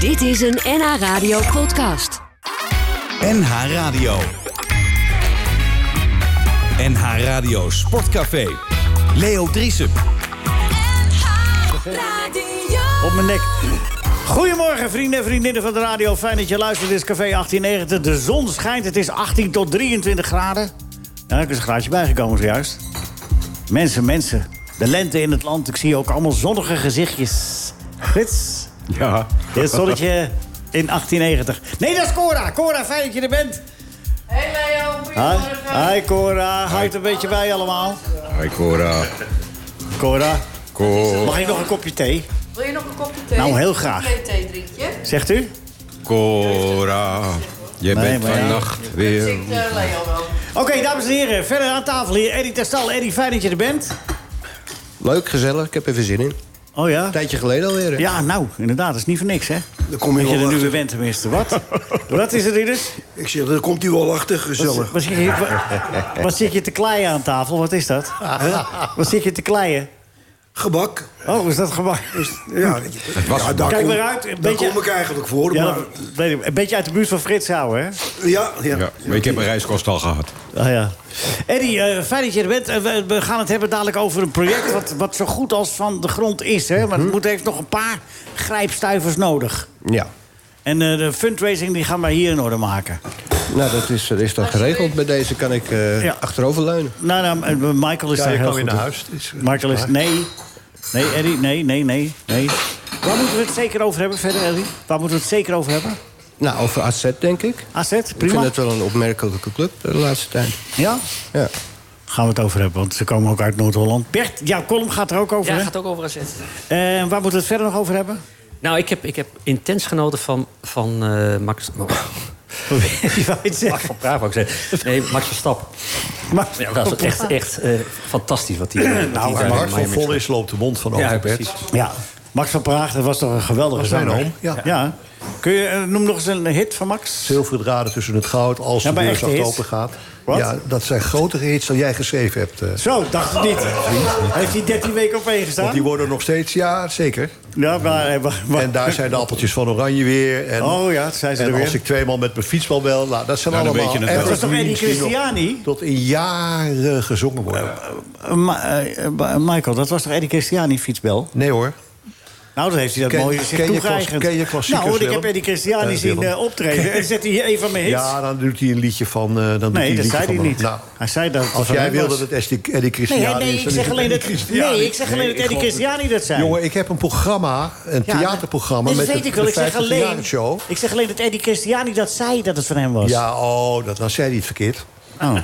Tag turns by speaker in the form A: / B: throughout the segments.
A: Dit is een NH Radio podcast.
B: NH Radio. NH Radio Sportcafé. Leo Driesen.
C: Op mijn nek. Goedemorgen, vrienden en vriendinnen van de radio. Fijn dat je luistert. Dit is Café 1890. De zon schijnt. Het is 18 tot 23 graden. Ja, er is een graadje bijgekomen zojuist. Mensen, mensen. De lente in het land. Ik zie ook allemaal zonnige gezichtjes. Frits,
D: Ja.
C: dit zonnetje in 1890. Nee, dat is Cora. Cora, fijn dat je er bent.
E: Hey Leo,
C: Hi,
E: goedemorgen.
C: Hi Cora. Houdt een beetje bij allemaal.
D: Hoi Cora.
C: Cora,
D: Co,
C: mag ik nog een kopje thee?
E: Wil je nog een kopje thee?
C: Nou, heel graag.
E: Een thee drinkje.
C: Zegt u?
D: Cora. Je
C: Nee,
D: bent
C: maar ja.
D: vannacht weer...
E: Zingt eh, Leo wel.
C: Oké, dames en heren. Verder aan tafel hier. Eddie Terstal. Eddie, fijn dat je er bent.
F: Leuk, gezellig. Ik heb even zin in. Een
C: Oh ja?
F: tijdje geleden alweer.
C: Ja, nou, inderdaad, dat is niet voor niks, hè?
G: Dan kom je
C: dat
G: wel
C: je er nu
G: achter.
C: weer bent, tenminste. Wat? Wat is er hier dus?
G: Ik zeg, daar komt u wel achter, gezellig.
C: Wat zit, je, wat, wat zit je te kleien aan tafel? Wat is dat? Wat zit je te kleien?
G: Gebak.
C: Oh, is dat gewoon...
G: Ja,
D: was
G: ja, daar
C: Kijk
G: Ah, kom,
C: maar uit, een
G: daar
C: beetje-
G: kom ik eigenlijk voor.
C: Ja,
G: maar,
C: dat weet ik. een beetje uit de buurt van Frits houden, hè?
G: ja, ja.
D: Ja, maar ik heb mijn reiskost al gehad.
C: Ah ja. Eddie, eh, fijn dat je er bent. Eh, we, we gaan het hebben dadelijk over een project wat, wat zo goed als van de grond is, hè?
G: Mhm.
C: Maar het moet, heeft nog een paar grijpstuivers nodig.
F: Ja.
C: En eh, de fundraising die gaan wij hier in orde maken.
F: Nou, dat is, dat is dan geregeld. Bij deze kan ik eh
C: Ja.
F: achteroverleunen.
C: Nou, nou, eh, Michael is daar heel goed in. Michael is... Nee. Nee, Eddie. Nee, nee, nee, nee. Waar moeten we het zeker over hebben verder, Eddie? Waar moeten we het zeker over hebben?
F: Nou, over AZ denk ik.
C: AZ,
F: Ik vind
C: prima.
F: het wel een opmerkelijke club de laatste tijd.
C: Ja?
F: Ja.
C: Gaan we het over hebben, want ze komen ook uit Noord-Holland. Bert, jouw column gaat er ook over,
H: Ja,
C: hè?
H: gaat ook over AZ.
C: Eh, waar moeten we het verder nog over hebben?
H: Nou, ik heb, ik heb intens genoten van, van eh, Max...
C: Wie wou het
H: Max
C: zeggen?
H: van Praag, wou ik zeggen. Nee, Max Verstappen.
C: Maar,
H: Ja, dat is echt, echt eh, fantastisch wat hij...
I: Nou, waar hart van vol is, loopt de mond van
H: Ja,
I: over,
H: precies.
I: Bert.
C: ja, Max van Praag, dat was toch een geweldige
I: zijn
C: zanger?
I: oom, ja.
C: Kun je, eh, noem nog eens een hit van Max.
I: Zilveren draden tussen het goud als
C: Ja,
I: de
C: maar
I: deur
C: echte
I: zacht
C: hits?
I: open gaat.
C: Wat?
I: Ja, dat zijn grotere hits dan jij geschreven hebt. eh.
C: Zo, dacht ik niet. Heeft hij 13 weken op één
I: Want
C: gestaan?
I: die worden nog steeds, ja, zeker.
C: Ja, maar... eh, maar- maar-
I: En daar zijn de appeltjes van oranje weer. En,
C: Oh ja, zijn ze
I: en
C: er weer.
I: als ik tweemaal met mijn fietsbal bel, nou, dat zijn
D: Ja, dan
I: allemaal...
D: weet je het
I: en
D: wel.
C: Dat was toch Eddie
I: die nog
C: Christiani?
I: Tot in jaren gezongen worden.
C: Eh, Ma- eh, eh, Michael, dat was toch Eddie Christiani fietsbel?
I: Nee hoor.
C: Nou, dat heeft hij dat
I: Ken-
C: mooie zich
I: ken je
C: toegeëigend.
I: klas- ken je klassiekers,
C: Nou, ik heb
I: Willem?
C: Eddie Christiani
I: Eh,
C: zien
I: Willem.
C: eh, optreden. En zet hij hier een van mijn hits?
I: Ja, dan doet hij een liedje van... eh, dan doet hij
C: nee,
I: een
C: dat
I: liedje
C: zei hij
I: van-
C: niet.
I: Nou,
C: hij zei dat het
I: als
C: van
I: jij
C: hem
I: wil dat
C: was.
I: het Eddie Eddie Christiani
C: Nee, hè, nee,
I: is...
C: ik
I: dan is
C: zeg
I: het
C: alleen
I: Eddie
C: dat,
I: Christiani.
C: nee, ik zeg alleen
I: Nee,
C: dat
I: ik
C: Eddie
I: geloof het
C: Christiani dat zei.
I: Jongen, ik heb een programma, een
C: Ja,
I: theaterprogramma...
C: nee, dat
I: met
C: weet
I: het-
C: ik wel.
I: de
C: Ik zeg,
I: 50-jarige
C: alleen,
I: show.
C: ik zeg alleen dat Eddie Christiani dat zei dat het van hem was.
I: Ja, oh, dat, dan zei hij het verkeerd.
C: Oh.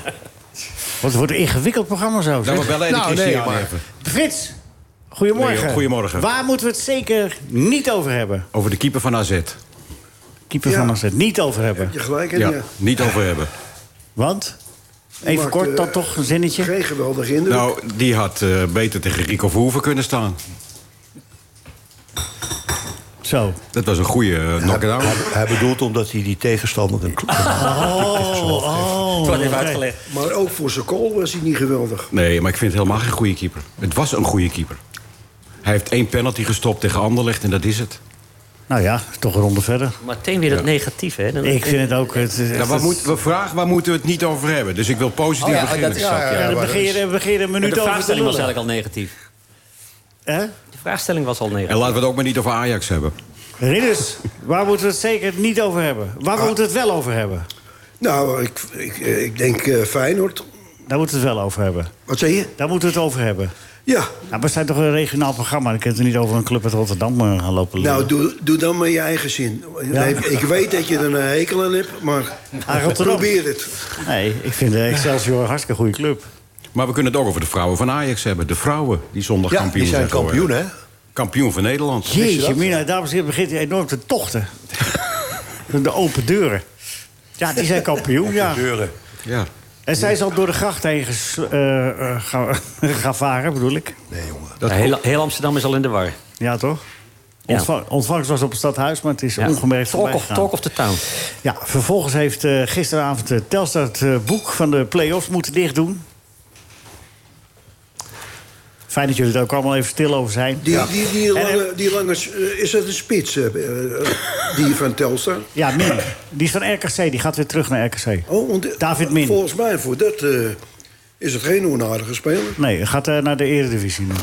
C: Wat wordt een ingewikkeld programma zo.
D: Dan
C: zeg.
D: maar bellen en
I: Nou,
D: nou,
I: nee,
D: Christian
I: maar-
D: even.
C: Frits, goedemorgen.
D: Leo, goedemorgen.
C: Waar moeten we het zeker niet over hebben?
D: Over de keeper van AZ.
C: Keeper
G: Ja.
C: van AZ, niet over hebben.
G: Je gelijk, hè?
D: Ja,
G: Ja.
D: niet over hebben.
C: Want? Even
G: Maakt,
C: kort
G: eh,
C: dan toch, een zinnetje.
G: Geen geweldige indruk.
D: Nou, die had eh, beter tegen Rico Verhoeven kunnen staan.
C: Zo.
D: Dat was een goede eh, knock-down.
I: Hij, hij bedoelt omdat hij die tegenstander... Een,
C: Oh, oh.
H: Wat even
C: oké.
H: uitgelegd.
G: Maar ook voor zijn goal was hij niet
F: Oh
G: geweldig.
D: Nee, maar ik vind het helemaal geen goede keeper. Het was een goede keeper. Hij heeft één penalty gestopt tegen Anderlecht en dat is het.
C: Nou ja, toch een ronde verder.
H: Meteen weer dat negatief, hè? Dan-
C: Ik vind het ook... Het, het,
D: Nou, waar
C: het-
D: moet, we vragen waar moeten we het niet over hebben. Dus ik wil
F: Oh
D: positief beginnen.
C: ja, dan begin je, dan begin je een minuut
H: de
C: over te
H: vraagstelling was
C: lullen.
H: eigenlijk al negatief.
C: Hè?
H: De vraagstelling was al
D: En
H: negatief.
D: laten we het ook maar niet over Ajax hebben.
C: Ridders, waar moeten we het zeker niet over hebben? Waar moeten we het wel over hebben?
G: Nou, ik, ik, ik denk eh, Feyenoord.
C: Daar moeten we het wel over hebben.
G: Wat zei je?
C: Daar moeten we het over hebben.
G: Ja.
C: Nou, we zijn toch een regionaal programma. Dan kun je het niet over een club uit Rotterdam eh, gaan lopen lullen.
G: Nou, doe, doe dan maar je eigen zin. Nee, ik weet dat je er een hekel aan hebt, maar
C: Aan Rotterdam.
G: probeer het.
C: Nee, ik vind eh, Excelsior een hartstikke goede club.
D: Maar we kunnen het ook over de vrouwen van Ajax hebben. De vrouwen die zondag
I: ja,
D: kampioen
I: die zijn
D: geworden.
I: kampioen, hè?
D: Kampioen van Nederland.
C: Jeetje, Mina, dames en heren, begint hij enorm te tochten. de open deuren. Ja, die zijn kampioen, ja.
I: Deuren.
D: Ja.
C: En zij zal door de gracht heen ges- eh, eh, gaan gaan varen, bedoel ik.
D: Dat
H: Ja, heel, heel Amsterdam is al in de war.
C: Ja, toch?
H: Ja.
C: Ontvang- ontvangst was op het stadhuis, maar het is ongemerkt
H: talk, of,
C: voorbijgegaan.
H: talk of the town.
C: Ja, vervolgens heeft eh, gisteravond eh, Telstar het eh, boek van de play-offs moeten dichtdoen. 5,5 Fijn dat jullie er ook allemaal even stil over zijn.
G: Die, die, die,
C: En,
G: lange, die lange... s- eh, Is dat een spits, eh, eh, die van Telstar?
C: Ja, Min. Die is van RKC. Die gaat weer terug naar RKC.
G: Oh, want,
C: David Min.
G: Volgens mij voor dat eh, is het geen onaardige speler.
C: Nee, hij gaat eh, naar de Eredivisie nu.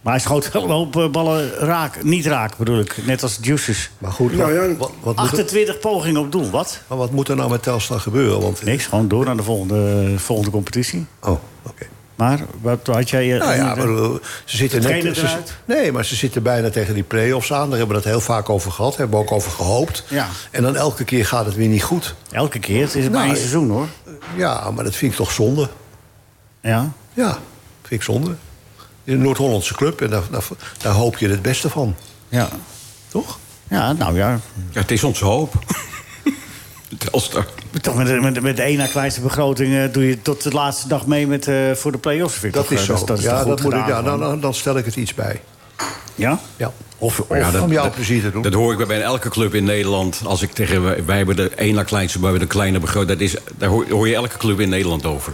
C: Maar hij schoot wel een hoop eh, ballen raak. Niet raak, bedoel ik. Net als Juices.
I: Maar goed,
G: Nou ja,
I: wat, wat, moet er,
C: 28 pogingen op doel. Wat?
I: maar wat moet er nou met Telstar gebeuren? Want,
C: Niks, gewoon door naar de volgende, eh, volgende competitie.
I: Oh, oké.
C: Maar wat had jij... eh,
I: Nou ja,
C: eh,
I: maar, eh, ze zitten net...
C: trainer
I: ze-
C: eruit?
I: nee, maar ze zitten bijna tegen die play-offs aan. Daar hebben we het heel vaak over gehad. Hebben we ook over gehoopt.
C: Ja.
I: En dan elke keer gaat het weer niet goed.
C: elke keer. Het is het
I: Nou,
C: maar één
I: ik-
C: seizoen, hoor.
I: Ja, maar dat vind ik toch zonde.
C: Ja.
I: Ja, vind ik zonde. In een Noord-Hollandse club. En daar, daar, daar hoop je het beste van.
C: Ja.
I: Toch?
C: Ja, nou ja.
D: Ja, het is onze hoop. Telstar.
C: Toch met, de- met, met de ene kleinste begroting eh, doe je tot de laatste dag mee met, eh, voor de play-offs. vind ik
I: Dat
C: toch,
I: is
C: eh,
I: zo.
C: toch
I: ja,
C: goed
I: dat moet ik,
C: gedaan,
I: ja nou, dan,
C: gewoon.
I: dan, dan stel ik het iets bij.
C: Ja?
I: Ja.
D: Of,
I: of om jou plezier
J: Hm.
I: te doen.
D: Dat hoor ik bij elke club in Nederland. Als ik tegen wij- wij hebben de ene kleinste, wij hebben de kleine begroting. Dat is, daar hoor, hoor je elke club in Nederland over.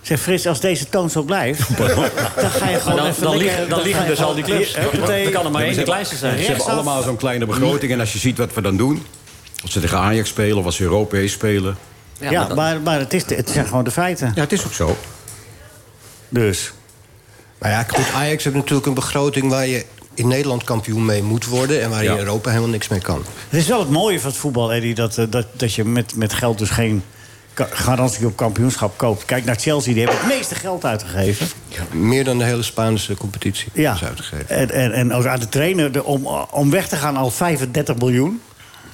C: Zeg Frits, als deze toon zo blijft, dan ga je gewoon
H: dan,
C: even lekker-
H: dan, liegen, dan liegen
C: ga je
H: dus al die
C: gewoon-
H: clubs.
C: Hier, eh, huppatee.
H: Dan kan er maar één de kleinste zijn.
D: Ze hebben
C: Rechtsaf.
D: allemaal zo'n kleine begroting. En als je ziet wat we dan doen. Als ze tegen Ajax spelen of als ze Europees spelen.
C: Ja, maar, maar, het, is de- het zijn gewoon de feiten.
D: Ja, het is ook zo.
C: Dus.
F: Maar ja, goed, Ajax heeft natuurlijk een begroting waar je in Nederland kampioen mee moet worden... en waar je
D: Ja.
F: in Europa helemaal niks mee kan.
C: Het is wel het mooie van het voetbal, Eddie, dat, eh, dat, dat je met, met geld dus geen ka- garantie op kampioenschap koopt. Kijk naar Chelsea, die hebben het meeste geld uitgegeven.
F: Meer dan de hele Spaanse competitie
C: Ja.
F: is
G: Eh,
F: uitgegeven.
C: En, en, en ook aan de trainer, de- om, om weg te gaan al 35 miljoen.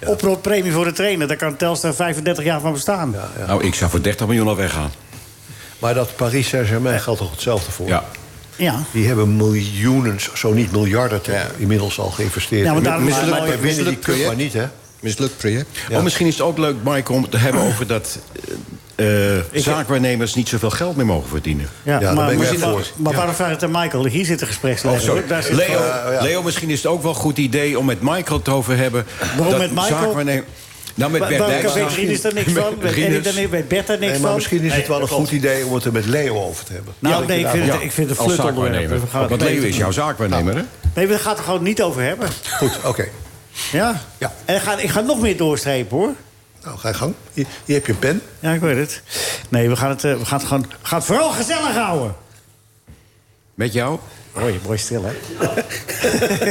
C: Oproeppremie voor de trainer, daar kan Telstar 35 jaar van bestaan.
D: Nou, ik zou voor 30 miljoen al weggaan.
I: Maar dat Paris Saint-Germain geldt toch hetzelfde voor?
D: Ja.
C: ja.
I: Die hebben miljoenen, zo niet miljarden, te-
F: Ja.
I: inmiddels al geïnvesteerd.
C: Ja, maar
I: En
C: daarom
I: met-
C: is het
I: maar
C: een mooi-
I: winnen die
F: misselijk
I: cup maar
F: project.
I: niet, hè?
F: Mislukt project.
I: Ja.
D: Oh, misschien is het ook leuk, Mike, om het te hebben over dat eh, eh, zaakwaarnemers niet zoveel geld meer mogen verdienen.
C: Ja,
I: daar
C: maar,
I: ben ik
C: maar,
I: echt
C: maar-
I: voor.
C: maar waarom vraag je het aan Michael? Hier zit de
D: Oh,
C: gespreksleider.
D: sorry.
C: hoor. Daar zit
D: Leo,
I: eh, ja.
D: Leo, misschien is het ook wel een goed idee om met Michael het over te hebben.
C: Waarom met Michael?
D: zaakwaarnem- Nou, met Bert
C: Bij
D: Dijkstra.
C: Café Grien is daar niks
D: Met
C: van. Bij Eddie
D: Grienes.
C: daar niks- Bij Bert daar niks
I: Nee,
C: van.
I: maar misschien is het
C: Nee,
I: wel een
C: dat
I: goed
C: klopt.
I: idee om het er met Leo over te hebben.
C: Nou, nee, ik vind het,
D: Ja,
C: ik vind het een
D: als
C: flut onderwerp.
D: Oh, zaakwaarnemer.
C: We gaan het
D: Want Leo
C: even-
D: is jouw zaakwaarnemer, hè?
C: Nee, we gaan het er gewoon niet over hebben.
I: Goed, oké.
C: Ja?
I: Ja.
C: En ik ga, ik ga nog meer doorstrepen, hoor.
I: Nou, ga je gang. Hier, hier heb je een pen.
C: Ja, ik weet het. Nee, we gaan het, eh, we gaan het, gewoon, we gaan het vooral gezellig houden.
D: Met jou?
C: Mooi, mooi stil, hè?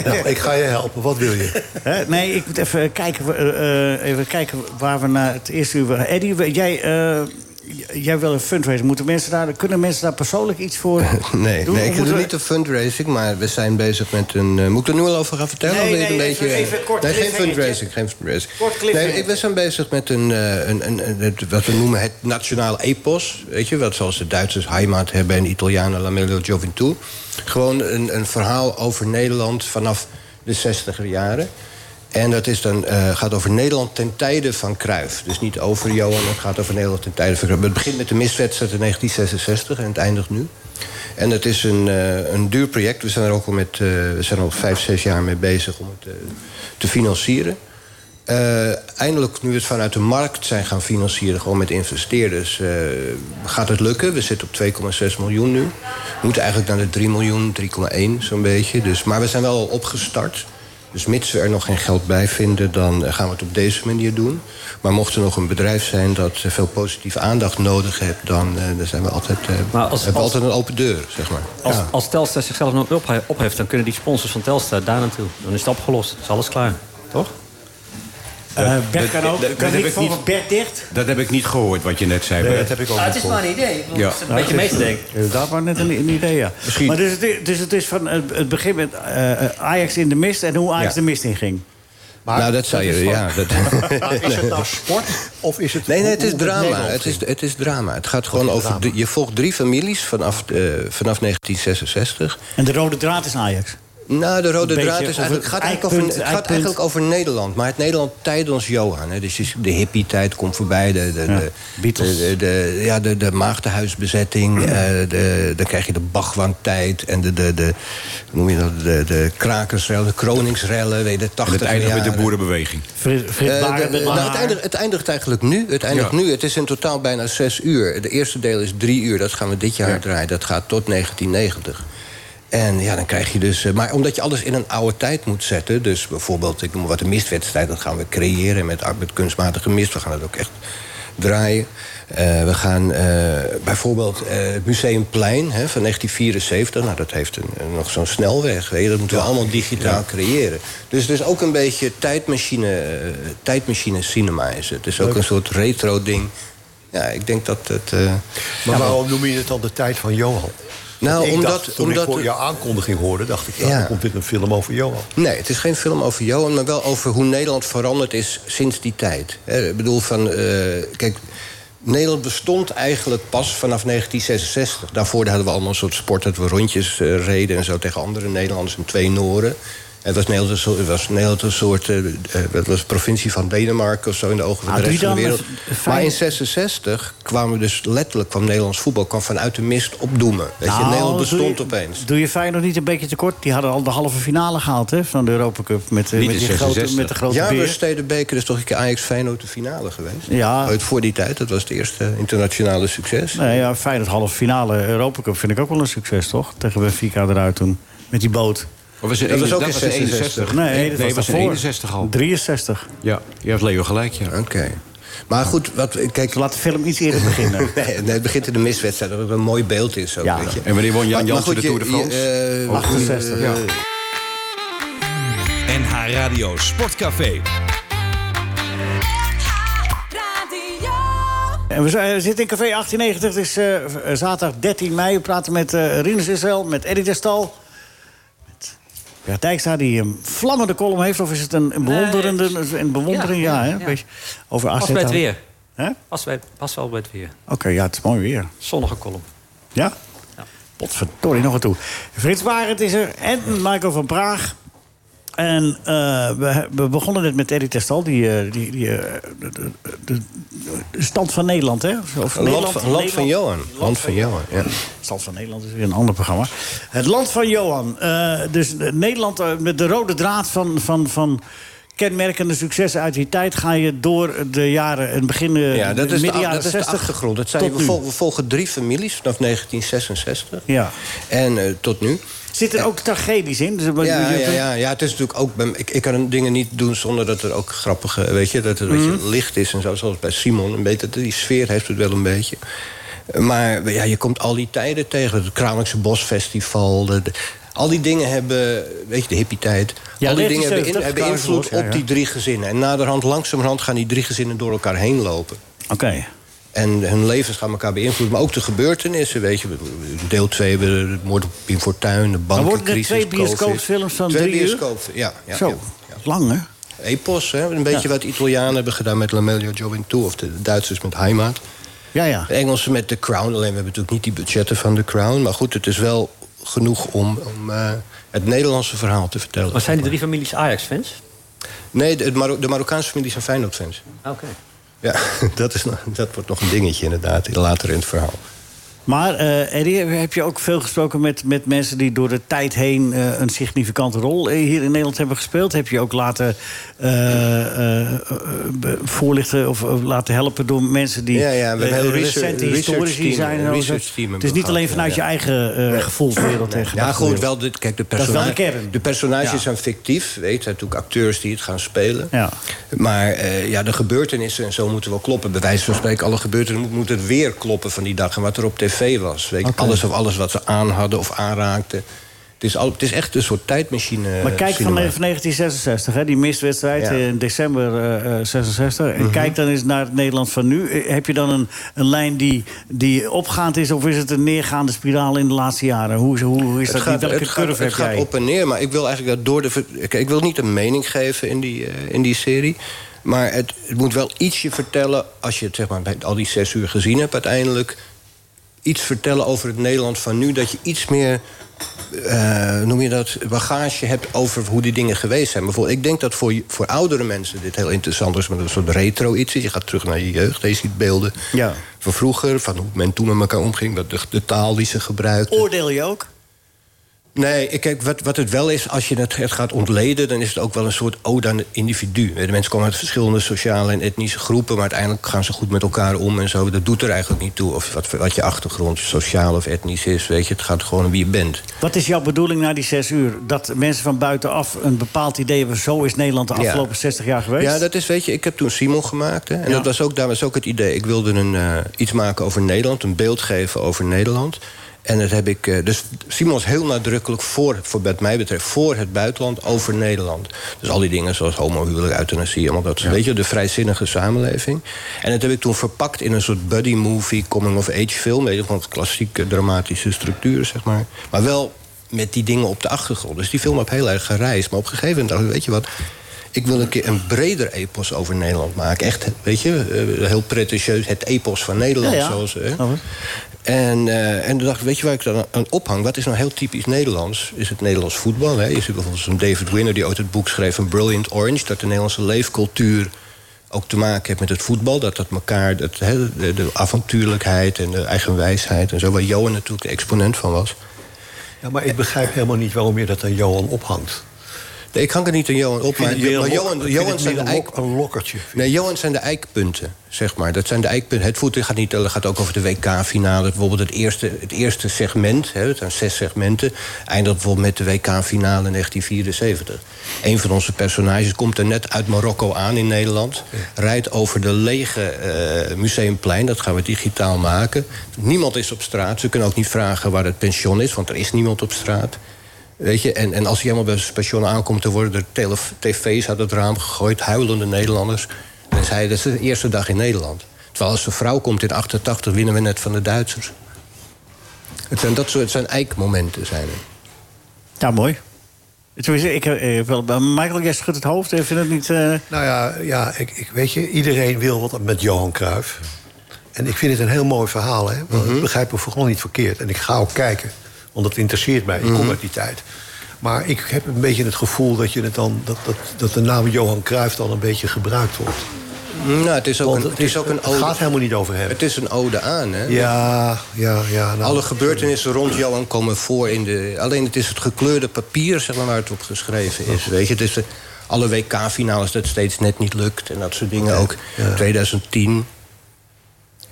I: Nou, ik ga je helpen. Wat wil je?
C: Hè? Nee, ik moet even kijken, eh, eh, even kijken waar we naar het eerste uur... Eddie, we- jij, eh, j- jij wil een fundraiser. Moeten mensen daar, kunnen mensen daar persoonlijk iets voor Eh,
F: Nee,
C: doen?
F: nee,
C: Of
F: ik
C: moeten
F: doe
C: we-
F: niet de fundrailing, maar we zijn bezig met een... eh, moet ik er nu al over gaan vertellen?
C: Nee,
F: of wil je het
C: nee,
F: een
C: even-
F: beetje, eh,
C: even kort
F: Nee, geen
C: cliffhangertje.
F: fundraising, geen fundraising.
C: Kort cliffhanger.
F: nee, ik, we zijn bezig met een, eh, een, een, een- het- wat we noemen het nationale epos. Weet je, wat zoals de Duitsers Heimat hebben en de Italianen La Melo Gioventù. Gewoon een, een verhaal over Nederland vanaf de 60er jaren. En dat is dan, eh, gaat over Nederland ten tijde van Cruijff. Dus niet over Johan, het gaat over Nederland ten tijde van Cruijff. Het begint met de miswedstrijd in 1966 en het eindigt nu. En het is een, eh, een duur project. We zijn er ook al, met, eh, we zijn al vijf, zes jaar mee bezig om het eh, te financieren. Eh, eindelijk, nu we het vanuit de markt zijn gaan financieren, gewoon met investeerders, eh, gaat het lukken. We zitten op 2,6 miljoen nu. We moeten eigenlijk naar de 3 miljoen, 3,1 zo'n beetje. Dus, maar we zijn wel al opgestart. Dus mits we er nog geen geld bij vinden, dan eh, gaan we het op deze manier doen. Maar mocht er nog een bedrijf zijn dat eh, veel positieve aandacht nodig heeft, dan, eh, dan zijn we altijd, eh,
H: Maar als-
F: hebben we
H: als-
F: altijd een open deur, zeg maar.
H: Als,
F: Ja.
H: als Telstar zichzelf nog ophe- opheft, dan kunnen die sponsors van Telstar daar naartoe. Dan is het opgelost. Is alles klaar. Toch?
C: Eh, Bert kan
D: dat-
C: ook.
D: dat-
C: kan
D: dat heb
C: ik
D: ik
C: van
D: niet-
C: Bert dicht?
D: Dat heb ik niet gehoord, wat je net zei. Bert.
I: Dat heb ik ook
H: Ah,
I: niet
H: het is
I: voor.
H: maar een idee. Ik bedoel,
D: Ja.
H: het is een beetje mee te denken.
C: Dat was net een, een idee, ja.
D: Misschien.
C: Maar dus, het is, dus het is van het, het begin met eh, eh, Ajax in de mist en hoe Ajax
D: Ja.
C: de mist inging.
I: Maar
F: nou, dat zou
I: is
F: je,
I: van-
F: ja. Dat,
I: Maar is het nou sport of is het...
F: Nee, nee, het
I: hoe-
F: is
I: hoe
F: drama.
I: Nederland
F: Het
I: ging?
F: is, het is drama. Het gaat gewoon over... de- je volgt drie families vanaf, eh, vanaf 1966.
C: En de rode draad is Ajax.
F: Nou, de rode
C: Beetje
F: draad is
C: of
F: eigenlijk,
C: het
F: gaat, eigenlijk over,
C: eikpunt,
F: het gaat
C: eikpunt.
F: eigenlijk over Nederland. Maar het Nederland tijdens Johan. Hè, dus is- de hippie-tijd komt voorbij. De, de, de,
C: Beatles.
F: De, de- ja, de, de maagdenhuisbezetting. eh, de, dan krijg je de Bachwang-tijd. En de, de, de, hoe noem je dat, de, de krakersrellen, de Kroningsrellen. Weet je, de
D: En
F: 80
D: het eindigt met de boerenbeweging.
C: Frit, Frit
F: eh,
C: Barend
F: de-
C: met
F: nou,
C: lang
F: het,
C: haar.
F: eindigt, het eindigt eigenlijk nu. Het, eindigt
D: Ja.
F: nu. het is in totaal bijna zes uur. De eerste deel is drie uur. Dat gaan we dit jaar draaien. Dat gaat tot 1990. En ja, dan krijg je dus... eh, Maar omdat je alles in een oude tijd moet zetten... dus bijvoorbeeld, ik noem maar wat, de mistwedstrijd... dat gaan we creëren met, met kunstmatige mist. We gaan het ook echt draaien. Eh, we gaan eh, bijvoorbeeld eh, het Museumplein hè, van 1974. Nou, dat heeft een, een- nog zo'n snelweg. Weet je, dat moeten we allemaal digitaal creëren. Dus het is ook een beetje tijdmachine, eh, tijdmachine cinema. Is het. het is ook een soort retro ding. Ja, ik denk dat het... eh,
I: Maar waarom noem je het dan de tijd van Johan?
F: Nou,
I: Want ik
F: omdat-
I: dacht, toen
F: omdat-
I: ik hoor- jouw aankondiging hoorde, dacht ik... Ja,
F: Ja.
I: dan komt dit een film over Johan.
F: Nee, het is geen film over Johan, maar wel over hoe Nederland veranderd is sinds die tijd. Hè, Ik bedoel, van, eh, kijk, Nederland bestond eigenlijk pas vanaf 1966. Daarvoor hadden we allemaal een soort sport dat we rondjes eh, reden en zo tegen andere Nederlanders en twee Noren. Het was Nederland een soort, het was Nederland een soort eh, eh, het was een provincie van Denemarken of zo in de ogen van
C: Ah,
F: de rest
C: doe
F: van
C: je
F: de
C: dan
F: wereld.
C: een fijn-
F: Maar in 66 kwamen we dus letterlijk kwam Nederlands voetbal kwam vanuit de mist opdoemen. Weet je,
C: Nou,
F: Nederland bestond
C: doe je,
F: opeens.
C: Doe je Feyenoord niet een beetje tekort? Die hadden al de halve finale gehaald hè, van de Europa Cup. Met, eh,
D: Niet
C: met,
D: in
C: die grote,
D: 66.
C: met de grote
F: Ja,
C: beer.
F: maar Stedenbeker is toch een keer Ajax Feyenoord de finale geweest.
C: Ja.
F: Ooit voor die tijd, dat was het eerste internationale succes.
C: Nee, ja, Feyenoord halve finale Europa Cup vind ik ook wel een succes, toch? Tegen Benfica eruit toen. Met die boot.
D: Dat was in
F: Dat was ook
D: 61.
F: in 61.
C: Nee, dat was,
D: was in
C: daarvoor.
D: 61 al.
C: 63.
D: Ja, je hebt Leo gelijk, ja.
F: Oké. Maar goed, wat, kijk,
C: Laat de film iets eerder beginnen.
F: nee, nee, het begint in de miswedstrijd, dat het een mooi beeld is. Ook,
C: Ja.
F: weet je.
D: En wanneer won Jan
F: Maar- maar
D: Jansen de
F: goed, je-
D: Tour de France?
F: je, eh,
C: 68.
D: Ja.
B: NH Radio Sportcafé.
C: En we zijn- we zitten in Café 1890. Het is eh, v- eh, zaterdag 13 mei. We praten met eh Rinus Israël, met Eddie Destal. Met Bert Dijkstra, die een vlammende column heeft. Of is het een, een bewonderende... een bewondering, ja,
H: Ja,
C: hè?
H: ja.
C: Een beetje Over AZ.
H: Pas bij het weer.
C: Hè? Oké,
H: Pas, bij, pas wel bij het weer.
C: ja, het is mooi weer.
H: Zonnige kolom.
C: Ja? Potverdorie, nog een toe. Frits Barend is er en Michael van Praag. En eh, we, we begonnen net met Eddie Testal, die, eh, die, die eh, de, de- de- de stand van Nederland, hè? Of
F: Een land van, land van Johan. Land van Johan, ja.
C: Stand van Nederland is weer een ander programma. Het Land van Johan. Eh, dus eh, Nederland eh, met de rode draad van, van, van kenmerkende successen uit die tijd... ga je door de jaren, het begin, eh,
F: ja dat, is de,
C: midden
F: a-
C: jaren
F: dat is de
C: 60
F: achtergrond. Dat zijn,
C: tot
F: we,
C: nu.
F: vol- we volgen drie families vanaf 1966.
C: Ja.
F: En eh, tot nu.
C: Zitten er ook tragedies in? Dus, eh,
F: Ja,
C: je-
F: ja, ja, ja, het is natuurlijk ook. bij- ik, ik kan dingen niet doen zonder dat er ook grappige. Weet je, dat er een
C: Mhm.
F: beetje licht is en zo. Zoals bij Simon. Een beetje, die sfeer heeft het wel een beetje. Maar ja, je komt al die tijden tegen. Het Kralingse Bosfestival. de- de- al die dingen hebben. Weet je, de hippie-tijd.
C: Ja,
F: al die dingen hebben, in-
C: 1970,
F: hebben invloed
C: Kralingse Bos, ja,
F: op die
C: ja.
F: drie gezinnen. En naderhand, langzamerhand gaan die drie gezinnen door elkaar heen lopen.
C: Oké.
F: En hun levens gaan elkaar beïnvloeden. Maar ook de gebeurtenissen, weet je. Deel 2, hebben we de moord op Pim Fortuyn, de
C: Er
F: bankencrisis,
C: worden er twee
F: COVID.
C: bioscoopfilms van
F: twee
C: drie uur?
F: bioscoopfilms, ja, ja,
C: Zo,
F: ja, ja.
C: lang hè?
F: Epos, hè? een beetje wat de Italianen hebben gedaan met Lamelio Gioventù... of de Duitsers met Heimat.
C: Ja, ja.
F: De Engelsen met The Crown, alleen we hebben natuurlijk niet die budgetten van The Crown. Maar goed, het is wel genoeg om, om eh, het Nederlandse verhaal te vertellen.
H: Maar zijn die drie families Ajax-fans?
F: Nee, de, het Marok- de Marokkaanse familie zijn Feyenoord-fans.
H: Oké.
F: Ja, dat, is, nog- dat wordt nog een dingetje inderdaad, later in het verhaal.
C: Maar eh Eddie, heb je ook veel gesproken met, met mensen die door de tijd heen eh, een significante rol eh, hier in Nederland hebben gespeeld? Heb je ook laten eh, eh, be- voorlichten of, of laten helpen door mensen die
F: Ja, ja, we hebben
C: eh,
F: heel
C: recente
F: research-
C: historici
F: research team,
C: zijn? en alles.
F: research team
C: het is niet
F: hebben
C: alleen
F: we
C: vanuit je
F: gehad,
C: eigen eh, gevoelswereld en
F: Ja, goed,
C: gedachtewereld.
F: wel. Dit, kijk, de,
C: is wel
F: persona-
C: de kern.
F: de personages
C: Ja.
F: zijn fictief. Weet, het zijn natuurlijk acteurs die het gaan spelen.
C: Ja.
F: Maar eh, ja, de gebeurtenissen en zo moeten wel kloppen. Bij wijze van spreken, alle gebeurtenissen moet- moeten weer kloppen van die dag. En wat er op tv was. Weet, je,
C: Oké.
F: Alles of alles wat ze aan hadden of aanraakten. Het is, al, het is echt een soort tijdmachine.
C: Maar kijk van,
F: cinema.
C: van 1966, hè, die mistwedstrijd
F: Eh, Ja. Mhm.
C: in december eh, eh, 66. En kijk dan eens naar het Nederland van nu. Eh, Heb je dan een, een lijn die, die opgaand is... of is het een neergaande spiraal in de laatste jaren? Hoe, is- hoe, hoe is dat? die, welke
F: het gaat-
C: curve
F: het
C: heb
F: gaat
C: jij?
F: op en neer, maar ik wil eigenlijk dat door de... ver- Kijk, ik wil niet een mening geven in die, eh, in die serie. Maar het, het moet wel ietsje vertellen... als je het zeg maar, bij al die zes uur gezien hebt uiteindelijk... iets vertellen over het Nederland van nu... dat je iets meer eh, noem je dat, bagage hebt over hoe die dingen geweest zijn. Bijvoorbeeld, ik denk dat voor, je- voor oudere mensen dit heel interessant is, maar dat is een soort retro iets. is. Je gaat terug naar je jeugd, en je ziet beelden
C: Ja.
F: van vroeger, van hoe men toen met elkaar omging, wat de, de taal die ze gebruikten.
C: Oordeel je ook?
F: Nee, ik- kijk, wat, wat het wel is, als je het, het gaat ontleden... dan is het ook wel een soort ode aan het individu. De mensen komen uit verschillende sociale en etnische groepen... maar uiteindelijk gaan ze goed met elkaar om en zo. Dat doet er eigenlijk niet toe of wat, wat je achtergrond sociaal of etnisch is. Weet je, het gaat gewoon om wie je bent.
C: Wat is jouw bedoeling na die zes uur? Dat mensen van buitenaf een bepaald idee hebben... zo is Nederland de
F: Ja.
C: afgelopen 60 jaar geweest?
F: Ja, dat is, weet je, ik heb toen Simon gemaakt. Hè, en
C: Ja.
F: dat was ook, daar was ook het idee. Ik wilde een, eh, iets maken over Nederland, een beeld geven over Nederland. En dat heb ik. eh, dus Simon is heel nadrukkelijk voor, voor, wat mij betreft, voor het buitenland over Nederland. Dus al die dingen zoals homohuwelijk, euthanasie, allemaal dat. Weet je, de vrijzinnige samenleving. En dat heb ik toen verpakt in een soort buddy movie, coming of age film. Weet je, van klassieke dramatische structuur, zeg maar. Maar wel met die dingen op de achtergrond. Dus die film heb heel erg gereisd. Maar op een gegeven moment dacht ik, weet je wat... Ik wil een keer een breder epos over Nederland maken. Echt, weet je, eh, heel pretentieus. Het epos van Nederland,
C: Ja, ja.
F: zoals... eh.
C: Oh.
F: En, eh, en toen dacht ik, weet je waar ik dan aan ophang? Wat is nou heel typisch Nederlands? Is het Nederlands voetbal? Hè? Is er bijvoorbeeld zo'n David Winner die ooit het boek schreef... van Brilliant Orange, dat de Nederlandse leefcultuur ook te maken heeft met het voetbal. Dat dat elkaar, dat, hè, de, de avontuurlijkheid en de eigenwijsheid en zo... waar Johan natuurlijk de exponent van was.
I: Ja, maar ik begrijp helemaal niet waarom je dat aan Johan ophangt.
F: Nee, ik hang er niet aan Johan op,
I: Ik vind
F: maar,
I: het meer
F: maar
I: een lok- ik
F: Johan,
I: vind
F: Johan
I: het
F: zijn de
I: meer een
F: eik...
I: lok- een lokkertje.
F: Nee, Johan zijn de eikpunten, zeg maar. Dat zijn de eikpunten. Het voetbal gaat, niet, het gaat ook over de WK-finale. Bijvoorbeeld het eerste, het eerste segment, hè, het zijn zes segmenten... eindigt bijvoorbeeld met de WK-finale 1974. Een van onze personages komt er net uit Marokko aan in Nederland... rijdt over de lege eh, Museumplein, dat gaan we digitaal maken. Niemand is op straat, ze kunnen ook niet vragen waar het pension is... want er is niemand op straat. Weet je, en, en als hij helemaal bij zijn station aankomt... dan worden er tele- tv's uit het raam gegooid, huilende Nederlanders. En zei, dat is de eerste dag in Nederland. Terwijl als zijn vrouw komt in 88, winnen we net van de Duitsers. Het zijn dat soort het zijn eikmomenten, zijn er.
C: Ja, mooi. Tenminste, ik heb, eh, wel, maar Michael, jij schudt het hoofd. Ik vind het niet... eh,
I: Nou ja, ja ik, ik weet je, iedereen wil wat met Johan Cruijff. En ik vind het een heel mooi verhaal, hè? Want ik begrijp me vooral niet verkeerd. En ik ga ook kijken, want dat interesseert mij. Ik kom uit die tijd. Maar ik heb een beetje het gevoel dat, je het dan, dat, dat, dat de naam Johan Cruijff dan een beetje gebruikt wordt.
F: Nou, het is ook
I: Want
F: een, het is ook een
I: het gaat
F: ode,
I: helemaal niet over hem.
F: het is een ode aan, hè?
I: ja, ja, ja. nou,
F: Alle gebeurtenissen rond Johan komen voor in de... Alleen het is het gekleurde papier zeg maar, waar het op geschreven is. Weet je, het is de, alle WK-finales dat steeds net niet lukt. En dat soort dingen ook. 2010.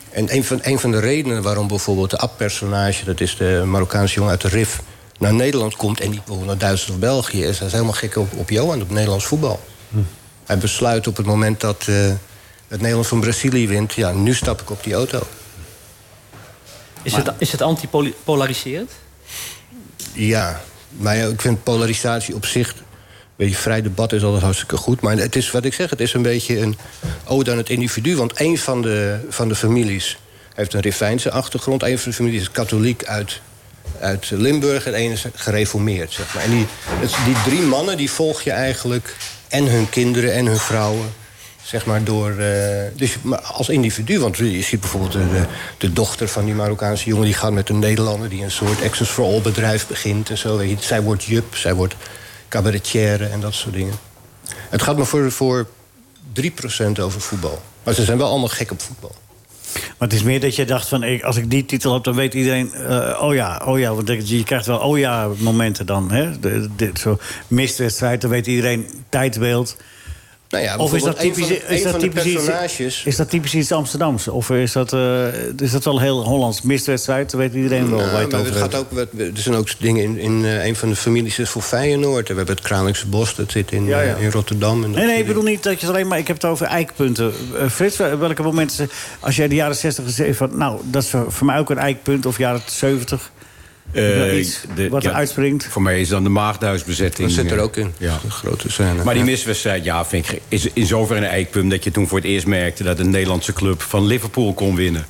F: En een van, een van de redenen waarom bijvoorbeeld de app-personage... dat is de Marokkaanse jongen uit de RIF... naar Nederland komt en niet bijvoorbeeld naar Duitsland of België... is hij is helemaal gek op, op Johan, op Nederlands voetbal.
I: Hm.
F: Hij besluit op het moment dat eh, het Nederland van Brazilië wint... ja, nu stap ik op die auto.
H: Is het, is het antipolariserend?
F: Ja, maar ja, ik vind polarisatie op zich... Weet je, vrij debat is altijd hartstikke goed. Maar het is wat ik zeg, het is een beetje een ode aan het individu. Want een van de, van de families heeft een Rivijnse achtergrond. Een van de families is katholiek uit, uit Limburg. En één is gereformeerd, zeg maar. En die, het- die drie mannen, die volg je eigenlijk... en hun kinderen en hun vrouwen zeg maar door... eh, dus, maar als individu, want je ziet bijvoorbeeld de, de, de dochter van die Marokkaanse jongen... die gaat met een Nederlander die een soort Access for All bedrijf begint en zo. Weet je. Zij wordt jup, zij wordt cabaretière en dat soort dingen. Het gaat maar voor, voor 3% over voetbal. Maar ze zijn wel allemaal gek op voetbal.
C: Maar het is meer dat je dacht van, ik, als ik die titel heb, dan weet iedereen... eh, oh ja, oh ja, want ik- je krijgt wel oh ja momenten dan. Hè? De, dit zo mistwedstrijd, dan weet iedereen tijdbeeld.
F: Nou ja,
C: Of is dat
F: bijvoorbeeld een
C: typisch,
F: van de-
C: is
F: een
C: dat
F: van de
C: typisch iets,
F: personages-
C: is dat typisch iets Amsterdams? Of is dat, eh, is dat wel heel Hollands? Mistwedstrijd, dan weet iedereen wel waar je het
F: Nou,
C: over
F: maar het
C: hebt.
F: gaat ook, wat- er zijn ook dingen in, in eh, een van de families is voor Feyenoord. En We hebben het Kralingse Bos, dat zit in,
C: Ja, ja.
F: eh, in Rotterdam. En dat
C: Nee, nee, ik
F: soort dingen.
C: bedoel niet dat je het alleen maar... Ik heb het over eikpunten. Eh, Frits, wel- welke momenten... Als jij de jaren 60 gezegd van... Nou, dat is voor, voor mij ook een eikpunt. Of jaren 70.
D: Eh,
C: iets
D: de-
C: wat er
D: ja,
C: uitspringt.
D: Voor mij is dan de maagduisbezetting.
F: Dat zit er
D: eh,
F: ook in.
D: Ja.
F: Ja. Grote scène.
D: Maar die miswedstrijd, ja, vind ik, is in zoverre een eikpunt... dat je toen voor het eerst merkte dat een Nederlandse club van Liverpool kon winnen.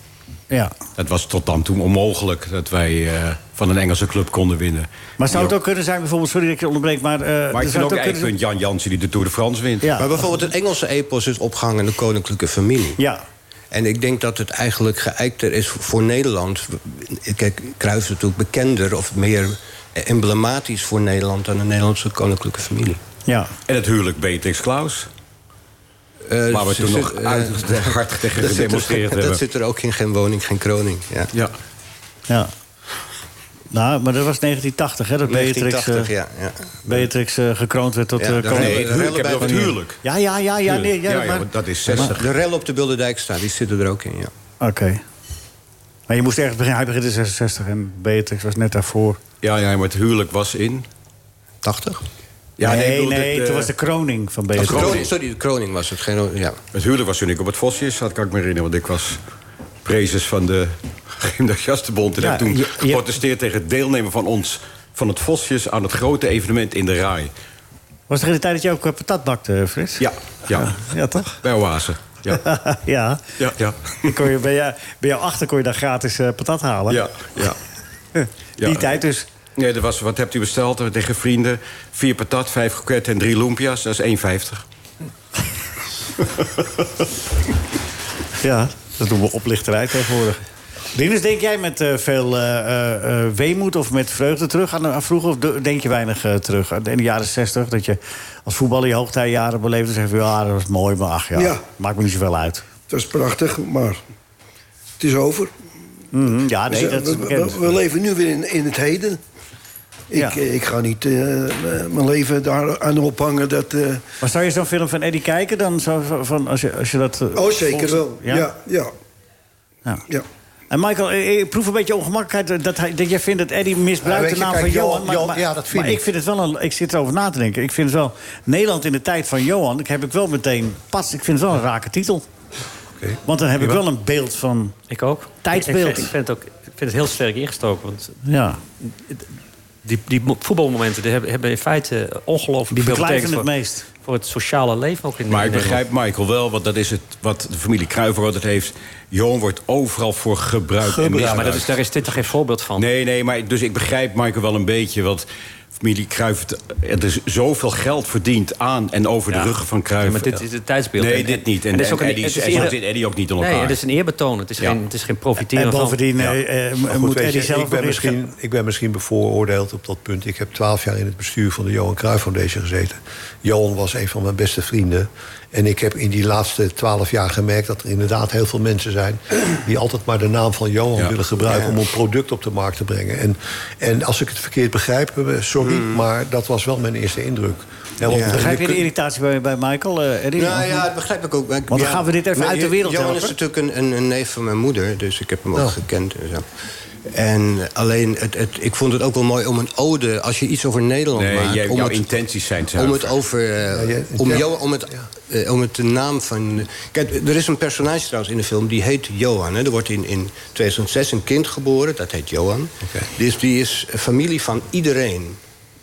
C: Ja.
D: Dat was tot dan toe onmogelijk dat wij eh, van een Engelse club konden winnen.
C: Maar zou het ook kunnen zijn, bijvoorbeeld, sorry dat ik je onderbreek, maar... eh,
D: Maar
C: er zou
D: ik
C: het
D: vind ook een
C: kunnen zijn-
D: eikpunt Jan Jansen die de Tour de France wint.
C: Ja.
F: Maar bijvoorbeeld het Engelse epos is opgehangen in de koninklijke familie.
C: Ja,
F: En ik denk dat het eigenlijk geëikter is voor Nederland. Kijk, Cruijff is natuurlijk bekender of meer emblematisch voor Nederland aan de Nederlandse koninklijke familie.
C: Ja.
D: En het huwelijk Beatrix Klaus. waar we
F: ze
D: toen
F: zit-
D: nog
F: eh,
D: uit- hard tegen
F: dat zit er-
D: gedemonstreerd hebben.
F: Dat zit er ook in Geen Woning, Geen Kroning. Ja.
D: Ja.
C: Ja. Nou, maar dat was 1980, hè? Dat Beatrix,
F: 1980,
C: eh,
F: ja. ja.
C: Beatrix eh, gekroond werd tot
F: Ja,
C: eh,
F: dat-
C: koningin.
D: Nee, het huwelijk, ik heb het over het
F: Koningin.
D: huwelijk.
C: Ja, ja, ja, ja. Nee, ja,
D: ja, ja,
C: maar...
D: want dat is 60.
F: De rel op de Bilderdijk staat, die zitten er ook in, ja.
C: Oké. Maar je moest ergens beginnen. Hij begint in 66 en Beatrix was net daarvoor.
D: Ja, ja, maar het huwelijk was in.
F: 80?
D: Ja,
C: nee,
D: ik
C: nee,
D: bedoel, dit, eh,
C: toen was de kroning van
F: De
C: Beatrix.
D: kroning.
F: Kroning, sorry, de Kroning was het. Geen, ja.
D: Het huwelijk was toen ik op het Vosjes zat, kan ik me herinneren. Want ik was prezes van de Gymnasiastenbond. En
C: Ja,
D: heb toen
C: je- je-
D: geprotesteerd tegen het deelnemen van ons... van het Vosjes aan het grote evenement in de RAI.
C: Was het in de tijd dat je ook eh, patat bakte, Frits?
D: Ja, ja.
C: Ja, toch?
D: Bij Oase. Ja,
C: ja.
D: ja, ja.
C: Dan Kon je, bij, jou, bij jou achter kon je daar gratis eh, patat halen.
D: ja, ja.
C: Die
D: Ja.
C: tijd dus.
D: Nee, dat was, wat hebt u besteld? Tegen vrienden. Vier patat, vijf kroketten en drie lumpia's. Dat is 1,50.
C: Ja, dat doen we oplichterij tegenwoordig. Dinus, denk jij met eh, veel eh, eh, eh, weemoed of met vreugde terug aan, aan vroeger? Of de- denk je weinig eh, terug? In de jaren zestig, dat je als voetballer je hoogtijjaren beleefde... zeg je, ja, dat was mooi, maar ach ja,
G: Ja.
C: maakt me niet zoveel uit.
G: Het was prachtig, maar het is over.
C: Mhm, ja, nee,
G: Dus, eh,
C: dat is
G: we, we-
C: bekend.
G: we leven nu weer in, in het heden. Ik,
C: Ja.
G: eh, ik ga niet eh, eh, mijn leven daar aan ophangen. Dat, eh,
C: Maar zou je zo'n film van Eddie kijken dan? Zo van, van als, je, als je dat... eh,
G: oh, zeker
C: volgt?
G: wel. Ja, ja. ja.
C: Ja. En Michael, eh, ik proef een beetje ongemakkelijkheid eh, dat, hij, dat jij vindt dat Eddie
I: Ja,
C: misbruikt
I: weet
C: de
I: je,
C: naam
I: kijk,
C: van Johan.
I: Johan- Johan- ja, dat vind
C: maar ik.
I: ik.
C: vind het wel een. Ik zit erover na te denken. Ik vind het wel. Nederland in de tijd van Johan. Ik heb ik wel meteen pas. Ik vind het wel een rake titel.
I: Oké.
C: Want dan heb ik wel een beeld van.
H: Ik ook.
C: Tijdsbeeld.
H: Ik, ik, vind- ik vind het ook, ik vind het heel sterk ingestoken. Want
C: Ja.
H: die, die mo- voetbalmomenten die hebben, hebben in feite ongelooflijk
C: Die
H: veel
C: beklijven
H: betekenis
C: het
H: voor,
C: meest.
H: voor het sociale leven ook in
D: Maar ik
H: Nederland.
D: begrijp Michael wel, want dat is het wat de familie Kruijver altijd heeft. Johan wordt overal voor gebruikt. en
H: Ja, maar dat is,
D: misbruikt.
H: daar is dit toch geen voorbeeld van?
D: Nee, nee, maar dus ik begrijp Michael wel een beetje. Want familie Kruijver, er is zoveel geld verdiend aan en over
H: Ja.
D: de ruggen van Kruijver.
H: Ja, maar dit is het tijdsbeeld.
D: Nee,
H: En-
D: dit niet. En,
H: en
D: en,
H: dat is ook een-
D: Eddie,
H: het
D: is,
H: is
D: en
H: eerder-
D: zit Eddie ook niet onder
H: Nee,
D: elkaar.
H: het is een eerbetoon. Het is,
D: Ja.
H: geen, het is geen profiteren
C: En bovendien eh, eh,
I: Maar goed,
C: moet
I: weet
C: Eddie
I: je,
C: zelf
I: ik ben,
C: weer-
I: misschien, ik ben misschien bevooroordeeld op dat punt. Ik heb twaalf jaar in het bestuur van de Johan Cruijff Foundation gezeten. Johan was een van mijn beste vrienden. En ik heb in die laatste twaalf jaar gemerkt dat er inderdaad heel veel mensen zijn... die altijd maar de naam van Johan
D: Ja.
I: willen gebruiken... om een product op de markt te brengen. En, en als ik het verkeerd begrijp, eh, sorry, maar dat was wel mijn eerste indruk. En want-
C: Hmm. Begrijp je de
I: kun-
C: irritatie bij, bij Michael, eh, Eddie?
F: Nou ja, dat begrijp ik ook. Maar ik-
C: Want dan
F: ja.
C: gaan we dit even
F: Maar
C: uit de wereld
F: Johan
C: helpen.
F: is natuurlijk een, een, een neef van mijn moeder, dus ik heb hem ook
I: Oh.
F: gekend. En, zo. en alleen, het, het, ik vond het ook wel mooi om een ode... als je iets over Nederland
D: Nee,
F: maakt...
D: jij-
F: om
D: jouw
F: het-
D: intenties zijn
F: Om
D: zuiver.
F: het over... eh,
I: Ja, ja,
F: om,
I: ja.
F: Johan- om, het, eh, om het de naam van... Kijk, er is een personage trouwens in de film, die heet Johan. Hè. Er wordt in, in 2006 een kind geboren, dat heet Johan. Dus die is familie van iedereen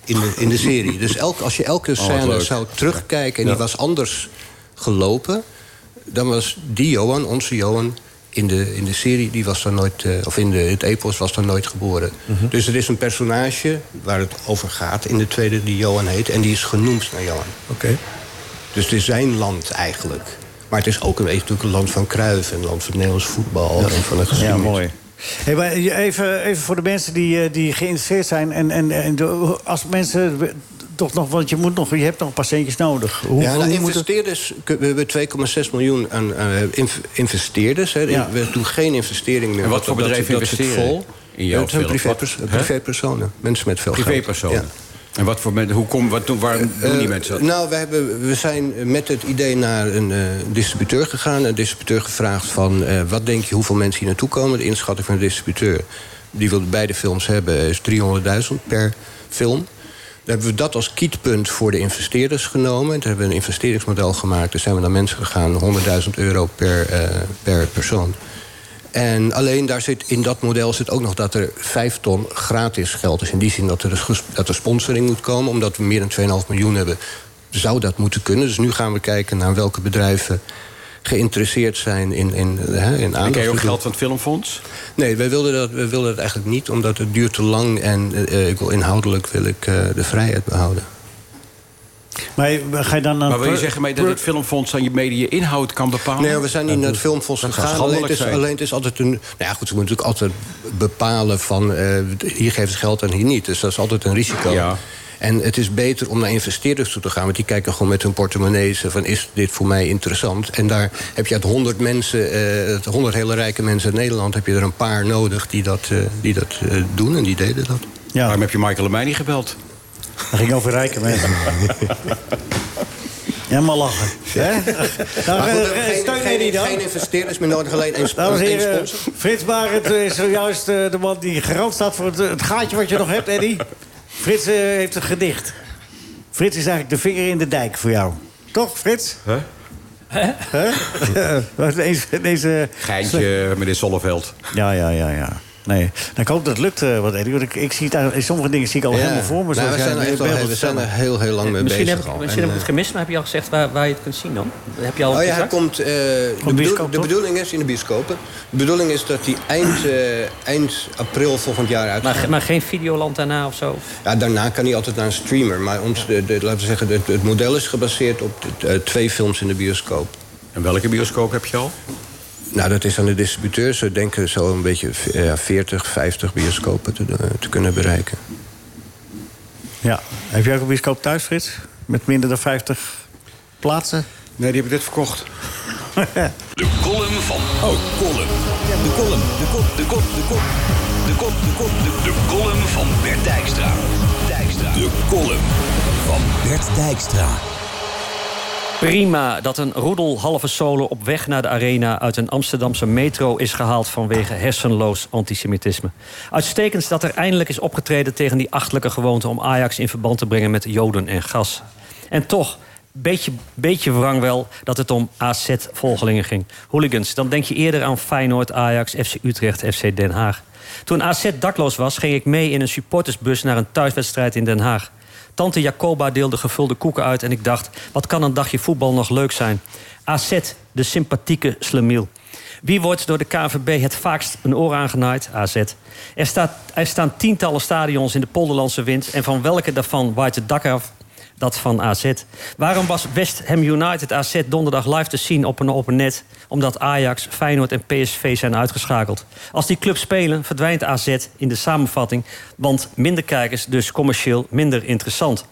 F: in de, in de serie. Dus elk, als je elke
C: Oh,
D: wat
F: scène
D: leuk.
F: zou terugkijken... en die was anders gelopen... dan was die Johan, onze Johan... In de, in de serie, die was dan nooit, eh, of in de, het epos, was dan nooit geboren.
C: Mhm.
F: Dus er is een personage waar het over gaat in de tweede, die Johan heet. En die is genoemd naar Johan.
I: Oké.
F: Dus het is zijn land eigenlijk. Maar het is ook een beetje natuurlijk een land van Cruijff... en een land van Nederlands voetbal en van de
C: Ja,
F: geschiedenis.
C: mooi. Hey, maar je- even, even voor de mensen die, eh, die geïnteresseerd zijn. En, en, en de- als mensen we- toch nog, want je, moet nog, je hebt nog patiëntjes nodig. Hoe,
F: Ja,
C: hoe
F: nou,
C: moet het-
F: investeerders, we hebben 2,6 miljoen aan eh, inv- investeerders. Hè.
C: Ja.
F: We doen geen investering meer.
D: En wat voor
F: Dat-
D: bedrijven
F: dat, dat zit
D: investeren
F: vol.
D: in jouw
F: Het zijn
D: film?
F: privépers-
D: Wat?
F: privépersonen, mensen met veel geld.
D: privépersonen.
F: Ja.
D: En wat voor men, hoe kom, wat, doen- waarom doen die
F: Eh,
D: mensen dat?
F: Nou, we, hebben, we zijn met het idee naar een eh, distributeur gegaan. Een distributeur gevraagd van... eh, wat denk je hoeveel mensen hier naartoe komen? De inschatting van de distributeur... die wil beide films hebben, is 300.000 per film. Dan hebben we dat als kietpunt voor de investeerders genomen. Toen hebben we een investeringsmodel gemaakt. Toen zijn we naar mensen gegaan, 100.000 euro per, eh, per persoon. En alleen daar zit, in dat model zit ook nog dat er 5 ton gratis geld is. In die zin dat er, dus ges- dat er sponsoring moet komen. Omdat we meer dan 2,5 miljoen hebben, zou dat moeten kunnen. Dus nu gaan we kijken naar welke bedrijven geïnteresseerd zijn in, in, hè, in
D: En
F: aandacht.
D: krijg je ook
F: te doen.
D: geld van het filmfonds?
F: Nee, wij wilden, dat, wij wilden dat eigenlijk niet, omdat het duurt te lang. En eh, eh, ik wil, inhoudelijk wil ik eh, de vrijheid behouden.
C: Maar ga je dan...
D: Maar wil je zeggen mee dat het filmfonds aan je media inhoud kan bepalen?
F: Nee, we zijn niet naar het filmfonds
D: dat zou
F: gegaan. Alleen het,
D: schandelijk
F: is,
D: zijn.
F: alleen het is altijd een... Nou ja, goed, ze moeten natuurlijk altijd bepalen van... eh, hier geven ze geld en hier niet. Dus dat is altijd een risico.
D: Ja.
F: En het is beter om naar investeerders toe te gaan. Want die kijken gewoon met hun portemonnee. ze Van, is dit voor mij interessant? En daar heb je uit 100 mensen... eh, uit 100 hele rijke mensen in Nederland... heb je er een paar nodig die dat, eh, die dat eh, doen. En die deden dat.
C: Ja,
D: Waarom heb je Michael en mij niet gebeld?
C: dat ging over rijke mensen. Ja, maar lachen. Hè? Nou,
F: Maar goed, we hebben
C: eh,
F: geen-
C: steun
F: geen,
C: Eddy dan.
F: geen investeerders meer nodig, alleen één sp-
C: Dames en
F: één
C: heren,
F: sponsor.
C: Frits Barend is zojuist eh, de man die garant staat voor het, het gaatje wat je nog hebt, Eddy. Frits eh, heeft een gedicht. Frits is eigenlijk de vinger in de dijk voor jou. Toch, Frits? Huh? Huh? ineens, ineens, eh,
D: Geintje, meneer Zonneveld.
C: Ja, ja, ja, ja. Nee, nou, ik hoop dat het lukt, eh, wat Eddy. Want ik, ik zie het, daar- sommige dingen zie ik al helemaal voor me.
F: Nou,
C: zoals
F: we
C: jij
F: zijn er
C: nu
F: echt al
C: belt.
F: heel- we zijn er heel, heel lang mee
H: misschien
F: bezig.
H: heb ik,
F: al.
H: misschien
F: En, eh,
H: heb ik het gemist, maar heb je al gezegd waar, waar je het kunt zien dan? Heb je al
F: Oh
H: een
F: ja, hij
H: contract?
F: komt. eh, de,
C: bioscoop,
F: bedoel, de
C: toch?
F: bedoeling is in de bioscopen. De bedoeling is dat die eind, eh, eind april volgend jaar
H: maar,
F: uitkomt.
H: ge- maar geen Videoland daarna of zo?
F: Ja, daarna kan hij altijd naar een streamer. Maar ons, de, de- laten we zeggen, het, het model is gebaseerd op de- eh, twee films in de bioscoop.
D: En welke bioscoop heb je al?
F: Nou, dat is aan de distributeur. Ze denken zo een beetje eh, 40, 50 bioscopen te, eh, te kunnen bereiken.
C: Ja. Heb jij ook een bioscoop thuis, Frits? Met minder dan 50 plaatsen?
D: Nee, die heb ik net verkocht.
B: De column van... Oh, column. De column. De kop, de kop, de kop. De kop, de kop, de... De column van Bert Dijkstra. Dijkstra. De column van Bert Dijkstra.
H: Prima dat een roedel halve solo op weg naar de arena uit een Amsterdamse metro is gehaald vanwege hersenloos antisemitisme. Uitstekend dat er eindelijk is opgetreden tegen die achtelijke gewoonte om Ajax in verband te brengen met Joden en gas. En toch, beetje, beetje wrang wel dat het om AZ-volgelingen ging. Hooligans, dan denk je eerder aan Feyenoord, Ajax, FC Utrecht, FC Den Haag. Toen AZ dakloos was, ging ik mee in een supportersbus naar een thuiswedstrijd in Den Haag. Tante Jacoba deelde gevulde koeken uit en ik dacht... wat kan een dagje voetbal nog leuk zijn? AZ, de sympathieke slemiel. Wie wordt door de KNVB het vaakst een oor aangenaaid? AZ. Er, staat, er staan tientallen stadions in de Polderlandse wind... en van welke daarvan waait het dak af? Dat van AZ. Waarom was West Ham United AZ donderdag live te zien op een open net? Omdat Ajax, Feyenoord en PSV zijn uitgeschakeld. Als die clubs spelen, verdwijnt AZ in de samenvatting. Want minder kijkers, dus commercieel minder interessant.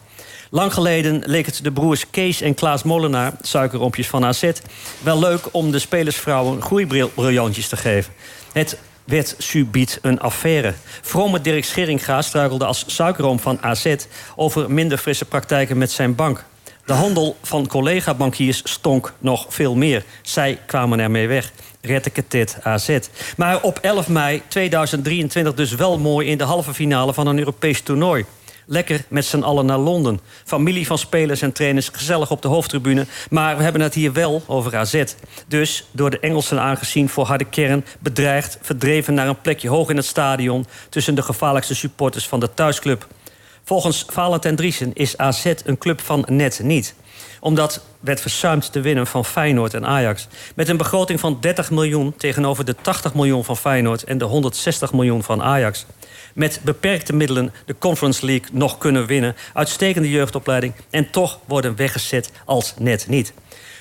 H: Lang geleden leek het de broers Kees en Klaas Molenaar, suikerrompjes van AZ... wel leuk om de spelersvrouwen groeibriljantjes te geven. Het werd subiet een affaire. Vrome Dirk Scheringa struikelde als suikerroom van AZ... over minder frisse praktijken met zijn bank. De handel van collega-bankiers stonk nog veel meer. Zij kwamen ermee weg. Retteketet AZ. Maar op 11 mei 2023 dus wel mooi in de halve finale van een Europees toernooi. Lekker met z'n allen naar Londen. Familie van spelers en trainers gezellig op de hoofdtribune. Maar we hebben het hier wel over AZ. Dus door de Engelsen aangezien voor harde kern... bedreigd, verdreven naar een plekje hoog in het stadion... tussen de gevaarlijkste supporters van de thuisclub. Volgens Valentijn Driesen is AZ een club van net niet. Omdat werd verzuimd te winnen van Feyenoord en Ajax. Met een begroting van 30 miljoen tegenover de 80 miljoen van Feyenoord... en de 160 miljoen van Ajax. Met beperkte middelen de Conference League nog kunnen winnen. Uitstekende jeugdopleiding en toch worden weggezet als net niet.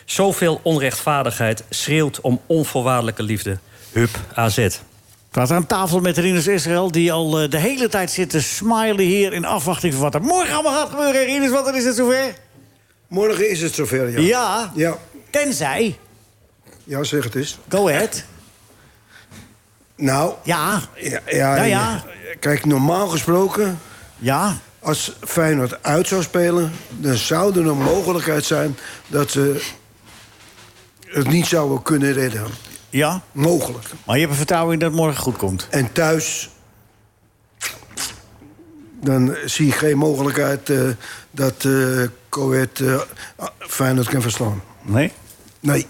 H: Zoveel onrechtvaardigheid schreeuwt om onvoorwaardelijke liefde. Hup AZ.
C: We zaten aan tafel met Rinus Israël, die al eh, de hele tijd zit te smilen hier... in afwachting van wat er morgen allemaal gaat gebeuren. Rinus, wat is het zover?
G: Morgen is het zover, ja.
C: Ja,
G: Ja,
C: tenzij.
G: ja zeg het eens.
C: Go ahead.
G: Nou,
C: Ja,
G: ja, ja,
C: Ja, Nou ja.
G: Kijk, normaal gesproken,
C: ja.
G: als Feyenoord uit zou spelen... dan zou er een mogelijkheid zijn dat ze het niet zouden kunnen redden.
C: Ja,
G: Mogelijk.
C: maar je hebt er vertrouwen in dat het morgen goed komt.
G: En thuis... dan zie ik geen mogelijkheid eh, dat eh Coët eh, Feyenoord kan verslaan.
C: Nee?
G: Nee.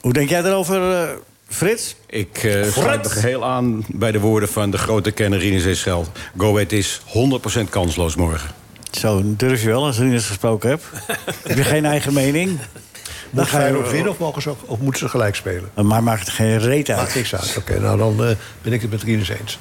C: Hoe denk jij daarover, eh, Frits?
D: Ik eh sluit me geheel aan bij de woorden van de grote kenner Rinus Israël. Go Ahead is 100% kansloos morgen.
C: Zo durf je wel, als je Rinus gesproken hebt. heb je geen eigen mening?
I: Moet
C: ga je-
I: Feyenoord winnen of, mogen ze, ook- of moeten ze gelijk spelen?
C: Maar maakt het geen reet uit.
I: Maakt niks uit. Oké, nou dan eh, ben ik het met Rinus eens.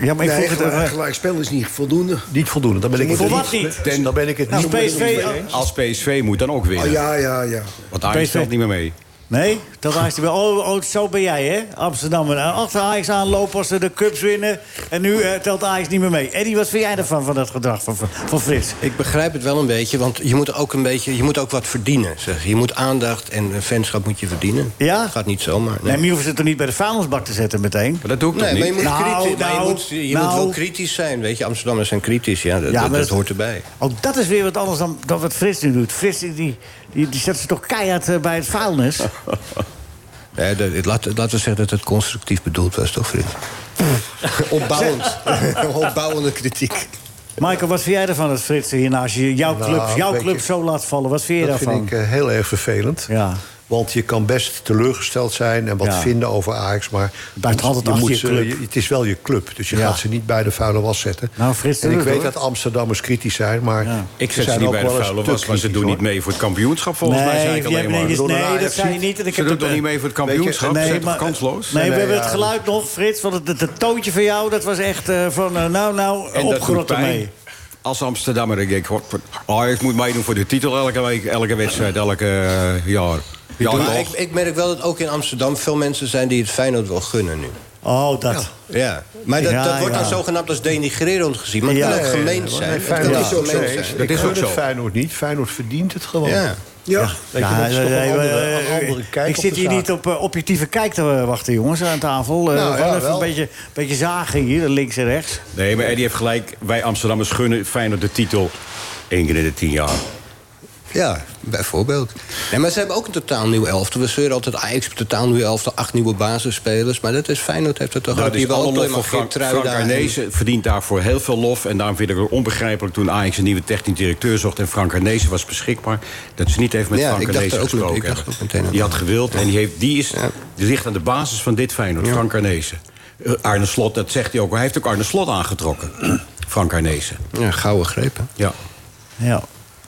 C: ja, maar ik
G: Nee,
C: vroeg het...
G: gelijk,
C: eh,
G: gelijk spel is niet voldoende.
I: Niet voldoende. Dan ben ik het
C: moeten
I: niet.
C: wat
I: Dan- Dan ben ik het
C: Als
I: niet.
C: PSV...
D: Als PSV moet dan ook
G: Oh,
D: winnen.
G: ja, ja, ja.
D: Want Ajax
C: PSV
D: stelt niet meer mee.
C: Nee, dat Ajax die wel. Oh, oh, zo ben jij, hè? Amsterdam. En Achter Ajax aanlopen als ze de cups winnen. En nu eh, telt Ajax niet meer mee. Eddie, wat vind jij ervan, van dat gedrag van, van- van Frits?
F: Ik begrijp het wel een beetje, want je moet ook, een beetje, je moet ook wat verdienen. Zeg. Je moet aandacht en eh, fanschap moet je verdienen.
C: Ja?
F: Dat gaat niet zomaar.
C: Nee,
F: Nee,
C: maar je hoeft ze toch niet bij de vuilnisbak te zetten meteen?
D: Maar dat doe ik
F: Nee,
D: toch
F: maar je
D: niet?
F: moet,
C: Nou,
F: kritisch, maar je,
C: nou,
F: moet, je
C: nou.
F: moet wel kritisch zijn. Weet je, Amsterdammers zijn kritisch. Ja, dat, dat,
C: maar
F: dat hoort erbij.
C: Ook Oh, dat is weer wat anders dan, dan wat Frits nu doet. Frits, die, die, die zet ze toch keihard eh, bij het vuilnis?
F: Nee, dat, het- laat- laten we zeggen dat het constructief bedoeld was, toch, vriend? Opbouwend. Opbouwende kritiek.
C: Michael, wat vind jij ervan dat Frits hierna, als je jouw
I: Nou,
C: club, jouw
I: weet
C: club
I: je,
C: zo laat vallen? Wat vind je
I: Dat
C: daarvan?
I: vind ik eh, heel erg vervelend.
C: Ja.
I: Want je kan best teleurgesteld zijn en wat
C: Ja.
I: vinden over Ajax. Maar
C: blijft altijd achter je
I: ze-
C: club.
I: het is wel eh, je club, dus je
C: Ja.
I: gaat ze niet bij de vuile was zetten.
C: Nou, Frits
I: en
C: doet
I: ik
C: het,
I: weet
C: hoor.
I: dat Amsterdammers kritisch zijn, maar...
D: Ik
I: ze
D: zet ze
I: zijn
D: niet
I: ook
D: bij de
I: wel eens
D: vuile
I: te
D: was, maar ze
I: kritisch,
D: doen
I: hoor.
D: niet mee voor het kampioenschap. Volgens mij zei ik
C: jij
D: alleen
C: bent
D: maar.
C: netjes-
I: Door een
C: nee, dat
I: Ajax-
C: zei je niet. En ik
D: Ze doen
C: heb het
D: toch niet mee voor het kampioenschap?
C: Nee,
D: Ze zijn toch
C: maar-
D: kansloos?
C: Nee, we
I: Nee,
C: hebben
I: ja.
C: het geluid nog, Frits. Want het, het, het toontje van jou, dat was echt eh, van... eh, nou, nou,
D: En dat doet
C: opgerotten
D: pijn.
C: mee.
D: Als Amsterdammer denk oh, ik, god, Ajax moet meedoen voor de titel elke week, elke wedstrijd, elke eh, jaar. Ja,
F: maar
D: toch?
F: ik, ik merk wel dat ook in Amsterdam veel mensen zijn die het Feyenoord wel gunnen nu.
C: Oh, dat.
F: Ja, maar dat,
C: Ja,
F: dat wordt
C: ja.
F: dan zogenaamd als denigrerend gezien. Maar het
C: Ja,
F: kan
C: ja,
F: ook
C: ja,
F: gemeen
I: Nee,
F: zijn. Het
I: Feyenoord
F: kan
I: is
F: ook
I: ook zo.
F: gemeen
I: Ik
F: zijn.
D: Dat is
I: gun
D: ook
I: het
D: zo.
I: Feyenoord niet. Feyenoord verdient het gewoon.
F: Ja.
G: Ja,
I: Weet je, dat is toch een
C: nee,
I: andere-
C: eh,
I: een andere kijk
C: ik
I: op
C: zit
I: de
C: hier
I: zaak.
C: niet op eh, objectieve kijk te eh, wachten, jongens, aan tafel. Eh,
I: Nou,
C: we gaan
I: ja,
C: even
I: wel.
C: een beetje, beetje zagen hier, links en rechts.
D: Nee, maar Eddie heeft gelijk. Wij Amsterdammers gunnen Feyenoord de titel één keer in de tien jaar.
F: Ja, bijvoorbeeld. Nee, maar ze hebben ook een totaal nieuw elftal. We zeuren altijd Ajax heeft een totaal nieuw elftal, acht nieuwe basisspelers. Maar dat is Feyenoord heeft het toch ook.
D: Dat
F: Nou, Die
D: Nou, is
F: hebben
D: alle
F: ook
D: lof
F: alleen
D: voor
F: maar
D: Frank,
F: Geertruida
D: Frank Arnezen verdient daarvoor heel veel lof. En daarom vind ik het onbegrijpelijk toen Ajax een nieuwe technisch directeur zocht... en Frank Arnezen was beschikbaar, dat ze niet even met
F: Ja,
D: Frank
F: ik dacht
D: Arnezen
F: er ook met-
D: gesproken
F: ik dacht
D: hebben.
F: ook meteen aan
D: die had
F: dat.
D: gewild en die, heeft, die, is, die ligt aan de basis van dit Feyenoord, Frank Arnezen. Eh, Arne Slot, dat zegt hij ook. Hij heeft ook Arne Slot aangetrokken, Frank Arnezen.
F: en- Ja, gouden grepen.
D: Ja.
C: Ja.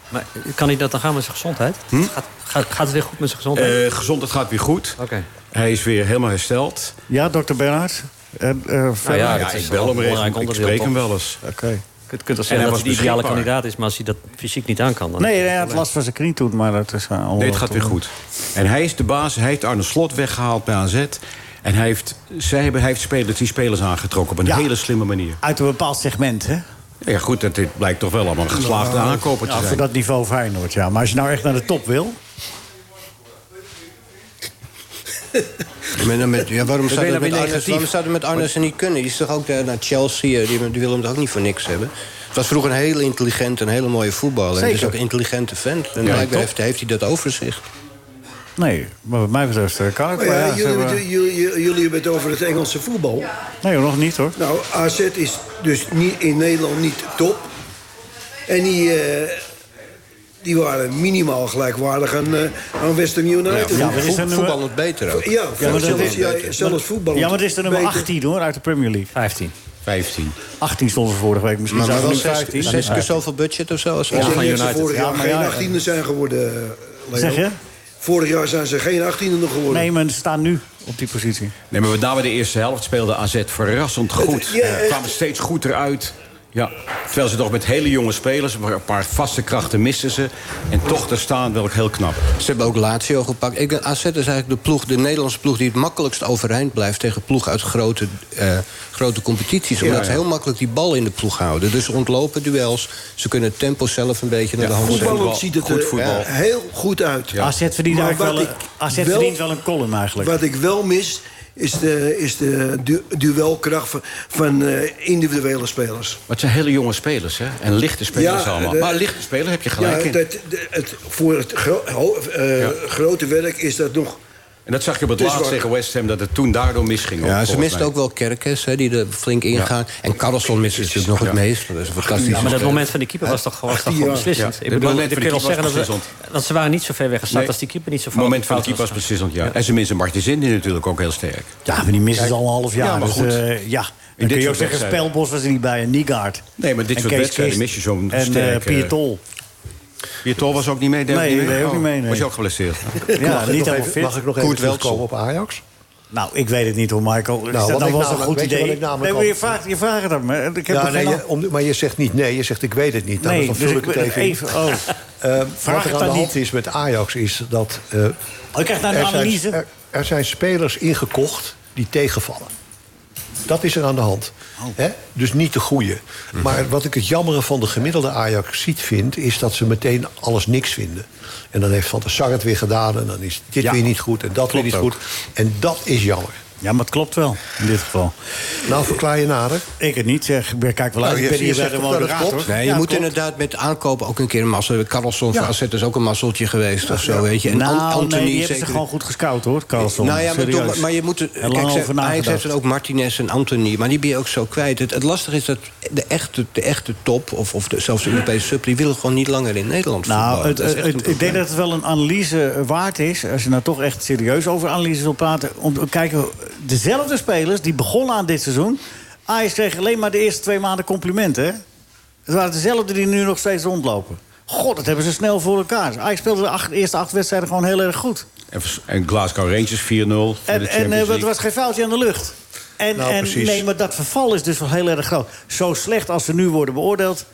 H: Maar eh, kan hij dat dan gaan met zijn gezondheid? Gaat, gaat, gaat het weer goed met zijn gezondheid?
D: Eh gezondheid gaat weer goed.
H: Oké.
D: Hij is weer helemaal hersteld.
C: Ja, dokter Bernhard? En, eh,
H: Nou
C: verder?
H: ja,
D: Ja,
H: dat is
D: ik
H: wel
D: bel
H: een
D: hem regelmatig.
H: belangrijk
D: Ik
H: onderdeel,
D: spreek hem
H: toch?
D: wel eens.
C: Oké.
H: Je kunt wel
D: En
H: zeggen
D: hij
H: dat
D: was
H: hij de ideale
D: beschikbaar.
H: kandidaat is... maar als hij dat fysiek niet aan kan... Dan
C: Nee, hij had last van zijn knie toen, maar dat is eh, allemaal...
D: Nee, het gaat weer goed. En hij is de baas. Hij heeft Arne Slot weggehaald bij AZ. En hij heeft, zij hebben, hij heeft spelers, die spelers aangetrokken op een
C: Ja.
D: hele slimme manier.
C: Uit een bepaald segment, hè?
D: Ja, goed, dat dit blijkt toch wel allemaal een geslaagde aankoper te
C: Ja, voor
D: zijn.
C: dat niveau Feyenoord, ja. Maar als je nou echt naar de top wil...
F: Met, met, ja, waarom zou
D: ben
F: dat
D: dan
F: met
D: weer
F: Arnes,
D: negatief.
F: waarom zou dat met Arnes niet kunnen? Die is toch ook eh, naar Chelsea, eh, die, die wil hem toch ook niet voor niks hebben? Het was vroeger een heel intelligent en hele mooie voetballer. En het is
C: Zeker.
F: ook een intelligente vent. En
D: Ja,
F: blijkbaar
D: top.
F: heeft, heeft hij dat overzicht.
C: Nee, maar wat mij betreft eh, kan het
G: Maar
C: wel,
G: Oh ja,
C: ja, ze
G: jullie,
C: hebben-
G: hebben- jullie, jullie, jullie hebben het over het Engelse voetbal.
C: Nee, nog niet, hoor.
G: Nou, AZ is dus niet, in Nederland niet top. En die, eh, die waren minimaal gelijkwaardig aan, eh, aan West Ham United.
C: Ja, maar is
F: Voet-
C: er nu-
F: voetballend beter ook.
G: Ja,
C: Ja, maar dat
G: zelfs,
C: is-
G: ja, zelfs voetbal.
C: Ja, maar het is de nummer 18, hoor, uit de Premier League.
H: 15.
D: 15.
C: 18 stonden ze vorige week, misschien
F: Maar, maar
C: zijn
F: wel
C: we nu
F: zes,
C: 15.
F: zes keer zoveel budget of zo. Als
G: Ik
F: als-
G: zeg niet dat ze
D: United.
G: vorig
C: Ja,
G: jaar
C: maar
G: geen
C: ja, ja.
G: 18e zijn geworden, eh, Leo.
C: Zeg je?
G: Vorig jaar zijn ze geen 18e nog geworden.
C: Nee, maar ze staan nu op die positie.
D: Nee, maar met name de eerste helft speelde AZ verrassend goed.
G: ja,
D: Ze
G: echt.
D: kwamen steeds goed eruit. Ja, terwijl ze toch met hele jonge spelers, maar een paar vaste krachten misten ze. En toch daar staan, wel ook heel knap.
F: Ze hebben ook Lazio gepakt. Ik denk, AZ is eigenlijk de, ploeg, de Nederlandse ploeg die het makkelijkst overeind blijft... tegen ploegen uit grote, eh, grote competities. Omdat
D: Ja, ja.
F: ze heel makkelijk die bal in de ploeg houden. Dus ze ontlopen duels. Ze kunnen het tempo zelf een beetje naar
D: Ja,
F: de hand
D: voetbal-
F: zetten.
G: Voetballend ziet het
D: goed
G: er
D: voetbal.
G: eh, heel goed uit.
C: AZ verdient,
G: Maar
C: eigenlijk wel,
G: wat
C: een-
G: ik
C: AZ
G: wel-
C: verdient wel een column eigenlijk.
G: Wat ik wel mis, is de, is de du- duelkracht van, van eh, individuele spelers.
D: Maar het zijn hele jonge spelers, hè? En lichte spelers
G: Ja,
D: allemaal.
G: de-
D: maar lichte spelers heb je
G: Ja,
D: gelijk in.
G: dat, de- het, voor het gro- ho- eh, grote werk is dat nog...
D: En dat zag je op het
G: Het is
D: laatst
G: waar.
D: tegen West Ham, dat het toen daardoor misging.
F: Ja, ze
D: volgens
F: misten
D: mij.
F: ook wel Kerkers, hè, die er flink ingaan. En Carlson mist natuurlijk nog het meest. Dat is een fantastische
H: Ja, maar dat
F: speler.
H: moment van die keeper was toch gewoon, was toch gewoon beslissend.
D: Ja,
H: Ik
D: dat
H: bedoel,
D: moment
H: ik
D: van die
H: kan wel
D: keeper
H: zeggen
D: was
H: dat we, want ze waren niet zo ver weggezakt
D: Nee.
H: als die keeper niet zo
D: Het
H: fout
D: moment van de
H: fout
D: keeper was
H: was.
D: beslissend, ja. En ze missen Martins die natuurlijk ook heel sterk.
C: Ja, maar die missen ze al een half jaar.
D: Ja, maar goed.
C: Dus, eh, ja. Dan
D: dit
C: kun je ook
D: soort
C: zeggen,
D: wedstrijden.
C: Spelbos was er niet bij en Niegaard.
D: Nee, maar dit
C: En
D: soort
C: Kees
D: wedstrijden
C: Kist
D: mis je zo'n
C: En eh,
D: sterke-
C: Pier Tol.
D: Pietol was ook niet mee, deed
C: Nee,
D: ook niet mee?
C: deed ook niet mee, nee.
D: Was je ook geblesseerd?
C: Ja, niet helemaal fit.
J: Mag ik nog even terugkomen op Ajax?
C: Nou, ik weet het niet hoor, Michael. Is
J: Nou,
C: dat
J: wat
C: dan
J: ik
C: wel zo'n
J: namelijk-
C: goed
J: weet je wat
C: idee?
J: ik namelijk
C: Nee, maar je
J: altijd-
C: vraagt, je vraagt het aan me. Ik heb
J: Ja,
C: er
J: nee,
C: geen
J: je- om- maar je zegt niet nee, je zegt ik weet het niet. Nou,
C: Nee,
J: dan
C: dus
J: vul ik
C: ik
J: het
C: ben-
J: even in.
C: even- oh.
J: Eh,
C: Vraag
J: wat
C: het
J: er aan
C: dan
J: de hand
C: niet.
J: is met Ajax is dat... eh,
C: ik krijg daar een
J: er zijn-
C: analyse.
J: er, er zijn spelers ingekocht die tegenvallen. Dat is er aan de hand.
C: Oh.
J: Hè? Dus niet de goede.
C: Mhm.
J: Maar wat ik het jammeren van de gemiddelde Ajax ziet vind... is dat ze meteen alles niks vinden. En dan heeft Van der Sar het weer gedaan... en dan is dit
C: Ja.
J: weer niet goed en dat weer niet
C: ook.
J: goed. En dat is jammer.
C: Ja, maar het klopt wel, in dit geval.
J: Nou, verklaar je nader.
C: Ik het niet zeg. Ik ben- kijk wel uit.
J: Nou,
C: ik
J: je-
C: ben
J: je
C: hier bij de
J: zegt toch dat het
C: moderator.
J: klopt?
F: Nee, je
C: Ja,
F: moet
C: klopt.
F: inderdaad met aankopen ook een keer een mazzel. Carlson
J: Ja.
F: van AZ is ook een mazzeltje geweest of zo, weet je. En
C: nou,
F: An- Anthony
C: nee, die hebben
F: zeker.
C: ze gewoon goed gescout, hoor, Carlson.
F: nou ja, maar,
C: Oh, Serieus.
F: toch, maar je moet... het-
C: En
F: Kijk,
C: lang over
F: ze- Ajax heeft
C: nagedacht.
F: het ook Martinez en Anthony, maar die ben je ook zo kwijt. Het, het lastige is dat de echte, de echte top, of, of de, zelfs de Europese sub... die willen gewoon niet langer in Nederland
C: Nou,
F: voetballen.
C: het,
F: Dat is echt een
C: het- ik denk
F: probleem.
C: dat het wel een analyse eh, waard is... als je nou toch echt serieus over analyses wil praten... om te kijken, dezelfde spelers die begonnen aan dit seizoen... Ajax kreeg alleen maar de eerste twee maanden complimenten, hè? Het waren dezelfde die nu nog steeds rondlopen. God, dat hebben ze snel voor elkaar. Ajax speelde de acht- eerste acht wedstrijden gewoon heel erg goed.
D: En, vers- en Glasgow Rangers 4-0. voor de
C: En,
D: Champions
C: en eh, het
D: League.
C: was geen foutje aan de lucht. En,
J: Nou,
C: en
J: precies.
C: nee, maar dat verval is dus wel heel erg groot. Zo slecht als ze nu worden beoordeeld,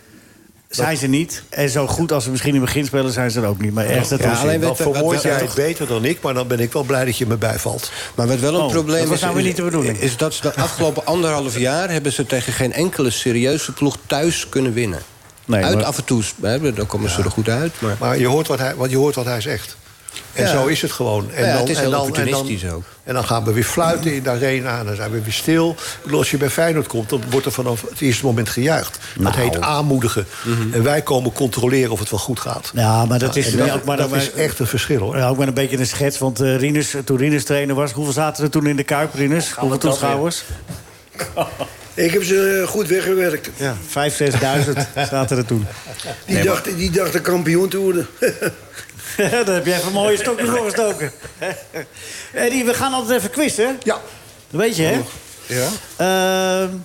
C: zijn ze niet. En zo goed als ze misschien in het begin spelen, zijn ze er ook niet. Maar echt, dat
F: Ja,
C: is
F: alleen
J: Dan
F: wat- wat-
J: vermoord
F: wat-
J: jij
F: wat-
J: het beter dan ik, maar dan ben ik wel blij dat je me bijvalt.
F: Maar wat wel een
C: Oh,
F: probleem
C: dat was
F: is,
C: nou weer
F: is-
C: niet de bedoeling.
F: is dat ze de afgelopen anderhalf jaar hebben ze tegen geen enkele serieuze ploeg thuis kunnen winnen.
C: Nee,
F: uit
C: maar-
F: af en toe, hè, dan komen ze er goed uit. Maar,
J: Maar je hoort wat hij, want je hoort wat hij zegt. En
F: Ja.
J: zo is het gewoon. En
F: Ja, het is heel
J: en
F: opportunistisch
J: dan,
F: ook.
J: En dan gaan we weer fluiten in de arena. En dan zijn we weer stil. Ik bedoel, Als je bij Feyenoord komt, dan wordt er vanaf het eerste moment gejuicht. Dat
F: Nou.
J: heet aanmoedigen.
F: Mhm.
J: En wij komen controleren of het wel goed gaat.
C: Ja, maar dat is,
J: En dat,
C: ook maar,
J: dat
C: maar-
J: is echt een verschil, hoor.
C: Ja, ook maar een beetje een schets, want eh, Rinus, toen Rinus trainer was... hoeveel zaten er toen in de Kuip, Rinus? Hoeveel toeschouwers?
K: Ik heb ze eh, goed weggewerkt.
C: Ja, vijf, zesduizend zaten er toen.
K: Die, dacht, die dachten kampioen te worden.
C: Daar heb jij even mooie stokjes voor gestoken. Eddie, we gaan altijd even quizzen.
J: Ja.
C: Dat weet je, hè?
J: ja.
C: Ehm,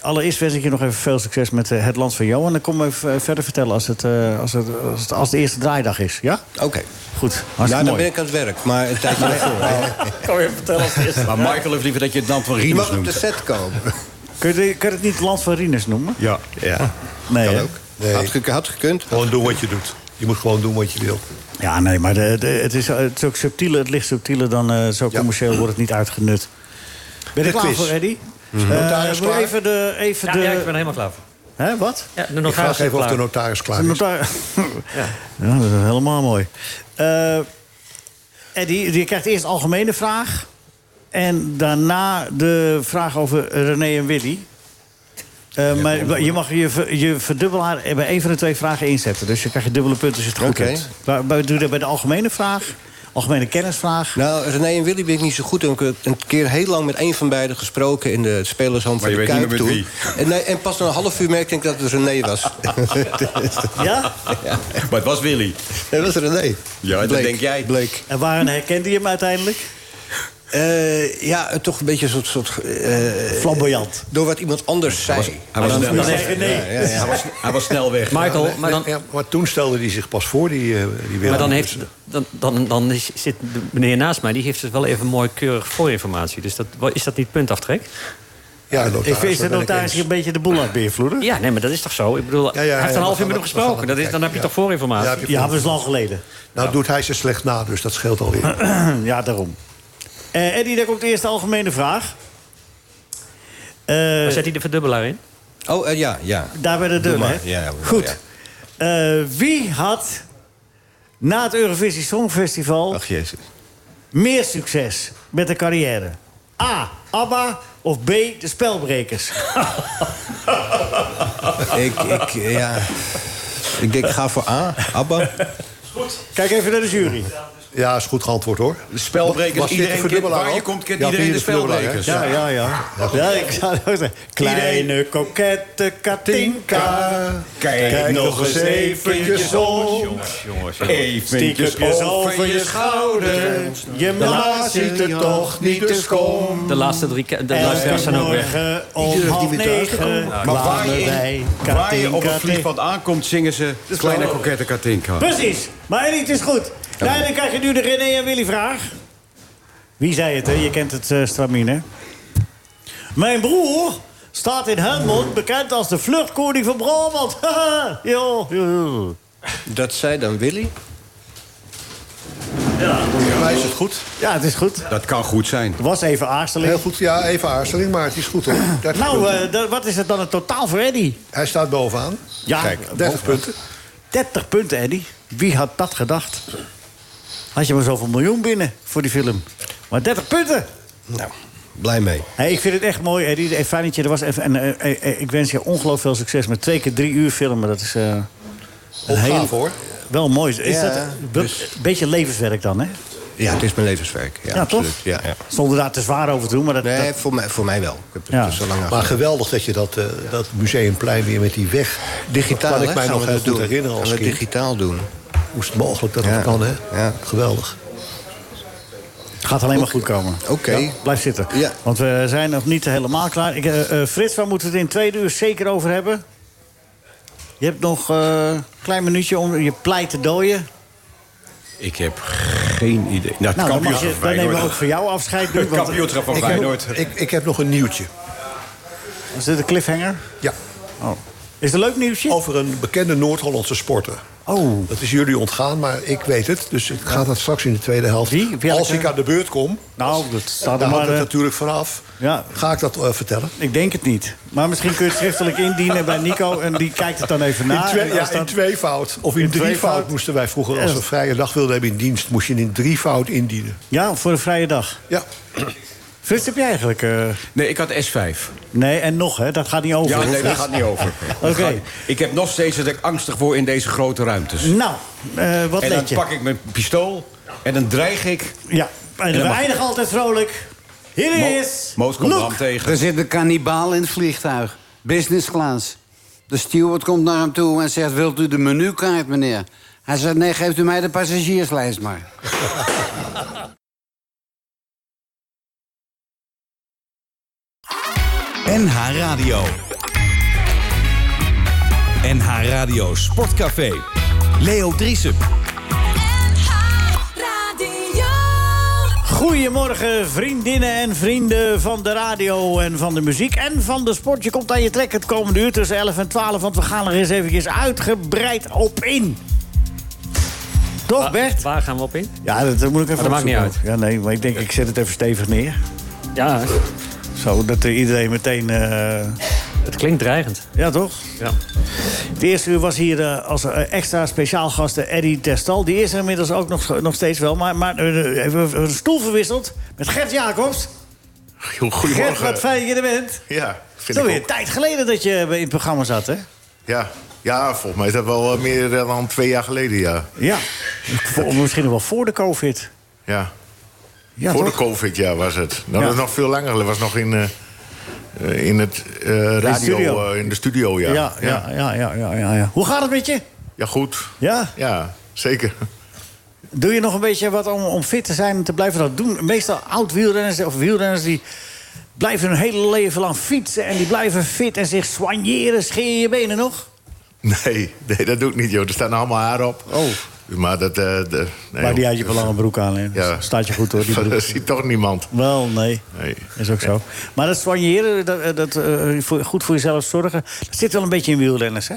C: allereerst wens ik je nog even veel succes met eh, Het Land van Johan. Dan kom ik even eh, verder vertellen als het, eh, als, het, als, het, als de eerste draaidag is. Ja?
F: Oké,
C: Goed,
F: nou
C: hartstikke
F: dan ben
C: mooi.
F: ik aan het werk. Maar het tijd ervoor. hè.
C: Kom even vertellen als de eerste.
D: Maar Michael heeft liever dat je het dan van
F: Je
D: Riemers
F: mag op de
D: noemt.
F: set komen.
C: Kun je, kun je het niet Land van Rinus noemen?
D: Ja.
J: ja.
C: Nee,
F: Kan
C: hè?
F: ook.
J: Nee.
F: Had, ge- had gekund.
J: Gewoon doen wat je doet. Je moet gewoon doen wat je wil.
C: Ja, nee, maar de, de- het, is, het is ook subtieler. Het ligt subtieler dan eh, zo commercieel wordt het niet uitgenut. Ben je
J: De
C: klaar
J: quiz.
C: voor, Eddie? Eh,
J: Notaris
C: wil je
J: klaar?
C: even de... Even
H: Ja,
C: de
H: ja, ik ben er helemaal klaar voor.
C: Hè, wat?
H: Ja, de
J: Ik
H: notaris
J: vraag
H: is
J: even of de
H: klaar.
J: notaris klaar
C: De
J: is.
C: notaris. Ja. dat is helemaal mooi. Eh Eddie, je krijgt eerst de algemene vraag. En daarna de vraag over René en Willy. Eh, maar je mag je, ver- je verdubbelaar eh, bij één van de twee vragen inzetten. Dus je krijgt dubbele punten als je het goed
F: Oké.
C: hebt. Waar- waar- Doe je dat bij de algemene vraag, algemene kennisvraag.
F: Nou, René en Willy ben ik niet zo goed. Ik heb een keer heel lang met één van beiden gesproken... in de spelershand
D: Maar
F: van
D: je
F: de
D: weet niet
F: Kuip
D: meer
F: toen.
D: met
F: En, nee, en pas na een half uur merkte ik dat het René was.
C: Ja?
D: Maar het was Willy.
F: dat was René.
D: Ja, dat
F: Bleek.
D: denk jij.
F: Bleek.
C: En waarin herkende je hem uiteindelijk?
F: Eh, ja, eh, toch een beetje een soort... soort eh,
C: Flamboyant.
F: door wat iemand anders zei.
D: Hij was, snel,
C: Dan
D: hij,
C: zeg je nee.
F: Ja, ja.
D: was, hij was snel weg.
H: Michael, Oh, maar dan,
J: Ja, maar toen stelde hij zich pas voor, die, eh, die Willem.
H: maar dan,
I: Dus,
H: heeft, dan, dan, dan is- zit de meneer naast mij... die heeft dus wel even mooi keurig voorinformatie. Dus dat, wa- is dat niet puntaftrek?
J: Ja, notaris,
C: Ik vind
J: daar
C: de
J: ben ik
C: notaris
J: eens.
C: hier een beetje de boel aan het beïnvloeden.
H: Ja, nee, maar dat is toch zo? Ik bedoel,
J: Ja, ja,
H: hij heeft
J: ja,
H: een
J: we
H: half uur
J: gaan
H: met hem
J: het- we gaan
H: gesproken.
J: het
H: Dat is, dan heb je toch voorinformatie?
J: Ja, heb je
C: Ja, dat is lang geleden.
J: Nou doet hij zijn slecht na, dus dat scheelt alweer.
C: Ja, daarom. Eh Eddie, daar komt de eerste algemene vraag. Eh,
H: Maar Zet hij de verdubbelaar in?
F: Oh, eh, ja, ja.
C: daar bij de deur,
F: maar.
C: hè?
F: Ja, ja, we-
C: Goed. Eh, wie had na het Eurovisie Songfestival
F: Ach, jezus.
C: meer succes met de carrière? A. ABBA of B. De Spelbrekers?
F: Ik, ik, ja. ik denk, ik ga voor A, ABBA.
C: Kijk even naar de jury.
I: Ja, is goed geantwoord hoor.
D: Spelbrekers,
I: Was dit
D: iedereen
I: de verdubbelaar
D: kent- waar je
I: ook?
D: komt, kent
I: Ja,
D: iedereen
I: hier
D: de
I: verdubbelaar, hè?
D: spelbrekers. Ja, ja, ja.
I: goed.
C: Ja, ik zou het ook zeggen. Kleine kokette Katinka.
D: Kijk, nog eens eventjes
C: om.
L: Jongens,
C: Eventjes dus over je schouder. Je ma ziet er toch niet te kom.
H: De laatste drie, ke- de
C: Elke
H: luisteraars zijn ook weg.
C: morgen om
G: durft niet
C: half
G: meer thuis te
C: negen
G: komen.
D: Maar waar je,
C: kwamen
D: in-
C: wij
D: waar je op
C: Katinka
D: het vliegveld aankomt, zingen ze... Kleine
C: wel-
D: kokette Katinka.
C: Precies, maar Elie, het is goed. Nee, dan krijg je nu de René en Willy vraag. Wie zei het, hè? Je kent het eh stramien, hè? Mijn broer staat in Helmond bekend als de vluchtkoning van Brabant. Haha, jo, jo.
F: Dat zei dan Willy.
I: Voor mij is het goed.
C: Ja, het is goed.
D: Dat kan goed zijn.
C: Er was even aarzeling.
I: Heel goed, ja, even aarzeling, maar het is goed hoor. 30
C: Nou,
I: punten.
C: eh, dat- wat is het dan een totaal voor Eddy?
I: Hij staat bovenaan.
C: Ja,
I: Kijk, 30
C: bovenaan.
I: punten.
C: 30 punten, Eddy. Wie had dat gedacht? Had je maar zoveel miljoen binnen voor die film. Maar 30 punten!
F: Nou, blij mee.
C: Hey, ik vind het echt mooi, Eddie. Eh, Fijn dat je er was. Even, en, eh, eh, eh, ik wens je ongelooflijk veel succes met twee keer drie uur filmen. Dat is eh, een heel-
I: hoor.
C: Wel mooi. Is
F: Ja,
C: dat een be-
F: dus-
C: beetje levenswerk dan, hè?
F: Ja, het is mijn levenswerk. Ja,
C: Ja,
F: absoluut.
C: toch?
F: Ja, ja.
C: Zonder daar te zwaar over te doen, maar dat...
F: Nee,
C: dat-
F: voor mij, voor mij wel. Ik heb het dus
C: Ja.
F: er zo lang achter.
I: Maar geweldig dat je dat, eh, dat museumplein weer met die weg...
F: digitaal,
I: Dat kan
F: hè,
I: ik mij
F: gaan
I: nog
F: we
I: heel
F: dat
I: goed
F: doen.
I: herinneren als
F: Gaan we
I: kind.
F: digitaal doen.
I: Hoe is het mogelijk dat
F: Ja.
I: dat kan, hè?
F: Ja.
I: Geweldig.
C: gaat alleen maar goed komen.
F: Oké.
C: Ja, blijf zitten.
F: Ja.
C: Want we zijn nog niet helemaal klaar. Ik, eh, eh, Frits, waar moeten we het in twee uur zeker over hebben? Je hebt nog eh, een klein minuutje om je pleit te dooien.
D: Ik heb geen idee. Nou, het
C: Nou, dan, mag
D: kampioenschap
C: je,
D: van
C: dan nemen we ook
D: Feyenoord.
C: voor jou afscheid. nu,
D: Het
C: want- eh,
D: kampioenschap van
I: Ik heb,
D: Feyenoord.
I: nog, ik, ik heb nog een nieuwtje.
C: eh, Is dit een cliffhanger?
I: Ja.
C: Is het een leuk nieuwsje?
J: Oh.
I: Over een bekende Noord-Hollandse sporter.
C: Oh.
I: Dat is jullie ontgaan, maar ik weet het. Dus ik ga dat straks in de tweede helft.
C: Wie? Welke?
I: Als ik aan de beurt kom,
C: Nou, dat staat
I: daar
C: er maar.
I: hangt het
C: eh,
I: natuurlijk vanaf.
C: Ja.
I: Ga ik dat eh, vertellen?
C: ik denk het niet. Maar misschien kun je het schriftelijk indienen bij Nico en die kijkt het dan even na.
I: in, twee,
C: En als
I: ja, in
C: dat-
I: tweevoud. Of in,
C: In
I: drievoud
C: tweevoud?
I: moesten wij vroeger, als
C: Ja.
I: we een vrije dag wilden hebben in dienst, moest je in drievoud indienen.
C: ja, voor een vrije dag.
I: Ja,
C: Frits, heb jij eigenlijk... eh,
D: Nee, ik had S5.
C: Nee, en nog, hè? Dat gaat niet over.
D: Ja,
C: hoor,
D: nee, dat
C: Frits.
D: gaat niet over. Dat
C: Oké.
D: gaat- Ik heb nog steeds dat ik angstig voor in deze grote ruimtes.
C: Nou, eh, wat
D: en dan
C: let je?
D: pak ik mijn pistool en dan dreig ik.
C: Ja, en we
D: dan mag-
C: eindigen altijd vrolijk. Hier
D: Mo-
C: is...
D: Moos komt
C: Loek.
D: Bram tegen.
M: Er zit een kannibaal in het vliegtuig. Business class. Dus De steward komt naar hem toe en zegt... wilt u de menukaart, meneer? Hij zegt, nee, geeft u mij de passagierslijst maar.
B: NH Radio. NH Radio Sportcafé. Leo Driesen.
C: Goedemorgen, vriendinnen en vrienden van de radio en van de muziek en van de sport. Je komt aan je trek het komende uur tussen 11 en 12, want we gaan er eens eventjes uitgebreid op in.
D: Ah,
C: Toch, Bert?
H: Waar gaan we op in?
C: Ja, dat moet ik even
H: dat maakt niet
C: opzoeken. Ja, nee, maar ik denk, ik zet het even stevig neer.
H: Ja,
C: Zo, dat eh, iedereen meteen... eh,
H: het klinkt dreigend.
C: Ja, toch?
H: Ja.
C: Het eerste uur was hier eh, als eh, extra speciaal gast eh, Eddie Terstal. Die is er inmiddels ook nog, nog steeds wel. Maar, maar eh, we hebben een stoel verwisseld met Gert Jacobs. Gert, wat fijn dat je er bent.
J: Ja, vind
C: Zo
J: ik
C: weer
J: ook.
C: een tijd geleden dat je eh, in het programma zat, hè?
J: Ja. ja, volgens mij is dat wel eh, meer dan twee jaar geleden, ja.
C: Ja. Voor- misschien nog wel voor de covid.
J: ja.
C: Ja,
J: Voor
C: toch?
J: de covid ja, was het. Nou,
C: Ja.
J: Dat is nog veel langer. geleden. was nog in, eh, eh, in het eh, radio, eh, in de
C: studio.
J: studio, ja.
C: Ja, ja, ja, ja, ja, ja, ja. Hoe gaat het met je?
J: Ja, goed.
C: Ja?
J: Ja, zeker.
C: Doe je nog een beetje wat om, om fit te zijn en te blijven dat doen? Meestal oud-wielrenners of wielrenners die blijven hun hele leven lang fietsen... en die blijven fit en zich soigneren. Scheer je je benen nog?
J: Nee, nee, dat doe ik niet, joh. Er staan allemaal haar op.
C: Oh.
J: Maar dat... eh de, nee,
C: Maar
J: joh.
C: die had je wel lange broek aan, hè? Dus
J: Ja.
C: Staat je goed, hoor, die broek.
J: Dat ziet toch niemand.
C: Wel, nee.
J: Nee.
C: Is ook zo. Maar dat soigneren, dat, eh, dat, eh, voor- goed voor jezelf zorgen... dat zit wel een beetje in wielrenners, hè?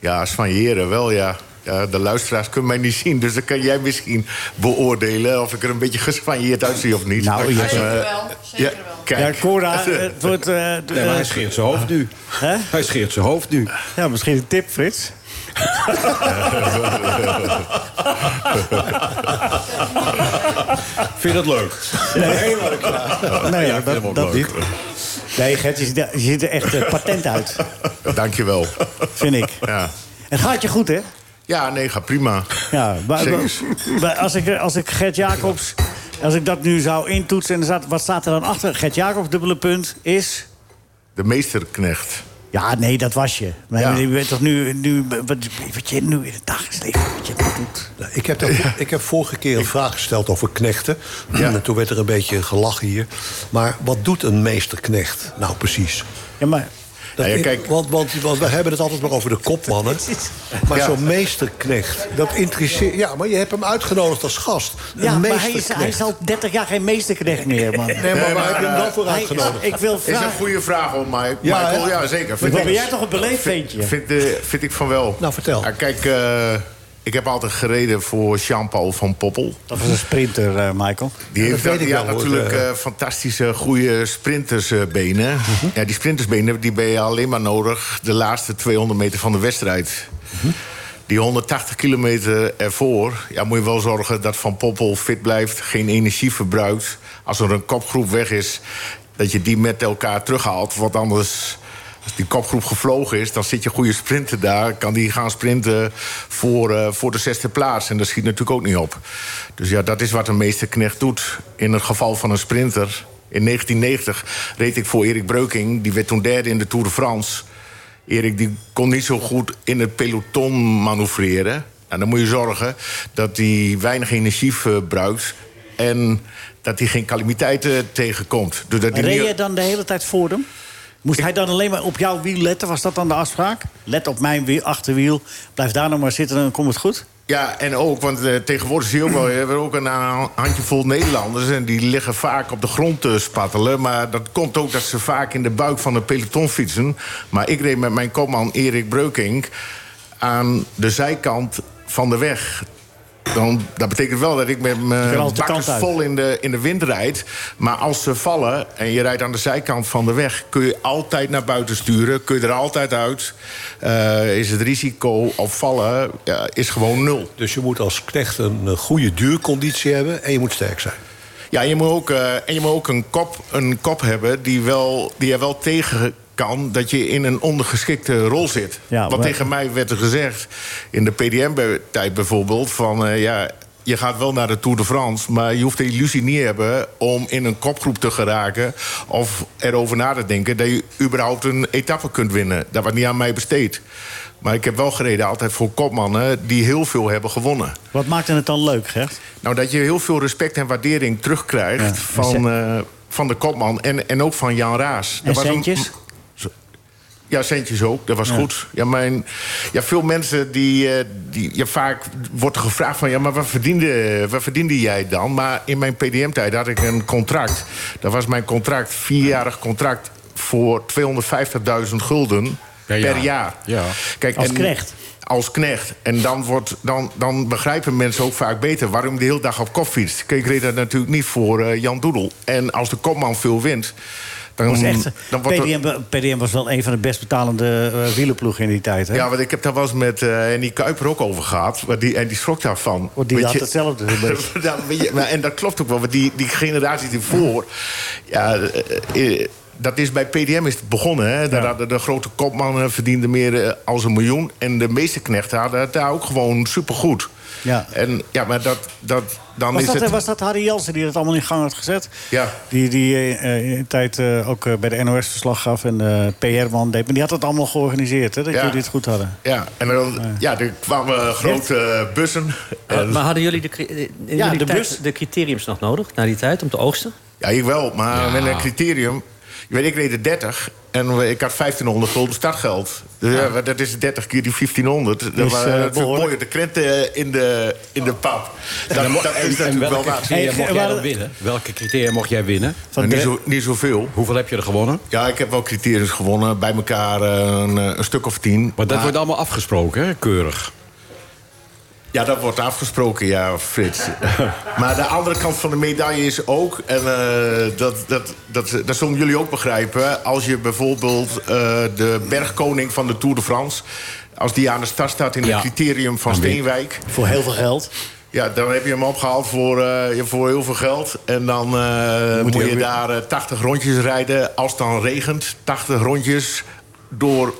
J: Ja, soigneren wel, ja. ja. De luisteraars kunnen mij niet zien, dus dan kan jij misschien beoordelen... of ik er een beetje gespanjeerd uitzie of niet.
C: Nou, je-
J: Eh,
E: Zeker wel,
J: ja,
E: zeker wel.
J: kijk.
C: Ja, Cora, het wordt... eh,
D: Nee, maar hij
C: eh,
D: scheert zijn hoofd nu.
C: Hè?
D: Hij scheert zijn hoofd nu.
C: ja, misschien een tip, Frits.
D: Vind je dat leuk?
C: Nee,
D: ja, ik vind hem
C: Nou dat,
D: ook
C: dat
D: leuk.
C: niet. Nee, Gert, je ziet er- je ziet er echt eh, patent uit,
J: Dankjewel.
C: vind ik.
J: Ja.
C: Het gaat je goed, hè?
J: ja, nee, gaat prima.
C: Ja, maar,
J: Zeker.
C: maar als, ik, als ik Gert Jacobs... Als ik dat nu zou intoetsen, en er staat- wat staat er dan achter? Gert Jacobs, dubbele punt, is...
J: De meesterknecht.
C: Ja, nee, dat was je. Maar
J: Ja.
C: je bent toch nu... nu wat, wat je nu in het dagelijks leven wat je dat doet.
I: Nou, Ik heb, daar- ik heb vorige keer een vraag gesteld over knechten. En toen werd er een beetje gelachen hier. Maar wat doet een meesterknecht nou precies?
C: Ja, maar...
J: Nou ja,
I: kijk.
J: kijk-
I: Want, want, want we hebben het altijd maar over de kopmannen. Maar
J: Ja.
I: zo'n meesterknecht, dat interesseert... Ja, maar je hebt hem uitgenodigd als gast. Een
C: Ja, maar hij is,
I: meesterknecht.
C: hij is al 30 jaar geen meesterknecht meer, man.
I: Nee, maar waar heb je hem dan voor
C: eh, Hij-
I: uitgenodigd?
C: Ik wil
J: Is een
C: vragen...
J: goede vraag hoor, Mike.
I: Ja,
J: Michael,
I: hè?
J: ja, zeker.
C: Maar
J: ik-
C: ben jij toch een beleefd ventje?
J: Vind, eh, vind ik van wel.
I: Nou, vertel.
J: Ja, kijk, eh, ik heb altijd gereden voor Jean-Paul van Poppel.
C: Dat was een sprinter, eh, Michael.
J: Die
I: Ja,
J: heeft
I: dat weet ik wel,
J: ja,
I: hoor.
J: natuurlijk
I: Eh, Mhm.
J: eh, fantastische, goede sprintersbenen. ja, die sprintersbenen die ben je alleen maar nodig de laatste 200 meter van de wedstrijd. Die 180 kilometer ervoor ja, moet je wel zorgen dat Van Poppel fit blijft, geen energie verbruikt. Als er een kopgroep weg is, dat je die met elkaar terughaalt. Want anders, als die kopgroep gevlogen is, dan zit je goede sprinter daar. Kan die gaan sprinten voor, eh, voor de zesde plaats. En dat schiet natuurlijk ook niet op. Dus ja, dat is wat een meesterknecht doet. In het geval van een sprinter. In 1990 reed ik voor Erik Breuking. Die werd toen derde in de Tour de France. Erik die kon niet zo goed in het peloton manoeuvreren. En dan moet je zorgen dat hij weinig energie verbruikt. En dat hij geen calamiteiten tegenkomt. Dus dat hij
C: Reed
J: niet-
C: je dan de hele tijd voor hem? Moest hij dan alleen maar op jouw wiel letten? Was dat dan de afspraak? Let op mijn wiel, achterwiel. Blijf daar nog maar zitten, dan komt het goed.
J: Ja, en ook, want eh, tegenwoordig zie je ook wel... we hebben ook een eh, handjevol Nederlanders... en die liggen vaak op de grond te spattelen. Maar dat komt ook dat ze vaak in de buik van de peloton fietsen. Maar ik reed met mijn kopman Erik Breukink... aan de zijkant van de weg. Dan, dat betekent wel dat ik met
C: Je kan
J: mijn
C: altijd de
J: bakkers
C: kant uit.
J: vol in de, in de wind rijd. Maar als ze vallen en je rijdt aan de zijkant van de weg... kun je altijd naar buiten sturen, kun je er altijd uit. Eh, is het risico op vallen ja, is gewoon nul.
I: Dus je moet als knecht een eh, goede duurconditie hebben en je moet sterk zijn.
J: Ja, en je moet ook, eh, en je moet ook een, kop, een kop hebben die, wel, die er wel tegen kan dat je in een ondergeschikte rol zit.
C: Ja,
J: Wat
C: maar-
J: tegen mij werd er gezegd in de PDM-tijd bijvoorbeeld... van eh, ja, je gaat wel naar de Tour de France... maar je hoeft de illusie niet hebben om in een kopgroep te geraken... of erover na te denken dat je überhaupt een etappe kunt winnen. Dat was niet aan mij besteed. Maar ik heb wel gereden altijd voor kopmannen die heel veel hebben gewonnen.
C: Wat maakte het dan leuk, Gert?
J: Nou, dat je heel veel respect en waardering terugkrijgt
C: Ja.
J: van, eh, van de kopman en, en ook van Jan Raas.
C: En
J: Dat was een-
C: centjes?
J: ja, centjes ook. Dat was goed. Ja, mijn, ja, veel mensen die, eh, die ja, vaak wordt er gevraagd van ja, maar wat verdiende, wat verdiende jij dan? Maar in mijn PDM-tijd had ik een contract. Dat was mijn contract, vierjarig contract voor 250.000 gulden per jaar.
D: Ja.
J: Kijk,
C: Als
J: en-
C: knecht.
J: Als knecht. En dan, wordt, dan, dan begrijpen mensen ook vaak beter waarom de hele dag op kop fietst. Kijk, ik reed dat natuurlijk niet voor eh, Jan Doedel. En als de kopman veel wint, dan,
C: Was echt, eh,
J: dan wordt er-
C: PDM, be- PDM was wel een van de best betalende eh, wielerploegen in die tijd. Hè?
J: Ja, want ik heb daar wel eens met eh Annie Kuiper ook over gehad. Maar die, en die schrok daarvan.
C: Want die
J: Weet
C: had
J: je-
C: hetzelfde een beetje.
J: Ja, weet je, Nou, maar, en dat klopt ook wel, want die, die generatie ervoor... Ja, eh, eh, dat is bij PDM is het begonnen. Hè? Daar hadden de grote kopmannen verdienden meer eh, als een miljoen. En de meeste knechten hadden het daar ook gewoon supergoed.
C: Ja.
J: En ja, maar dat, dat dan
C: Was
J: is
C: dat, eh,
J: het...
C: was dat Harry Jansen die dat allemaal in gang had gezet?
J: Ja.
C: Die, die eh, eh, in de tijd eh, ook eh, bij de NOS verslag gaf en eh PR-man deed. Maar die had dat allemaal georganiseerd, hè? Dat
J: Ja.
C: jullie het goed hadden.
J: Ja, en dan, ja, er kwamen grote eh, bussen.
H: Maar,
J: En-
H: maar hadden jullie de, cri- eh, in
C: Ja,
H: jullie
C: de
H: tijd
C: bus.
H: de criteriums nog nodig na die tijd om te oogsten?
J: Ja, ik wel, maar met een criterium. Je weet, ik reed de 30 en we- ik had 1500 gulden startgeld. Dus ja. maar dat is 30 keer die 1500. Dat
C: Is,
J: was
C: eh,
J: natuurlijk
C: behoorlijk.
J: mooi, de krenten eh, in de, in de pap. Dat, dat is natuurlijk wel
D: welke
J: waar.
D: criteria
C: Hey,
D: mocht jij
C: waar-
D: dan winnen? Welke criteria mocht jij winnen?
C: Van
J: niet,
C: de-
J: zo, niet zoveel.
D: Hoeveel heb je er gewonnen?
J: Ja, ik heb wel criteriums gewonnen. Bij elkaar eh, een, eh, een stuk of tien.
D: Maar dat wordt allemaal afgesproken, hè? keurig.
J: Ja, dat wordt afgesproken, ja, Frits. maar de andere kant van de medaille is ook... en eh, dat, dat, dat, dat zullen jullie ook begrijpen... als je bijvoorbeeld eh, de bergkoning van de Tour de France... als die aan de start staat in het
D: Ja.
J: criterium van
D: Dan win-
J: Steenwijk...
C: Voor heel veel geld.
J: Ja, dan heb je hem opgehaald voor, eh, ja, voor heel veel geld. En dan eh, moet, je daar eh, 80 rondjes rijden. Als het dan regent, 80 rondjes door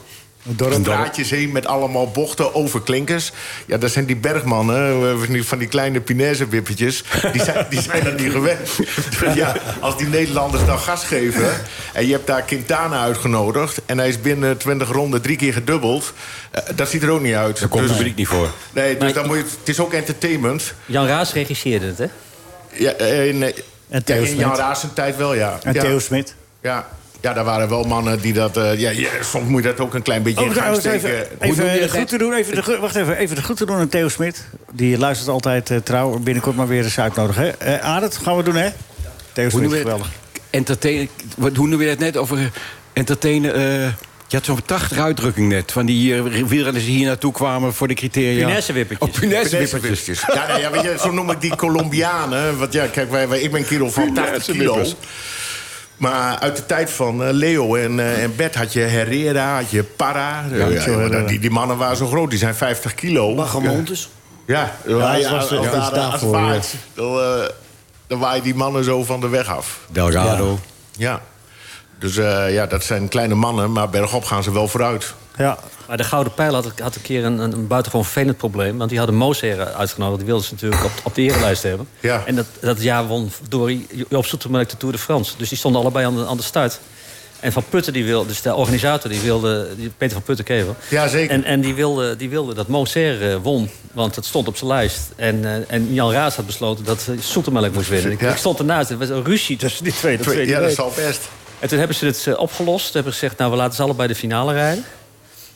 J: Een, draadje zee met allemaal bochten over klinkers. Ja, dat zijn die bergmannen, eh, van die- van die kleine Pinese-wippetjes. Die zijn, die zijn dat niet gewend. Dus ja, als die Nederlanders dan gas geven... en je hebt daar Quintana uitgenodigd... en hij is binnen 20 ronden drie keer gedubbeld... eh, dat ziet er ook niet uit. Daar
D: komt de publiek niet voor.
J: Nee, dus dan moet je, het is ook entertainment.
H: Jan Raas regisseerde het, hè?
J: Ja, eh,
C: En
J: nee. Ja,
C: Theo
J: in Jan
C: Smit.
J: Raas zijn tijd wel, ja.
C: En
J: ja.
C: Theo Smit.
J: Ja. ja, daar waren wel mannen die dat... eh, ja, ja, soms moet je dat ook een klein beetje in
C: Oh,
J: gang
C: trouwens,
J: steken.
C: even,
J: Hoe
C: even, eh,
J: noem je
C: de
J: dat?
C: groeten doen, even de, gro- wacht even, even de groeten doen aan Theo Smit. Die luistert altijd eh, trouw. Binnenkort maar weer eens uitnodigen. hè? Eh Arend, gaan we doen, hè? Theo
D: Hoe noem
C: Smit,
D: je dat?
C: geweldig.
D: Entertainen, wat, hoe noem je dat net over eh, entertainen? eh, je had zo'n prachtige uitdrukking net. Van die eh, wielrenners die hier naartoe kwamen voor de criteria.
H: Pinessenwippertjes.
D: Oh, pinessenwippertjes.
J: Ja, nee, ja, weet je, zo noem ik die Colombianen. Want ja, kijk, wij, wij- ik ben kerel van 80 kilo. Maar uit de tijd van eh, Leo en, eh, en Bert had je Herrera, had je Parra. Ja, ja,
C: zo,
J: maar
C: ja.
J: die, die mannen waren zo groot, die zijn 50 kilo.
C: Bachamontes.
J: Ja, ja,
C: Ja, dat
J: ja,
C: was-
J: als
C: dat
J: daar-
C: was
J: als
C: daarvoor,
J: waait, dan, eh, dan waaien die mannen zo van de weg af.
D: Oh, Delgado.
J: Ja. Dus eh, ja, dat zijn kleine mannen, maar bergop gaan ze wel vooruit.
C: Ja.
H: Maar de Gouden Pijl had, had een keer een, een, een buitengewoon vervelend probleem. Want die hadden Mooseren uitgenodigd. Die wilden ze natuurlijk op, op de erenlijst hebben.
J: Ja.
H: En dat, dat jaar won Dori Joop Soetemelk de Tour de France. Dus die stonden allebei aan de, aan de start. En Van Putten, die wilde, dus de organisator, die wilde... die- Peter van Putten kever.
J: Ja, zeker.
H: En, en die, wilde, die wilde dat Mooseren won. Want het stond op zijn lijst. En, eh, en Jan Raas had besloten dat eh, Soetemelk moest winnen. Ik,
J: Ja.
H: ik stond ernaast. Er was een ruzie tussen die twee.
J: Twee-
H: weet je
J: ja, dat
H: niet.
J: zal best.
H: En toen hebben ze het eh, opgelost. Toen hebben ze gezegd, nou, we laten ze allebei de finale rijden.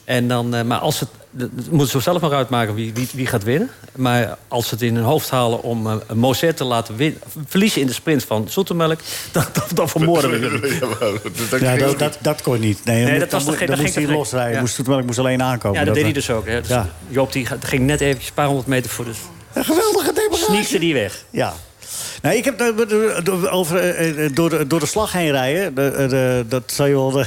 H: En dan, eh, maar als het, dat- dat moeten ze zelf maar uitmaken wie, wie, wie gaat winnen. Maar als ze het in hun hoofd halen om eh Mozet te laten win, verliezen in de sprint van Zoetemelk... dan, dan, dan vermoorden we hem.
J: Ja, maar dat-
C: Ja, dat, dat, dat kon niet. Nee,
H: Nee,
C: dan-
H: dat was
C: dan
H: toch geen-
C: dan
H: dat
C: moest
H: ging
C: hij
H: toch
C: losrijden.
H: geen-
C: Moest, Soetemelk moest alleen aankomen.
H: Ja, dat deed hij
C: eh,
H: dus ook. Hè. Dus
C: Ja.
H: Joop die ga- ging net eventjes een paar honderd meter voor. Dus
C: geweldige
H: sneakte die weg.
C: Ja. Nou, ik heb eh, door- door- over, eh, eh, door, de, door de slag heen rijden. De, eh, de- dat zal je wel. de-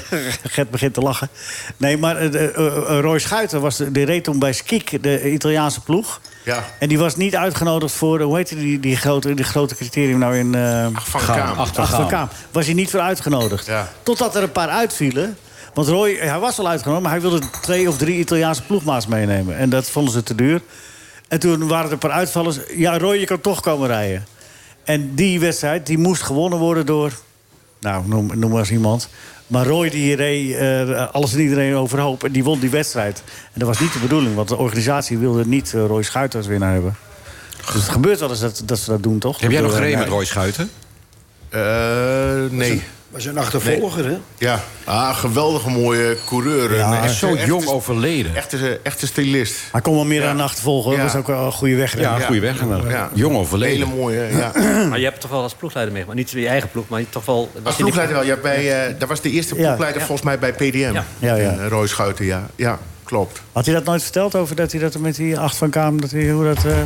C: Gert begint te lachen. Nee, maar eh, de- eh, eh, Roy Schuiten was de, die reed toen bij Skik, de Italiaanse ploeg.
J: Ja.
C: En die was niet uitgenodigd voor. eh, Hoe heette die, die, grote, die grote criterium nou in. eh,
J: Van Kaam.
C: Achter Van Kaam. Was hij niet voor uitgenodigd.
J: Ja.
C: Totdat er een paar uitvielen. Want Roy, hij was al uitgenodigd, maar hij wilde twee of drie Italiaanse ploegmaats meenemen. En dat vonden ze te duur. En toen waren er een paar uitvallers. Ja, Roy, je kan toch komen rijden. En die wedstrijd die moest gewonnen worden door. Nou, noem, noem maar eens iemand. Maar Roy die reed eh, alles en iedereen overhoop. En die won die wedstrijd. En dat was niet de bedoeling, want de organisatie wilde niet eh, Roy Schuit als winnaar hebben. Dus het gebeurt wel eens dat, dat ze dat doen, toch?
D: Heb jij nog
C: Ik bedoel,
D: gereden met
C: nee.
D: Roy Schuiten?
J: Eh, nee.
G: Maar zijn achtervolger, hè?
J: Ja, ah, geweldige mooie coureur.
C: Ja,
J: Een
C: hij
J: echte-
C: is zo
J: echte-
D: Jong overleden.
J: Echte, echte stylist.
C: Hij kon wel meer aan
J: Ja.
C: achtervolgen. hoor.
J: Ja.
C: Dat was ook wel een goede weg. denk ik.
D: Ja, goede weg.
J: Ja.
D: Jong overleden.
J: Hele mooie, ja.
H: Maar je hebt toch wel als ploegleider mee. Maar niet je eigen ploeg, maar toch wel...
J: Als ploegleider wel. Ja, bij, eh, dat was de eerste
C: Ja.
J: ploegleider
H: Ja.
J: volgens mij bij PDM.
H: Ja.
C: Ja, ja.
J: En, eh, Roy Schuiten, ja. Ja, klopt.
C: Had hij dat nooit verteld over dat hij dat met die acht van Kaam... Dat hij, hoe dat, eh,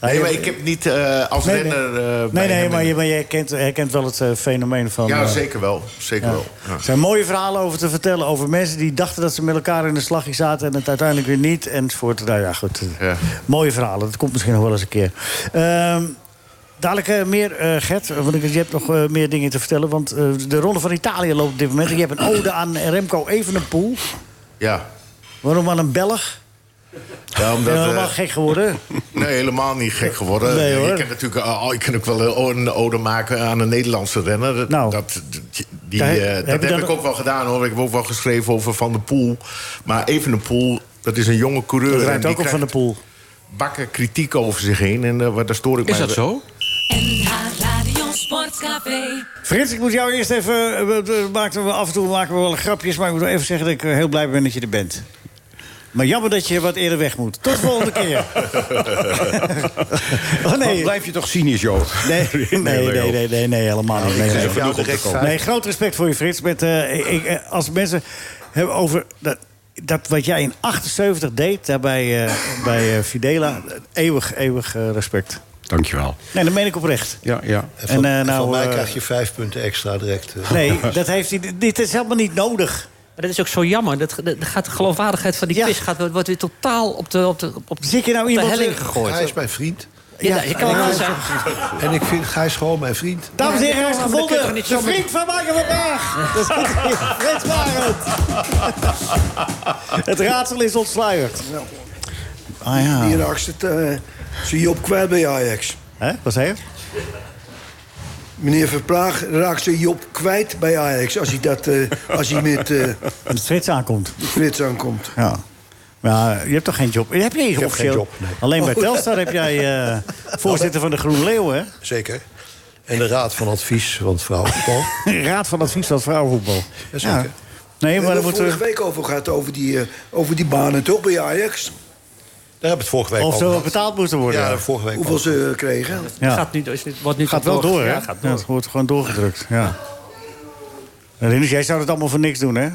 J: Nee,
C: hij-
J: maar ik heb niet eh, als
C: Nee, nee.
J: renner... eh, bij
C: Nee, nee,
J: hem
C: maar
J: in-
C: je, maar je herkent, herkent wel het eh, fenomeen van...
J: Ja,
C: eh,
J: zeker wel. Zeker
C: ja.
J: wel. Ja.
C: Er zijn mooie verhalen over te vertellen. Over mensen die dachten dat ze met elkaar in een slagje zaten... en het uiteindelijk weer niet. Enzovoort. Nou ja, goed.
J: Ja.
C: Mooie verhalen. Dat komt misschien nog wel eens een keer. Ehm, dadelijk eh, meer, eh Gert. Want ik- je hebt nog eh, meer dingen te vertellen. Want eh, de Ronde van Italië loopt op dit moment. En je hebt een ode aan Remco Evenepoel.
J: ja.
C: Waarom aan een Belg?
J: Ja,
C: Dat,
J: omdat,
C: ben
J: eh,
C: helemaal gek geworden.
J: nee, helemaal niet gek geworden.
C: Nee, hoor.
J: Ik kan natuurlijk eh, oh, ik kan ook wel eh, een ode maken aan een Nederlandse renner. Dat-
C: Nou.
J: dat, dat- die,
C: Daar-
J: eh,
C: heb
J: dat
C: je
J: heb,
C: dan-
J: ik ook wel gedaan hoor. Ik heb ook wel geschreven over Van der Poel. Maar even de Poel, dat is een jonge coureur.
C: Dat
J: en
C: rijdt
J: die
C: ook op Van
J: krijgt
C: de Poel.
J: bakken kritiek over zich heen. En eh, waar daar stoor ik
D: Is
J: mij-
D: dat zo?
A: NH Radio Sportcafé.
C: Frits, ik moet jou eerst even. eh, we- we maken we af en toe maken we wel grapjes, maar ik moet wel even zeggen dat ik eh, heel blij ben dat je er bent. Maar jammer dat je wat eerder weg moet. Tot de volgende keer. oh
D: Nee.
C: nee.
D: Blijf je toch cynisch, joh?
C: Nee, nee, nee,
D: Leo.
C: nee, nee, nee, helemaal niet. Nee,
D: Ik
C: nee.
D: geef jou direct vijf.
C: Nee, groot respect voor je, Frits. Met, eh, ik, eh, als mensen hebben over dat, dat wat jij in 78 deed daarbij eh, bij eh, Fidela, eeuwig, eeuwig eh, respect.
D: Dankjewel.
C: Nee, dat meen ik oprecht.
D: Ja, ja.
I: En, van,
C: En, eh,
I: en
C: nou,
I: van mij
C: eh,
I: krijg je vijf punten extra direct. eh.
C: Nee, dat heeft hij. Dit is helemaal niet nodig.
H: Maar dat is ook zo jammer. Dat, dat gaat de geloofwaardigheid van die
C: Ja.
H: quiz gaat, wordt weer totaal op de, op de, op de,
C: Zit je nou
H: op de
C: iemand-
H: helling gegooid.
I: Hij is mijn vriend.
C: Ja, je kan
J: en,
C: wel
J: ik,
C: zeggen.
J: en ik vind Gijs gewoon mijn vriend.
C: Dames en heren, hij is gevonden. De vriend van Michael van Praag. Dat is goed. Frits Barend. Het raadsel is ontsluierd. Ah ja.
F: Hier zit eh zijn Job kwijt bij Ajax.
C: Hè? Wat zei je?
F: Meneer Verpraag raakt zijn Job kwijt bij Ajax als hij, dat, eh, als hij met eh
C: Als Frits aankomt.
F: Frits aankomt.
C: Ja. Maar eh, je hebt toch geen job? Heb je
F: heb
C: geen officieel?
F: geen job, nee.
C: Alleen bij
F: Oh.
C: Telstar heb jij eh, voorzitter van de Groene Leeuw, hè?
J: Zeker. En de Raad van Advies, want vrouwenvoetbal.
C: Raad van Advies van Vrouwenvoetbal.
J: Jazeker.
C: Nee,
F: We
C: maar
F: hebben
C: dan
F: het
C: moeten
F: vorige
C: we...
F: week over gehad, over die, eh, over die banen toch bij Ajax?
J: Daar hebben we het vorige week
C: eh, Of over ze gehad. betaald moeten worden. Ja, daar hebben we vorige week
F: Hoeveel
C: over
F: ze kregen?
C: Ja.
H: Gaat nu, is, dit- wordt nu
C: gaat wel door, hè?
H: Ja, gaat door.
C: Ja, het wordt gewoon doorgedrukt, ja. Rinus, jij zou het allemaal voor niks doen, hè?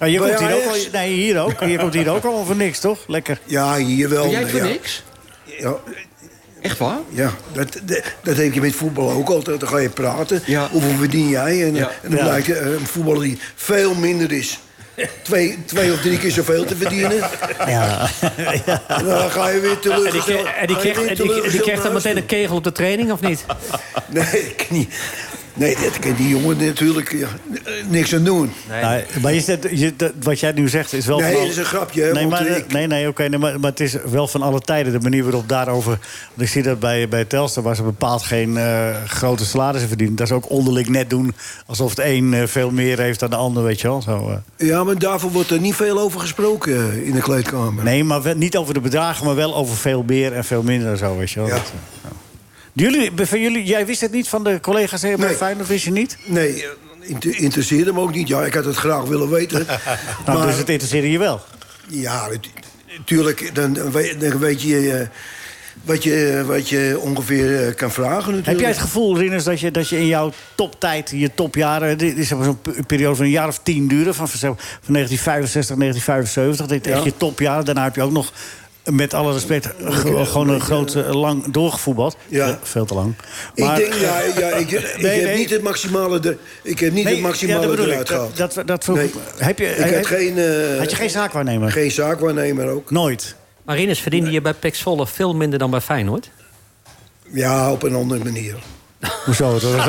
C: Ja, je
F: Bij
C: komt hier ook al,
F: Ajax?
C: nee, hier ook. Je komt hier ook allemaal voor niks, toch? Lekker.
F: Ja, hier wel.
C: Doe jij het voor
F: ja.
C: niks?
F: Ja.
C: Echt waar?
F: Ja, dat, dat, dat heb je met voetbal ook altijd. Dan ga je praten. Hoeveel verdien jij? En, en dan
C: Ja.
F: blijkt eh, een voetballer die veel minder is. Twee, twee of drie keer zoveel te verdienen.
C: Ja.
F: En dan ga je weer
H: En die,
F: teleurgesteld.
H: kreeg- en die
F: ga je
H: kreeg,
F: weer
H: en die, die
F: teleurgesteld
H: kreeg dan
F: naar
H: meteen
F: huis
H: een kegel op de training, of niet?
F: Nee, ik niet. Nee, dat kan die jongen natuurlijk ja, eh, niks aan doen.
C: Nou, maar is dat, je, dat- wat jij nu zegt is wel...
F: Nee,
C: van al-
F: dat is een grapje, hè,
C: Nee,
F: want
C: maar,
F: ik-
C: nee, nee, oké, nee, maar, maar het is wel van alle tijden de manier waarop daarover... Want ik zie dat bij, bij Telstar, waar ze bepaald geen eh, grote salarissen verdienen... dat ze ook onderling net doen alsof het een eh, veel meer heeft dan de ander, weet je wel. Zo, eh.
F: Ja, maar daarvoor wordt er niet veel over gesproken eh, in de kleedkamer.
C: Nee, maar wel- niet over de bedragen, maar wel over veel meer en veel minder en zo, weet je wel. Dat, eh, ja. Jullie, van jullie, jij wist het niet van de collega's hier bij Feyenoord, wist je niet?
F: Nee, eh, inter- interesseerde me ook niet. Ja, ik had het graag willen weten.
C: Nou, dus het interesseerde je wel?
F: Ja, natuurlijk. Dan, dan weet- dan weet je... eh, wat je, eh, wat je ongeveer eh, kan vragen natuurlijk.
C: Heb jij het gevoel, Rinners, dat je, dat je in jouw toptijd, je topjaren... dit is zeg maar zo'n pe- periode van een jaar of tien duren... van, zeg maar, van 1965, 1975, dit echt
F: Ja.
C: je topjaren. Daarna heb je ook nog, met alle respect, ge- gewoon een groot, eh, lang doorgevoetbald.
F: Ja.
C: Eh, Veel te lang.
F: ik denk, ja, ja ik, ik
C: Nee,
F: heb
C: nee.
F: niet het maximale, er- ik heb niet
C: Nee,
F: het maximale
C: ja, dat bedoel ik.
F: eruit gehaald.
C: Dat, dat, dat vroeg
F: Nee.
C: ik. Heb je,
F: Ik
C: heb-
F: had geen, eh,
C: had je geen zaakwaarnemer?
F: Geen zaakwaarnemer ook.
C: Nooit.
H: Marinus, verdiende je bij Pexvolle veel minder dan bij Feyenoord?
F: Ja, op een andere manier.
C: Hoezo? Dat was,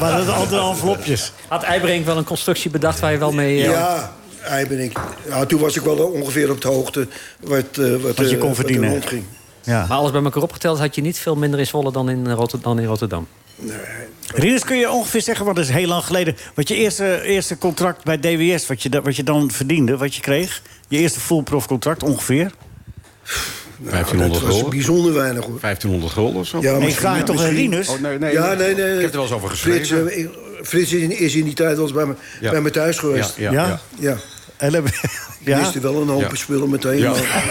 C: maar dat altijd envelopjes.
H: Had Eibrink wel een constructie bedacht waar je wel mee... eh,
F: Ja, hij ben ik. Ja, toen was ik wel ongeveer op de hoogte wat, eh, wat,
H: Wat je
F: eh,
H: kon
F: wat er
H: verdienen.
F: rondging.
H: Maar alles bij elkaar opgeteld had je niet veel minder in Zwolle dan in, eh, Rotter- dan in Rotterdam.
C: Rinus, kun je ongeveer zeggen, want dat is heel lang geleden... wat je eerste, eerste contract bij DWS, wat je, da- wat je dan verdiende, wat je kreeg? Je eerste full prof contract
F: Oh,
C: ongeveer?
F: dat
D: 1500
F: was
D: gulden.
F: bijzonder weinig hoor.
D: 1500 gulden of zo?
F: Ja, misschien- misschien-
D: Oh, nee, nee,
F: ja, nee, nee.
D: Ik heb er wel eens over
F: Frits,
D: geschreven.
F: eh, ik- Frits is in- is in die tijd wel eens bij me,
D: Ja.
F: bij me thuis geweest.
D: Ja, ja, ja.
F: ja.
C: En dan-
F: Ik
C: ja?
F: miste wel een hoop
D: Ja.
F: spullen meteen.
D: Ja.
F: maar-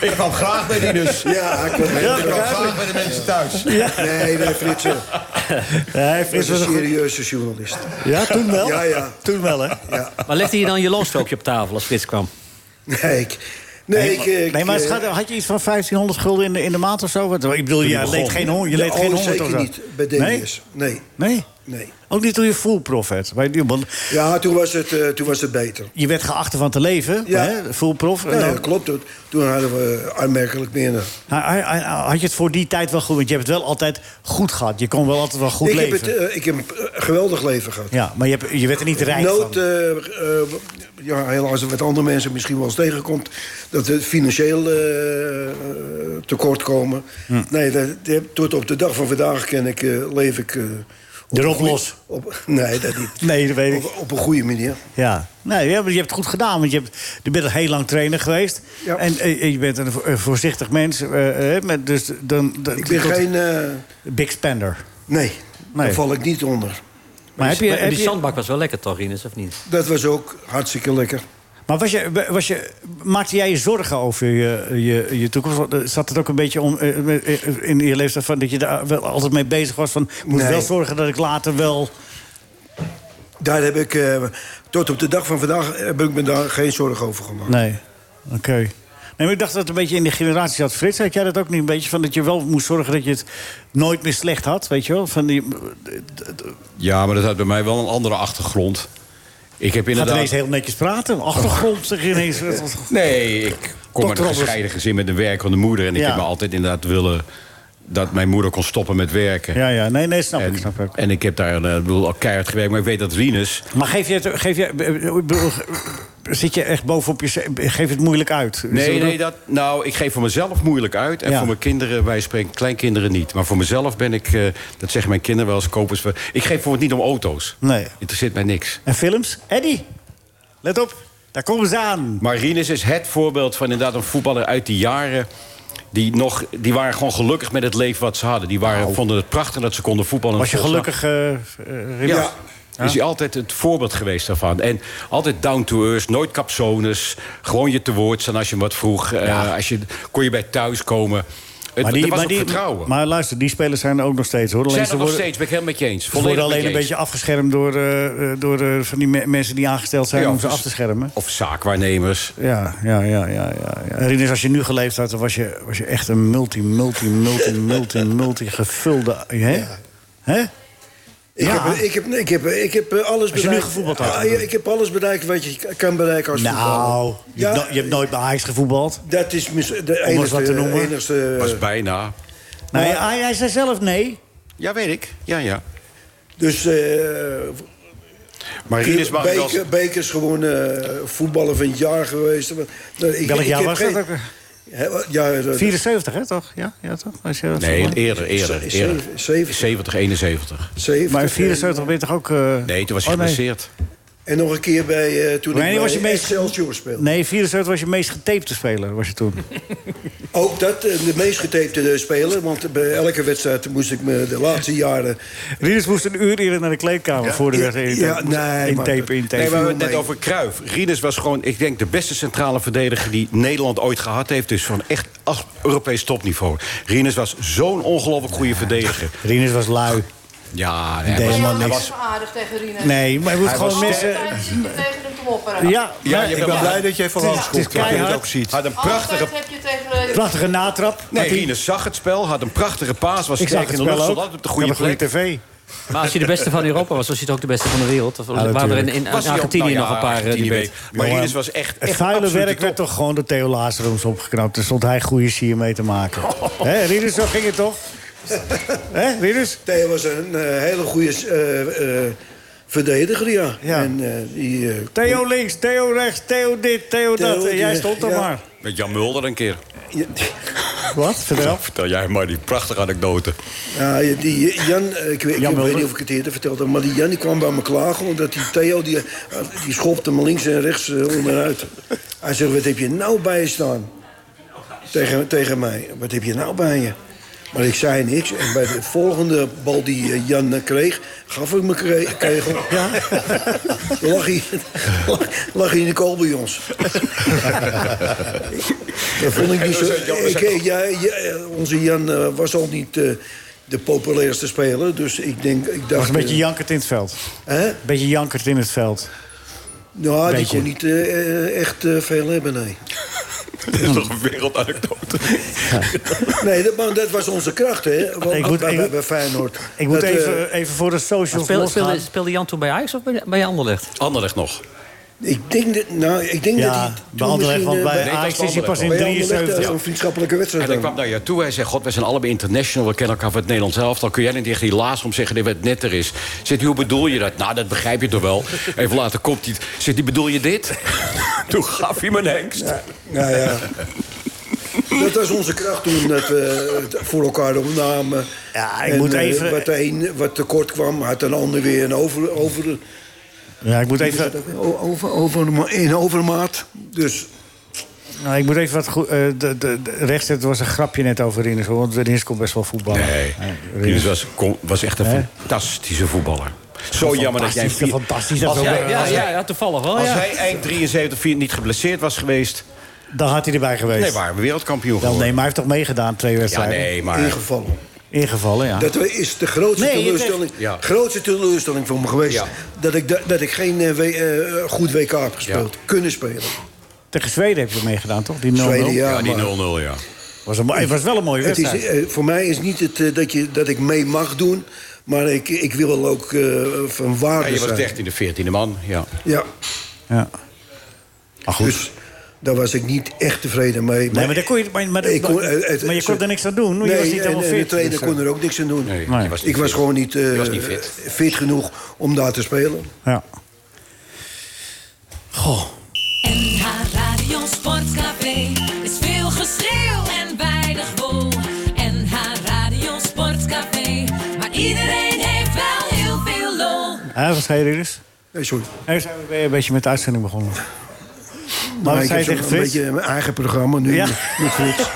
D: Ik kwam graag bij die dus.
F: Ja, ik kwam dus.
D: graag bij de mensen thuis.
F: Nee, nee, Frits. eh,
C: Nee,
F: Frits was een serieuze journalist.
C: Ja, toen wel?
F: Ja, ja.
C: Toen wel, hè?
H: Maar legde je dan je loonstrookje op tafel als Frits kwam?
F: Nee, ik... Nee, ik, ik,
C: nee, maar het
F: eh,
C: gaat- had je iets van 1500 gulden in de, in de maand of zo? Wat- Ik bedoel,
F: toen
C: je
F: ik begon.
C: leed geen honger. Je
F: Ja,
C: leed geen
F: oh,
C: honger
F: zeker
C: toch zo?
F: niet bij
C: Nee?
F: DWS. Nee?
C: nee?
F: nee.
C: Ook niet toen je full prof werd? Bij die- want
F: Ja, toen was het, eh, toen was het beter.
C: Je werd geacht ervan te leven,
F: Ja.
C: hè? Nou, full prof. En
F: Ja,
C: dan-
F: dat klopt. Toen- Toen hadden we aanmerkelijk eh, minder.
C: Had je het voor die tijd wel goed? Want je hebt het wel altijd goed gehad. Je kon wel altijd wel goed
F: ik,
C: leven.
F: Heb het, eh, ik heb een eh, geweldig leven gehad.
C: Ja, maar je, hebt- je werd er niet rijk van.
F: Nood, eh, eh, ja, helaas wat andere mensen misschien wel eens tegenkomt... dat we financieel eh, eh, tekortkomen.
C: Hm.
F: Nee, dat, dat- tot op de dag van vandaag ken ik, eh, leef ik... eh, op
C: Erop
F: een goeie-
C: los.
F: Op, nee, dat niet.
C: Nee, dat weet ik.
F: Op, op een goede manier.
C: Ja. Nee, ja, maar je hebt het goed gedaan, want je, hebt, je bent een heel lang trainer geweest. En eh, je bent een vo- eh, voorzichtig mens. eh, eh, met, dus dan, dan-
F: Ik ben
C: tot-
F: geen... eh,
C: Big spender.
F: nee,
C: Nee.
F: daar val ik niet onder.
C: Maar, heb je,
H: en
C: heb
H: die
C: je,
H: zandbak was wel lekker toch, Rinus, of niet?
F: Dat was ook hartstikke lekker.
C: maar was je, was je, maakte jij je zorgen over je, je, je toekomst? Want, eh, Zat het ook een beetje om, eh, eh, in je leeftijd van dat je daar wel altijd mee bezig was? Van, ik moet
F: Nee.
C: wel zorgen dat ik later wel...
F: Daar heb ik eh, tot op de dag van vandaag heb ik me daar geen zorgen over gemaakt.
C: Nee, oké. Nee, maar ik dacht dat het een beetje in de generatie zat. Frits, had jij dat ook niet een beetje van dat je wel moest zorgen dat je het nooit meer slecht had? Weet je wel? Van die,
D: Ja, maar dat had bij mij wel een andere achtergrond. Ik heb
C: Gaat
D: inderdaad...
C: ineens heel netjes praten. Achtergrond zeg je ineens.
D: Nee, ik kom uit
C: Dokter
D: een
C: Robbers.
D: gescheiden gezin met een werkende moeder. En ik
C: Ja.
D: heb me altijd inderdaad willen dat mijn moeder kon stoppen met werken.
C: Ja, ja, nee, nee, snap ik. Snap ik.
D: En ik heb daar eh, ik bedoel, al keihard gewerkt. Maar ik weet dat Rinus...
C: Maar geef je, het, geef je, eh, ik bedoel, zit je echt bovenop je, geef het moeilijk uit? Zullen
D: Nee,
C: we-
D: nee, dat, nou, ik geef voor mezelf moeilijk uit. En
C: Ja.
D: voor mijn kinderen, wij spreken kleinkinderen niet. Maar voor mezelf ben ik, eh, dat zeggen mijn kinderen wel eens, kopers. Ik geef voor het niet om auto's.
C: Nee.
D: Interesseert mij niks.
C: En films? Eddie, let op, daar komen ze aan.
D: Maar Rinus is het voorbeeld van inderdaad een voetballer uit die jaren. Die, nog, die waren gewoon gelukkig met het leven wat ze hadden. Die waren, vonden het prachtig dat ze konden voetballen.
C: Nou. Was je
D: Volgens-
C: gelukkig, eh, eh, Ribbes?
D: Ja. Is hij altijd het voorbeeld geweest daarvan. En altijd down to earth, nooit capsones. Gewoon je te woord staan als je hem wat vroeg. Eh, als je, kon je bij thuis komen. Het,
C: maar, die,
D: er was
C: maar,
D: ook
C: die-
D: vertrouwen.
C: maar luister, die spelers zijn er ook nog steeds hoor. Alleen
D: Zijn
C: ze
D: er nog
C: worden-
D: steeds, ben ik helemaal met je eens.
C: Ze worden
D: Volledig met
C: alleen een
D: je eens.
C: beetje afgeschermd door, eh, eh, door eh, van die me- mensen die aangesteld zijn
D: Ja,
C: om ze
D: of-
C: af te schermen.
D: Of zaakwaarnemers.
C: Ja, ja, ja, ja, ja. ja. Rinus, als je nu geleefd had, dan was je, was je echt een multi, multi, multi, multi, multi gevulde. Hè? Hè?
F: Ik,
C: Ja.
F: heb, ik, heb, ik, heb, ik heb eh, alles
C: Als je nu
F: bereikt.
C: gevoetbald had,
F: Ah, ja, ik heb alles bereikt wat je k- kan bereiken als
C: Nou,
F: voetballer.
C: je, hebt no- je hebt nooit bij Ajax gevoetbald.
F: Dat is mis- de
C: Om eens
F: enigste...
C: wat te noemen.
F: enigste eh,
C: Eh.
D: Was bijna.
C: Nee, hij, hij zei zelf nee.
D: Ja, weet ik. Ja, ja.
F: dus... eh
D: Maar Rinus mag wel...
F: Beker, Beker is gewoon eh, voetballer van het jaar geweest. Want, nou, ik-
C: Welk
F: ik
C: jaar
F: heb
C: was
F: geen-
C: dat ook?
F: Hè, wat- Ja, dat-
C: 74, hè, toch? Ja, ja toch? Als je dat
D: Eh, dus- Nee,
C: zo-
D: eerder, eerder.
F: Ze-
D: eerder.
F: zeven-
D: 70, 71.
F: 70.
C: Maar in 74 ben je toch ook... eh,
D: Nee, toen was hij
C: oh, nee.
D: geblesseerd.
F: En nog een keer bij, eh, toen
C: Nee, die
F: ik
C: was
F: was
C: je
F: bij
C: meest-
F: Excelsior speelde.
C: Nee, 74 was je meest getapte speler, was je toen.
F: Ook dat, eh, de meest getapte eh, speler. Want bij elke wedstrijd moest ik me de laatste jaren...
C: Rieders moest een uur eerder naar de kleedkamer
F: Ja,
C: voor de
F: ja,
C: wedstrijd.
F: ja, nee,
C: in
F: maar-
C: tape, in
D: Nee, we hebben het
F: viel
D: net
F: mee.
D: over Kruif. Rinus was gewoon, ik denk, de beste centrale verdediger die Nederland ooit gehad heeft. Dus van echt als Europees topniveau. Rinus was zo'n ongelooflijk goede verdediger.
C: Rinus was lui.
D: Ja,
C: Nee,
D: hij was,
C: helemaal
D: hij
C: niks.
D: was-
E: aardig tegen Rina.
C: Nee, maar je moet
D: Hij
C: gewoon
D: was
C: mensen...
E: Altijd zit je tegen hem te mopperen.
C: Ja,
D: Ja, je
N: Ik ben blij dat je even
C: Het is-
N: langs
C: het
N: komt,
C: is
N: dat je het
C: keihard.
N: ook ziet.
D: had een prachtige...
E: Altijd heb je tegen... eh,
C: Prachtige natrap.
D: Nee,
C: Had hij-
D: Rinus zag het spel, had een prachtige paas, was
C: ik zag
D: sterk
C: het
D: in de
C: spel
D: lucht,
C: ook.
D: stond altijd op de goede
C: Ik had een
D: plek.
C: goede tv.
H: Maar als je de beste van Europa was, was je toch ook de beste van de wereld? Of waren er in, in
D: Was hij ook-
H: Argentinië
D: nou ja,
H: nog een paar eh, die
D: Argentinië
H: beter-
D: weet. Maar Rinus was echt
C: Het
D: echt
C: vuile
D: absolute
C: werk
D: top.
C: werd toch gewoon door Theo Lazarums opgeknapt. Dan stond hij goede sier mee te maken.
D: Oh.
C: Hé, Rieders, zo ging het toch? Hé, Rieders?
F: Theo was een eh, hele goede eh, eh, verdediger, ja.
C: Ja.
F: En, eh, die, eh,
C: Theo links, Theo rechts, Theo dit, Theo,
F: Theo
C: dat. En jij
F: die-
C: stond er
F: ja.
C: maar.
D: Met Jan Mulder een keer.
C: Wat? Vertel.
D: Vertel jij maar die prachtige anekdote.
F: Ja, die Jan, eh, ik, weet-
C: Jan
F: ik weet
C: Mulder.
F: niet of ik het eerder verteld heb, maar die Jan die kwam bij me klagen omdat die Theo die, eh, die schopte me links en rechts eh, onderuit. Hij zegt: Wat heb je nou bij je staan? Tegen, tegen mij: Wat heb je nou bij je? Maar ik zei niks. En bij de volgende bal die eh, Jan eh, kreeg, gaf ik me kre- kegel. Ja? lag, hij, lag hij in de kool bij ons. Dat vond ik niet zo... Ik- ja, ja, onze Jan eh, was al niet eh, de populairste speler. Dus ik denk... Ik dacht,
C: was een beetje
F: eh,
C: jankert in het veld.
F: Hè?
C: Beetje jankert in het veld.
F: Nou, die
C: Beetje.
F: kon niet eh, echt eh, veel hebben, nee.
D: Dat is toch een wereldanekdote.
F: Nee, dat, maar dat was onze kracht, hè. Want
C: Ik moet-
F: bij,
C: ik-
F: bij- bij Feyenoord.
C: Ik moet
F: Dat, eh,
C: even, even voor de socials
H: Speel-
C: losgaan.
H: speelde, speelde Jan toen bij Ajax of bij, bij Anderlecht?
D: Anderlecht nog.
F: ik denk dat... Nou, ik denk dat hij
C: Ja,
F: toen
C: bij Anderlecht,
F: misschien,
C: want
F: eh,
C: bij
D: was
C: Ajax is hij
D: Anderlecht
C: pas in
F: bij Anderlecht, eh,
C: 73.
F: Een vriendschappelijke wedstrijd.
D: En hij
F: hadden.
D: kwam naar jou toe. Hij zei, god, wij zijn allebei international. We kennen elkaar van het Nederlands elftal. Kun jij niet tegen die laas om zeggen dat het netter is? Zegt hij, hoe bedoel je dat? Nou, dat begrijp je toch wel. Even later komt hij. Zegt hij, bedoel je dit? Toen gaf hij me een hengst.
F: Nou ja. Dat was onze kracht toen dat we het voor elkaar opnamen.
C: Ja, ik moet
F: eh,
C: even-
F: Wat de een wat tekort kwam, had een ander weer een over, over,
C: Ja, ik moet even,
F: over, over, in overmaat. Dus
C: nou, ik moet even wat goed... eh, de, de, de- rechts, het was een grapje net over Rinus. hoor, Want Rinus kon best wel voetballen.
D: Nee,
C: Rinus-
D: Rinus was, kon- was echt een
C: Hè?
D: fantastische voetballer. Zo jammer dat jij...
C: Fantastisch,
D: vier-
C: fantastisch, dat
D: Als
C: is eh, ook-
D: jij-
H: Ja,
D: als
H: ja,
D: hij-
H: ja, toevallig wel.
D: Als
H: Ja.
D: hij eind 73 vier niet geblesseerd was geweest...
C: Dan had hij erbij geweest.
D: Nee, waren we wereldkampioen
C: Wel,
D: geworden.
C: nee, maar hij heeft toch meegedaan, twee
D: Ja,
C: wedstrijden?
D: nee, maar...
F: ingevallen.
C: Ingevallen, ja.
F: Dat is de grootste,
C: Nee, je
F: teleurstelling,
D: zegt- Ja.
F: grootste teleurstelling voor me geweest.
D: Ja.
F: Dat, ik, da- dat ik geen eh, we- eh, goed WK heb gespeeld. Kunnen spelen.
C: Tegen Zweden heb je meegedaan, toch? Die 0-0.
F: Zweden, ja.
D: Ja, die 0-0,
F: maar-
D: ja.
C: Was een, mo- het was wel een mooie
F: Het is,
C: wedstrijd.
F: eh, voor mij is niet het eh, dat, je, dat ik mee mag doen.
G: Maar ik, ik wil ook eh, van waarde
D: Ja, je was
G: zijn.
D: 13e, 14e man. Ja.
G: Ja.
C: Ja.
G: Maar goed. Dus daar was ik niet echt tevreden mee.
C: Nee, maar daar kon je- maar- maar- maar-
G: eh,
C: maar je kon er niks aan doen, want je was niet helemaal
G: En de
C: fit.
G: trainer
C: Dus,
G: kon
C: eh,
G: er ook niks aan doen.
C: Nee, je was niet
G: ik was
C: fit.
G: gewoon niet, eh,
C: Je was niet fit.
G: fit genoeg om daar te spelen.
C: Ja.
A: NH Radio Sportcafé is veel geschreeuw en weinig wol. NH Radio Sportcafé, maar iedereen heeft wel heel veel lol.
C: Hè, wat zei je dus?
G: Nee, sorry.
C: Nee, zijn we weer een beetje met de uitzending begonnen. Maar wat
G: ik
C: zei
G: heb
C: je
G: zo'n-
C: tegen
G: een
C: Frits?
G: beetje mijn eigen programma nu
C: Ja.
G: met Frits.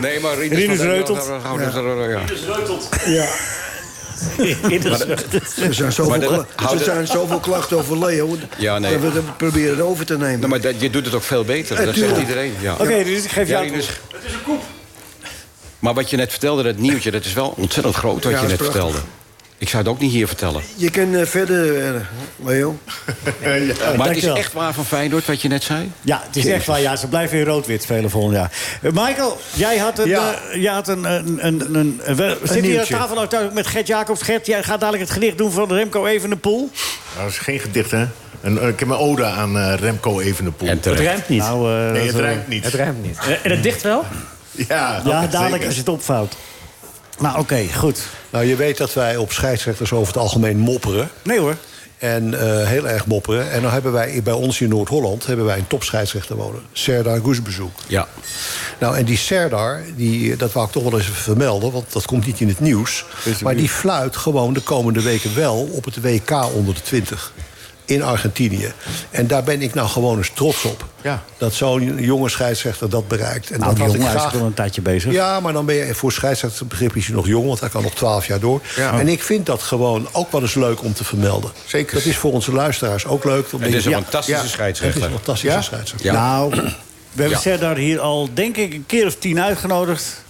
D: Nee, maar Rinus,
C: Rinus
D: van den-
C: Reutelt.
D: Ja. Rinus
C: Reutelt.
G: Ja.
D: Maar
G: Er zijn
D: Maar
G: zoveel,
D: dat-
G: kla-
D: hou
G: er
D: dat-
G: zijn zoveel klachten over Leo.
D: Ja, nee.
G: Dat we dat proberen over te nemen.
D: Nou, maar dat, je doet het ook veel beter.
G: Eh,
D: dat zegt
G: tuurlijk.
D: iedereen. Ja.
G: Oké, dus ik geef
D: Ja,
G: jou-
D: Rinus. Maar wat je net vertelde, dat nieuwtje, dat is wel ontzettend groot wat
G: Ja,
D: je
G: dat
D: net
G: is prachtig.
D: vertelde. Ik zou het ook niet hier vertellen.
G: Je kan eh, verder, eh, Leo.
D: maar het is
C: Oh, dankjewel.
D: echt waar van Feyenoord wat je net zei?
C: Ja, het is echt waar. Ja, ze blijven in rood-wit spelen volgend jaar. Eh, Michael, jij had een...
D: Ja.
C: eh, jij had een, een, een, een, een- we zitten hier aan
J: nieuwtje.
C: tafel nou thuis met Gert Jacobs. Gert, jij gaat dadelijk het gedicht doen van Remco Evenepoel.
J: Nou, Dat is geen gedicht, hè? Een, eh, ik heb een ode aan eh, Remco Evenepoel.
D: En terecht. Het
C: rijmt niet. Nou, eh,
J: nee, het
C: dat, eh,
J: rijmt niet.
C: het rijmt niet.
H: Eh,
J: En het dicht wel? Ja,
C: ja,
I: zeker.
C: dadelijk als je het opvouwt. Nou, oké, goed.
I: Nou, je weet dat wij op scheidsrechters over het algemeen mopperen.
C: Nee hoor.
I: En eh, heel erg mopperen. En dan hebben wij bij ons in Noord-Holland hebben wij een topscheidsrechter wonen. Serdar Goesbezoek.
D: Ja.
I: Nou, en die Serdar, die, eh, dat wou ik toch wel eens even vermelden... want dat komt niet in het nieuws. Maar die fluit gewoon de komende weken wel op het WK onder de 20. In Argentinië. En daar ben ik nou gewoon eens trots op. Dat zo'n jonge scheidsrechter dat bereikt. En
C: Nou,
I: dat
C: die
I: had ik
C: jongen hij is
I: graag
C: wel een tijdje bezig.
I: ja, maar dan ben je voor scheidsrechtsbegrip is je nog jong, want hij kan nog 12 jaar door.
C: Ja.
I: En ik vind dat gewoon ook wel eens leuk om te vermelden. Zeker. Dat is voor onze luisteraars ook leuk.
D: Het is een fantastische scheidsrechter.
I: Het is een fantastische
D: Ja?
I: scheidsrechter.
D: Ja.
C: Nou, we hebben
D: Ja.
C: Serdar hier al, denk ik, een keer of tien uitgenodigd.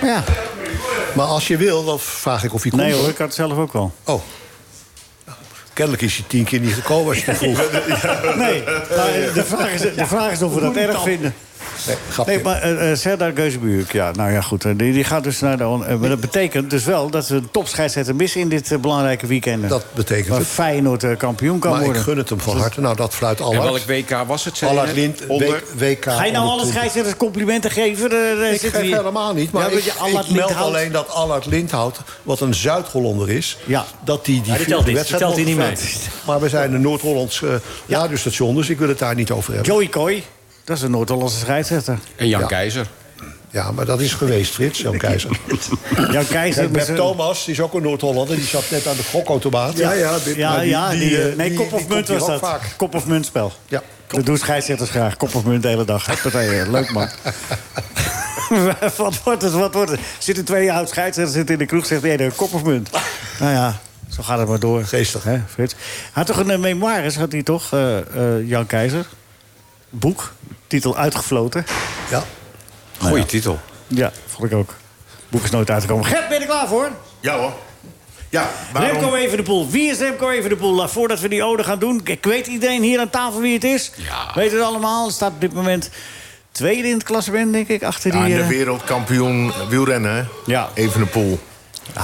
C: Maar ja.
I: Maar als je wil, dan vraag ik of je komt.
C: Nee hoor, ik had het zelf ook al.
I: Oh. Kennelijk is je tien keer niet gekomen als je het vroeg.
C: Nee, maar eh, de vraag is, de vraag is of we dat erg vinden.
I: Nee, grapje.
C: Nee, maar eh, eh, Serdar Geuzebuurk, ja, nou ja, goed. eh, Die, die gaat dus naar de... on- eh, maar dat betekent dus wel dat ze een topscheidsrechter missen in dit eh, belangrijke weekend.
I: Dat betekent
C: Waar
I: het.
C: Feyenoord eh, kampioen kan
I: maar
C: worden.
I: ik gun het hem van harte. Nou, dat fluit
D: En
I: Allard.
D: welk WK was het? zei je
I: Allard
D: net?
I: Lind, W- WK.
C: Ga je nou alle
I: 120.
C: scheidsrechters complimenten geven? Eh,
I: Ik geef helemaal niet, maar ik, ik meld alleen dat Allard Lindhout, wat een Zuid-Hollander is... dat die die
H: Ja, die telt niet. Die telt
I: mocht
H: hier niet mee.
I: fluiten. Maar we zijn een Noord-Hollands eh, radiostation, dus ik wil het daar niet over hebben.
C: Joey Kooi, dat is een Noord-Hollandse scheidsrechter.
D: En Jan
I: Ja.
D: Keizer.
I: Ja, maar dat is geweest, Frits, Jan Keizer.
C: Jan Keizer...
I: Kijk,
C: met
I: Beb
C: zijn-
I: Thomas die is ook een Noord-Hollander, die zat net aan de gokautomaat.
C: Ja, ja,
I: dit-
C: ja,
I: maar die-
C: ja, die,
I: die, eh,
C: eh, nee,
I: die-
C: kop of
I: die
C: munt
I: komt
C: was
I: hier
C: dat.
I: ook vaak.
C: Kop of muntspel.
I: Ja. eh,
C: Dat doen scheidsrechters graag. Kop of munt de hele dag. Partijen, leuk man. wat wordt het, wat wordt het? Zitten twee oud scheidsrechters zitten in de kroeg, zegt de ene kop of munt. nou ja, zo gaat het maar door.
I: Geestig.
C: Hè, Frits? Hij had toch een eh, memoires, had hij toch, eh, eh, Jan Keizer? Boek, titel Uitgefloten.
I: Ja.
D: Goeie titel.
C: Ja, vond ik ook. Boek is nooit uitgekomen. Gert, ben je er klaar voor?
J: Ja hoor. Ja, waarom?
C: Remco Evenepoel. Wie is Remco Evenepoel? Nou, Voordat we die ode gaan doen... Ik weet iedereen hier aan tafel wie het is. Weet het allemaal. Staat op dit moment tweede in het klassement, denk ik. Achter die...
J: Ja, en Ah, de
C: eh,
J: wereldkampioen wielrennen, hè?
C: Ja.
J: Evenepoel.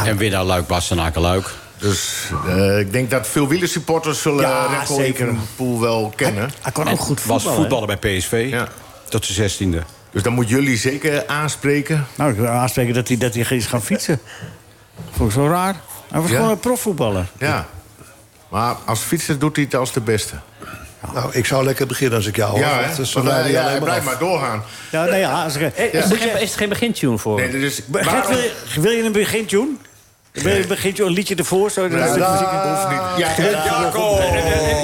D: En winnaar Luik Bastenaken Luik.
J: Dus eh, ik denk dat veel wielersupporters zullen
C: Ja,
J: ja, Remco
C: zeker.
J: Evenepoel wel kennen.
C: Hij kan ook goed
D: Was
C: voetballen.
D: voetballer bij PSV. Tot zijn zestiende.
J: Dus dan moet jullie zeker aanspreken.
C: hè? Nou, ik wil aanspreken dat hij, dat hij is gaan fietsen. Vond ik zo raar. Hij was
J: Ja.
C: gewoon een profvoetballer.
J: Ja. Maar als fietser doet hij het als de beste.
I: Nou, ik zou lekker beginnen als ik jou hoor.
J: ja, hè?
I: want Oh, Dus dan
J: Want,
I: wij
J: eh,
I: die
J: ja,
I: alleen
J: hij
I: maar
J: blijft
I: af.
J: maar doorgaan.
C: Ja, nee, ja. Als, ik-
H: Is er
C: Moet
H: geen,
C: je-
H: is er geen begintune voor?
J: Nee, dus
C: Be- Gert, wil,
J: waarom-
C: je, wil je een begintune? Wil je een begintje, een liedje ervoor? Zo, dat is-
J: Ja, Jacob.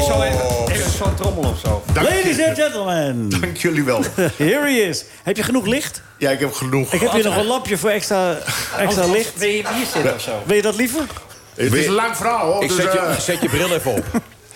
H: Zo even, even zo'n trommel of zo.
J: Dank
C: Ladies
J: je-
C: and gentlemen,
J: Dank jullie wel.
C: here he is. Heb je genoeg licht?
J: Ja, ik heb genoeg.
C: Ik heb hier nog een lampje voor extra,
H: Oh,
C: extra licht.
H: Wil je hier zitten of zo?
C: Wil je dat liever?
J: Het is een lang verhaal, hoor.
D: Ik
J: dus,
D: zet je,
J: eh,
D: zet je bril even op.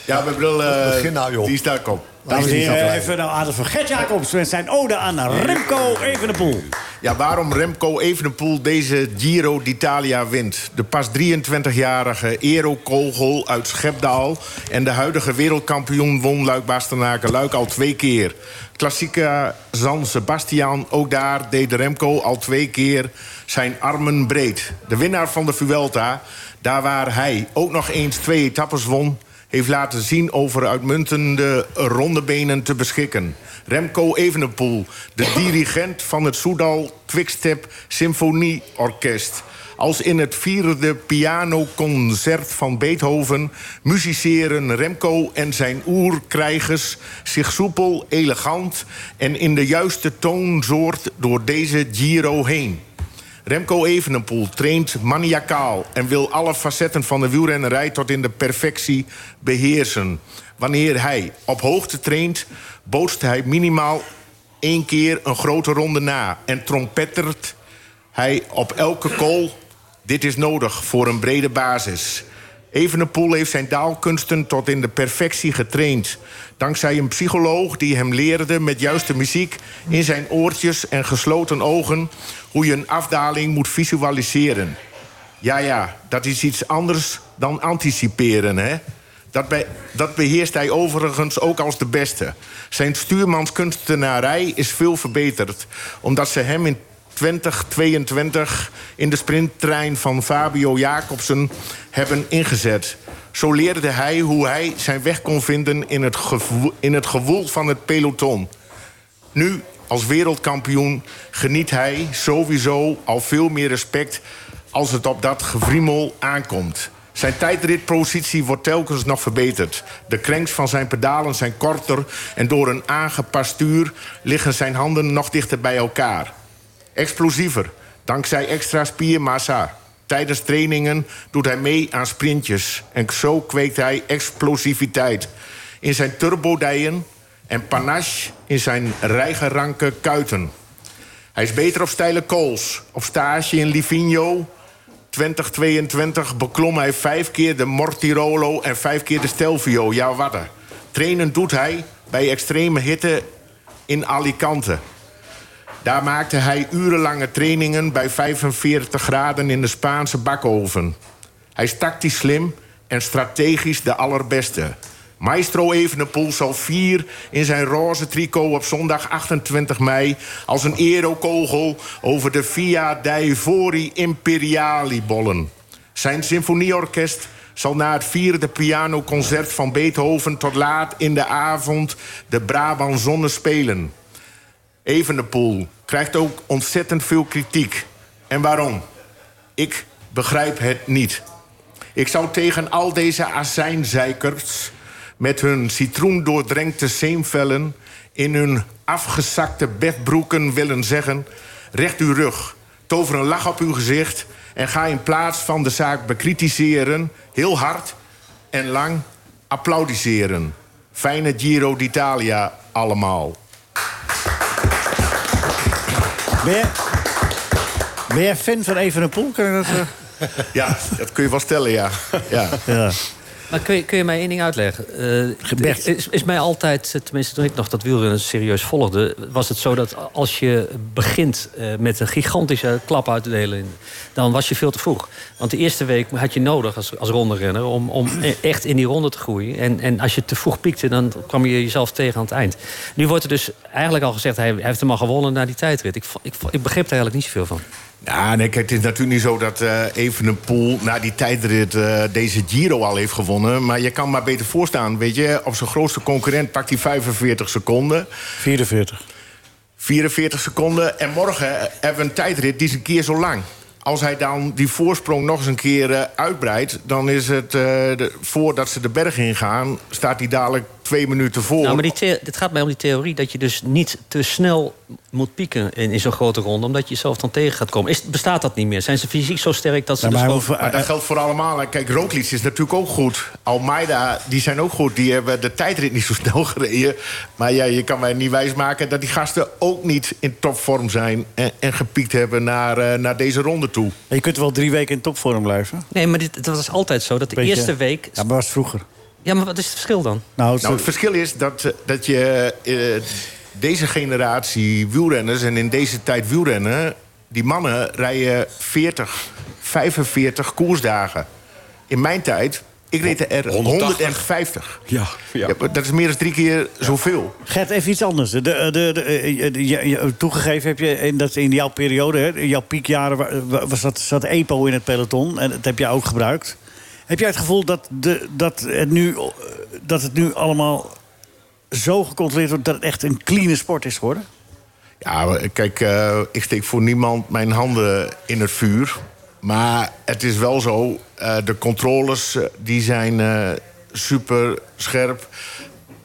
J: ja, mijn bril, eh,
I: Begin nou, joh.
J: die staat op.
C: Dames en heren, even naar Adel van Gert Jacobs met zijn ode aan Remco Evenepoel.
J: Ja, waarom Remco Evenepoel deze Giro d'Italia wint. De pas 23-jarige Eero Kogel uit Schepdaal... en de huidige wereldkampioen won Luik Bastenaken Luik al twee keer. Klassieke San Sebastian, ook daar deed Remco al twee keer zijn armen breed. De winnaar van de Vuelta, Daar waar hij ook nog eens twee etappes won... heeft laten zien over uitmuntende rondebenen te beschikken. Remco Evenepoel, de dirigent van het Soudal Quickstep Symfonieorkest... Als in het vierde pianoconcert van Beethoven... musiceren Remco en zijn oerkrijgers zich soepel, elegant... en in de juiste toonsoort door deze Giro heen. Remco Evenepoel traint maniacaal... en wil alle facetten van de wielrennerij tot in de perfectie beheersen. Wanneer hij op hoogte traint, bootst hij minimaal één keer een grote ronde na... en trompettert hij op elke call... dit is nodig voor een brede basis. Evenepoel heeft zijn daalkunsten tot in de perfectie getraind. Dankzij een psycholoog die hem leerde met juiste muziek... in zijn oortjes en gesloten ogen... hoe je een afdaling moet visualiseren. Ja, ja, dat is iets anders dan anticiperen, hè? Dat, be- dat beheerst hij overigens ook als de beste. Zijn stuurmanskunstenarij is veel verbeterd... omdat ze hem in 2022 in de sprinttrein van Fabio Jacobsen hebben ingezet. Zo leerde hij hoe hij zijn weg kon vinden in het, gewo- in het gewoel van het peloton. Nu, als wereldkampioen, geniet hij sowieso al veel meer respect als het op dat gevriemel aankomt. Zijn tijdritpositie wordt telkens nog verbeterd. De krenks van zijn pedalen zijn korter en door een aangepast stuur liggen zijn handen nog dichter bij elkaar explosiever dankzij extra spiermassa. Tijdens trainingen doet hij mee aan sprintjes en zo kweekt hij explosiviteit. In zijn turbodijen en panache in zijn rijgeranke kuiten. Hij is beter op steile kools. Op stage in Livigno 2022 beklom hij vijf keer de Mortirolo en vijf keer de Stelvio. Ja, wat er. Trainen doet hij bij extreme hitte in Alicante. Daar maakte hij urenlange trainingen bij 45 graden in de Spaanse bakoven. Hij is tactisch slim en strategisch de allerbeste. Maestro Evenepoel zal vier in zijn roze tricot op zondag 28 mei... als een erokogel over de Via dei Fori Imperiali bollen. Zijn symfonieorkest zal na het vierde pianoconcert van Beethoven... tot laat in de avond de Brabant Zonne spelen... Evenepoel krijgt ook ontzettend veel kritiek. En waarom? Ik begrijp het niet. Ik zou tegen al deze azijnzeikers... met hun citroendoordrenkte zeemvellen... in hun afgezakte bedbroeken willen zeggen... recht uw rug, tover een lach op uw gezicht... en ga in plaats van de zaak bekritiseren... heel hard en lang applaudisseren. Fijne Giro d'Italia allemaal.
C: Ben jij, ben jij fan van Evenepoel? Kan je dat... eh?
J: Ja, dat kun je wel stellen, ja. ja.
H: Maar kun je, kun je mij één ding uitleggen? Eh,
J: Bert.
H: is, is mij altijd, eh, tenminste toen ik nog dat wielrennen serieus volgde... was het zo dat als je begint eh, met een gigantische klap uit te delen... dan was je veel te vroeg. Want de eerste week had je nodig als, als ronderenner... om, om e- echt in die ronde te groeien. En, en als je te vroeg piekte, dan kwam je jezelf tegen aan het eind. Nu wordt er dus eigenlijk al gezegd... hij, hij heeft hem al gewonnen na die tijdrit. Ik, vo- ik, vo- ik begreep daar eigenlijk niet zoveel van.
J: Ja, nee, kijk, het is natuurlijk niet zo dat eh Evenepoel na die tijdrit eh, deze Giro al heeft gewonnen. Maar je kan maar beter voorstaan, weet je. Op zijn grootste concurrent pakt hij 45 seconden.
C: 44.
J: 44 seconden. En morgen hebben we een tijdrit die is een keer zo lang. Als hij dan die voorsprong nog eens een keer eh, uitbreidt... dan is het, eh, de- voordat ze de berg ingaan, staat hij dadelijk twee minuten voor.
H: Nou, maar die the- het gaat mij om die theorie dat je dus niet te snel moet pieken in, in zo'n grote ronde, omdat je jezelf dan tegen gaat komen. Is, bestaat dat niet meer? Zijn ze fysiek zo sterk dat ze.
J: Ja,
H: dus
J: maar,
H: gewoon-
C: Eh,
J: dat geldt voor allemaal. En Kijk, Roglic is natuurlijk ook goed. Almeida, die zijn ook goed. Die hebben de tijdrit niet zo snel gereden. Maar ja, je kan mij niet wijsmaken dat die gasten ook niet in topvorm zijn... en, en gepiekt hebben naar, eh, naar deze ronde toe.
C: eh, Je kunt wel drie weken in topvorm blijven.
H: Nee, maar dit, dat was altijd zo. Dat de
C: Beetje-
H: eerste week.
C: Ja, maar was het vroeger.
H: Ja, maar wat is het verschil dan?
C: Nou,
J: Nou, het verschil is dat, eh, dat je eh, deze generatie wielrenners... en in deze tijd wielrennen... die mannen rijden 40, 45 koersdagen. In mijn tijd Ik reed de R 150. Ja, maar Dat is meer dan drie keer zoveel.
C: Gert, even iets anders. De, de, de, eh, de- je- je- toegegeven heb je in, dat in jouw periode, hè, in jouw piekjaren, wa- wa- was dat, zat EPO in het peloton. En dat heb jij ook gebruikt. Heb jij het gevoel dat, de, dat, het, nu, eh, dat het nu allemaal zo gecontroleerd wordt dat het echt een clean sport is geworden?
J: Ja, maar kijk, eh, ik steek voor niemand mijn handen in het vuur. Maar het is wel zo, eh, de controles eh, die zijn super scherp.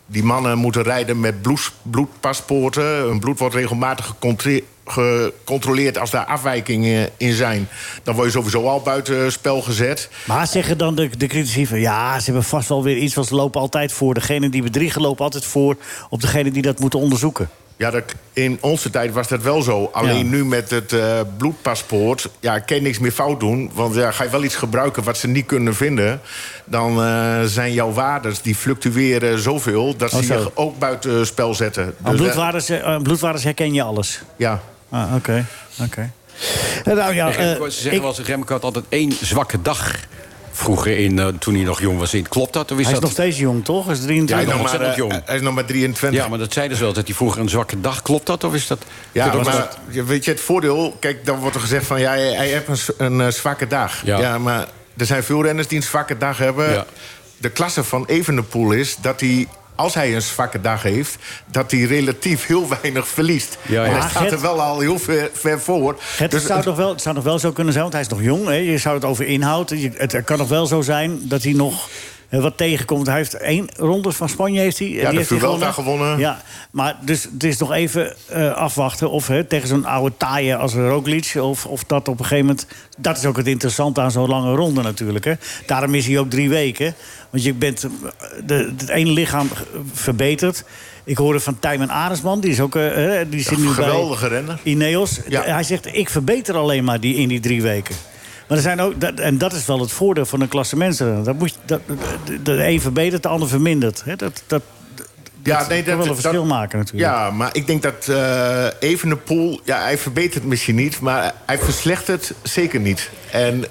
J: Die mannen moeten rijden met bloes- bloedpaspoorten. Hun bloed wordt regelmatig gecontre- gecontroleerd als daar afwijkingen in zijn. Dan word je sowieso al buiten spel gezet.
C: Maar zeggen dan de, de critici van ja, ze hebben vast wel weer iets, want ze lopen altijd voor. Degene die bedriegen lopen altijd voor op degene die dat moeten onderzoeken.
J: Ja, dat, in onze tijd was dat wel zo. Alleen nu met het eh, bloedpaspoort ja, kan je niks meer fout doen. Want ja, ga je wel iets gebruiken wat ze niet kunnen vinden... dan eh, zijn jouw waardes, die fluctueren zoveel... dat
C: Oh,
J: ze
C: zo.
J: je ook buiten spel zetten.
C: Aan
J: Dus, eh,
C: bloedwaardes, eh, aan bloedwaardes herken je alles.
J: Ja.
C: Ah, oké. Oké. Eh, Nou ja,
D: En Remco,
C: eh,
D: ze zeggen wel eens, Remco had altijd één zwakke dag vroeger in, eh, toen hij nog jong was. In. Klopt dat? Of is
C: hij is
D: dat...
C: nog steeds jong, toch? Hij is
D: Ja,
C: 23.
D: hij is nog maar, ontzettend jong.
J: Hij is nog maar 23.
D: Ja, maar dat zeiden ze wel, dat hij vroeger een zwakke dag... Klopt dat of is dat...
J: Ja,
D: dat ook
J: maar
D: wel-
J: je- weet je, het voordeel... Kijk, dan wordt er gezegd van, ja, hij, hij heeft een, z- een eh, zwakke dag.
D: Ja.
J: Ja. maar er zijn veel renners die een zwakke dag hebben.
D: Ja.
J: De klasse van Evenepoel is dat hij... Als hij een zwakke dag heeft, dat hij relatief heel weinig verliest.
C: Ja, ja.
J: En
C: Maar
J: hij staat
C: Gert-
J: er wel al heel ver, ver voor. Dus
C: Het, zou nog wel, het zou nog wel zo kunnen zijn, want hij is nog jong. Hè? Je zou het over inhoud. Je- het kan nog wel zo zijn dat hij nog eh, wat tegenkomt. Hij heeft één ronde van Spanje. Heeft hij, eh,
J: de
C: die heeft hij
J: Vuelta gewonnen.
C: Ja, maar dus het is nog even eh, afwachten of hè, tegen zo'n oude taaie als Roglic... Of, of dat op een gegeven moment... Dat is ook het interessante aan zo'n lange ronde natuurlijk. Hè? Daarom is hij ook drie weken. Want je bent eh, de, het ene lichaam eh, verbeterd. Ik hoorde van Tijmen Aresman, die is ook... eh, hè, die zit nu bij-
J: geweldige renner.
C: Ineos. Hij zegt, ik verbeter alleen maar die in die drie weken. Maar er zijn ook, dat, en dat is wel het voordeel van een klasse mensen. Dat moet je, dat, de, de een verbetert, de ander vermindert. Hè, dat, dat,
J: Ja, nee,
C: kan wel een verschil maken natuurlijk.
J: Ja, maar ik denk dat eh Evenepoel... Ja, hij verbetert misschien niet, maar hij verslechtert zeker niet. En, en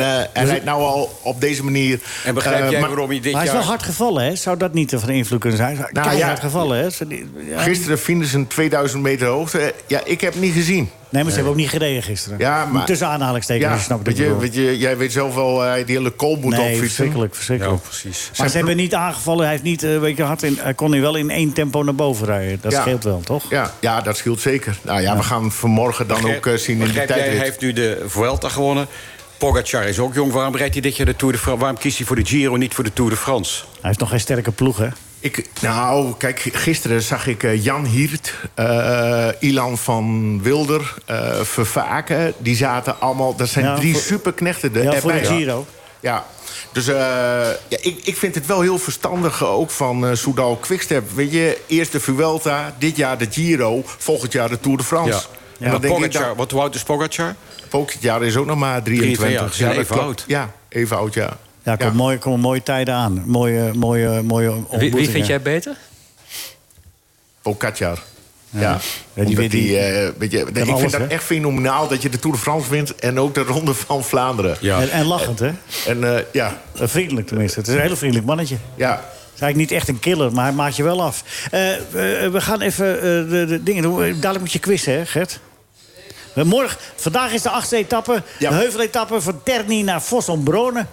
J: eh,
C: Dus-
J: hij rijdt nou al op deze manier... eh, En
D: begrijp jij waarom hij dit
C: maar hij is wel hard gevallen, hè? Zou dat niet van invloed kunnen zijn? Nou,
J: Nou, ja.
C: hard gevallen, hè? Ze- die- ja.
J: Gisteren vinden ze een 2000 meter hoogte. Ja, ik heb niet gezien. Nee,
C: maar ze hebben ook niet gereden gisteren.
J: Ja, maar...
C: Tussen aanhalingstekens,
J: Ja,
C: je snapt wat
J: weet
C: ik
J: je,
C: bedoel.
J: weet je, jij weet zelf wel, eh die hele kool moet
C: Nee,
J: opfietsen.
C: verschrikkelijk, verschrikkelijk.
D: Ja, precies.
C: Maar ze
J: Zijn
C: hebben niet aangevallen. Hij, heeft niet, eh, weet je, had in, hij kon hij wel in één tempo naar boven rijden. Dat
J: Ja.
C: scheelt wel, toch?
J: Ja, ja, dat scheelt zeker. Nou ja, we gaan vanmorgen dan
D: Begrijp-
J: ook eh, zien in die
D: begrijp jij,
J: tijdrit.
D: Hij heeft nu de Vuelta gewonnen. Pogacar is ook jong. Waarom rijdt hij dit jaar de Tour de Fran- Waarom kiest hij voor de Giro en niet voor de Tour de France?
C: Hij heeft nog geen sterke ploeg, hè?
J: Ik, nou, kijk, gisteren zag ik eh, Jan Hiert, eh, Ilan van Wilder, eh Vervaken. Die zaten allemaal... Dat zijn
C: Ja,
J: drie
C: voor-
J: superknechten er,
C: Ja, voor de
J: erbij.
C: Giro.
J: Ja, dus eh, ja, ik, ik vind het wel heel verstandig ook van eh Soudal Quickstep. Weet je, eerst de Vuelta, dit jaar de Giro, volgend jaar de Tour de France.
D: Ja.
J: En dan
D: Maar
J: denk ik
D: Pogacar,
J: dan-
D: wat hoe oud is Pogacar?
J: Volgend jaar is ook nog maar 23.
D: 23, ja,
J: dat
D: even
J: klopt.
D: oud.
J: Ja, even oud, ja.
C: Ja, komen mooie, komen mooie tijden aan. Mooie, mooie, mooie
H: Wie, wie vind
C: ontmoetingen.
H: jij beter?
J: Pogacar. Oh, Ja,
C: die
J: Omdat
C: weet-
J: die,
C: die-
J: eh, weet je, ik vind
C: alles,
J: dat
C: hè?
J: echt fenomenaal dat je de Tour de France wint... en ook de Ronde van Vlaanderen.
C: En, en lachend, hè?
J: En eh, ja,
C: Eh, Vriendelijk tenminste. Het is een heel vriendelijk mannetje.
J: Ja.
C: Het is eigenlijk niet echt een killer, maar hij maakt je wel af. Eh, eh, we gaan even eh, de, de dingen doen. Eh, Dadelijk moet je quizzen, hè, Gert? Eh, Morgen, vandaag is de achtste etappe. De heuveletappe van Terni naar Fossombrone.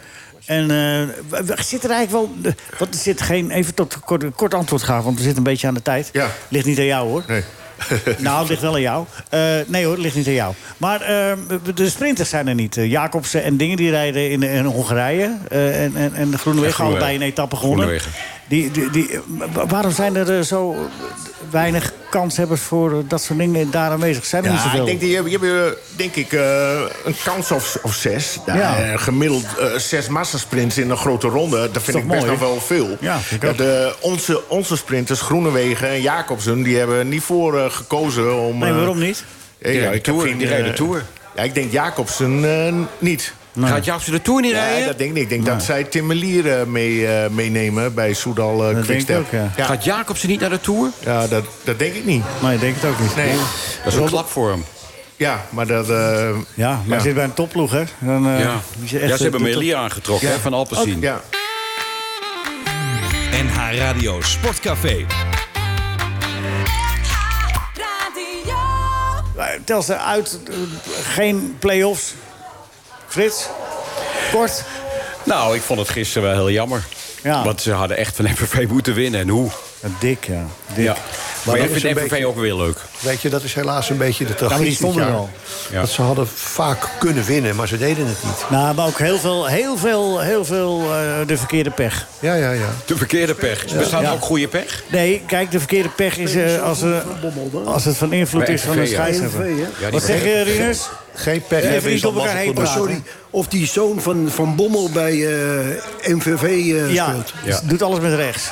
C: En eh, w- w- zit er eigenlijk wel... de- Want er zit geen... Even tot kort, kort antwoord gaan, want we zitten een beetje aan de tijd. Ligt niet aan jou, hoor.
J: Nee.
C: nou, het ligt wel aan jou. Eh, nee hoor, het ligt niet aan jou. Maar eh, de sprinters zijn er niet. Eh, Jacobsen en dingen die rijden in, in Hongarije. eh, en, en, en de Groenewegen
D: Groenewegen.
C: allebei een etappe gewonnen.
D: Groenewegen.
C: Die, die, die, eh, wa- waarom zijn er eh, zo weinig kanshebbers voor eh, dat soort dingen daar aanwezig? Zijn er niet
J: ja
C: zoveel?
J: ik denk, die hebben, die hebben, eh, denk ik eh, een kans of, of zes. Nou,
C: Ja.
J: eh, gemiddeld eh, zes massasprints in een grote ronde. Dat
C: toch
J: vind ik best
C: mooi?
J: nog wel veel.
C: Ja, vind ik ook.
J: de, onze, onze sprinters, Groenewegen en Jacobsen... die hebben niet voor eh, gekozen om...
C: Nee,
J: eh,
C: waarom niet?
J: eh, ja,
D: rijden
J: ik
D: de
J: heb
D: Tour,
J: geen,
D: die rijden de
J: eh,
D: Tour.
J: Ja, ik denk Jacobsen eh, niet.
D: Gaat Jacobsen de Tour niet
J: Nee,
D: rijden?
J: dat denk ik niet. Ik denk dat zij Tim Melier eh, mee, eh, meenemen bij Soudal eh
C: Dat denk ik
J: Quickstep.
C: ook, ja.
D: Gaat Jacobsen niet naar de Tour?
J: Ja, dat, dat denk ik niet.
C: Nee, ik denk het ook niet.
J: Nee.
D: Dat is een klap voor hem.
J: Ja, maar dat... eh,
C: Ja, maar hij zit bij een topploeg, hè? Dan, eh,
D: Ja.
C: die zit
D: ja,
C: echt,
D: ze hebben
C: eh, tot-
D: Melia aangetrokken
C: Ja.
D: hè, van Alpecin.
C: Ook-
J: Ja.
B: NH Radio Sportcafé.
C: Eh, Telstar uit, eh, geen play-offs. Frits, kort.
D: Nou, ik vond het gisteren wel heel jammer.
C: Ja.
D: Want ze hadden echt van MVV moeten winnen. En hoe?
C: Eh, Dik, ja.
D: Ja. Maar,
I: dat
D: jij
I: is
D: vindt
I: een
D: MVV
I: beetje-
D: ook weer leuk.
I: Weet je, dat is helaas een beetje de
D: maar die
I: tragiek dit
D: stonden er
I: jaar.
D: al. Ja.
I: Dat ze hadden vaak kunnen winnen, maar ze deden het niet.
C: Nou, maar ook heel veel, heel veel, heel veel eh, de verkeerde pech.
I: Ja, ja, ja.
D: De verkeerde pech. Bestaat
C: Ja.
D: ook goede pech?
C: Nee, kijk, de verkeerde pech is eh, als, eh, als het van invloed
D: Bij
C: is van een
D: NVV, ja.
C: scheidsrechter.
D: NVV, hè? Ja, die
C: Wat zeg je,
D: verkeerde-
C: Rinus?
I: Geen
C: pech Even hebben is niet op al elkaar lastig heen voor de praten.
G: Sorry, of die zoon van, van Bommel bij eh, MVV eh,
C: Ja,
G: speelt.
C: dus doet alles met rechts.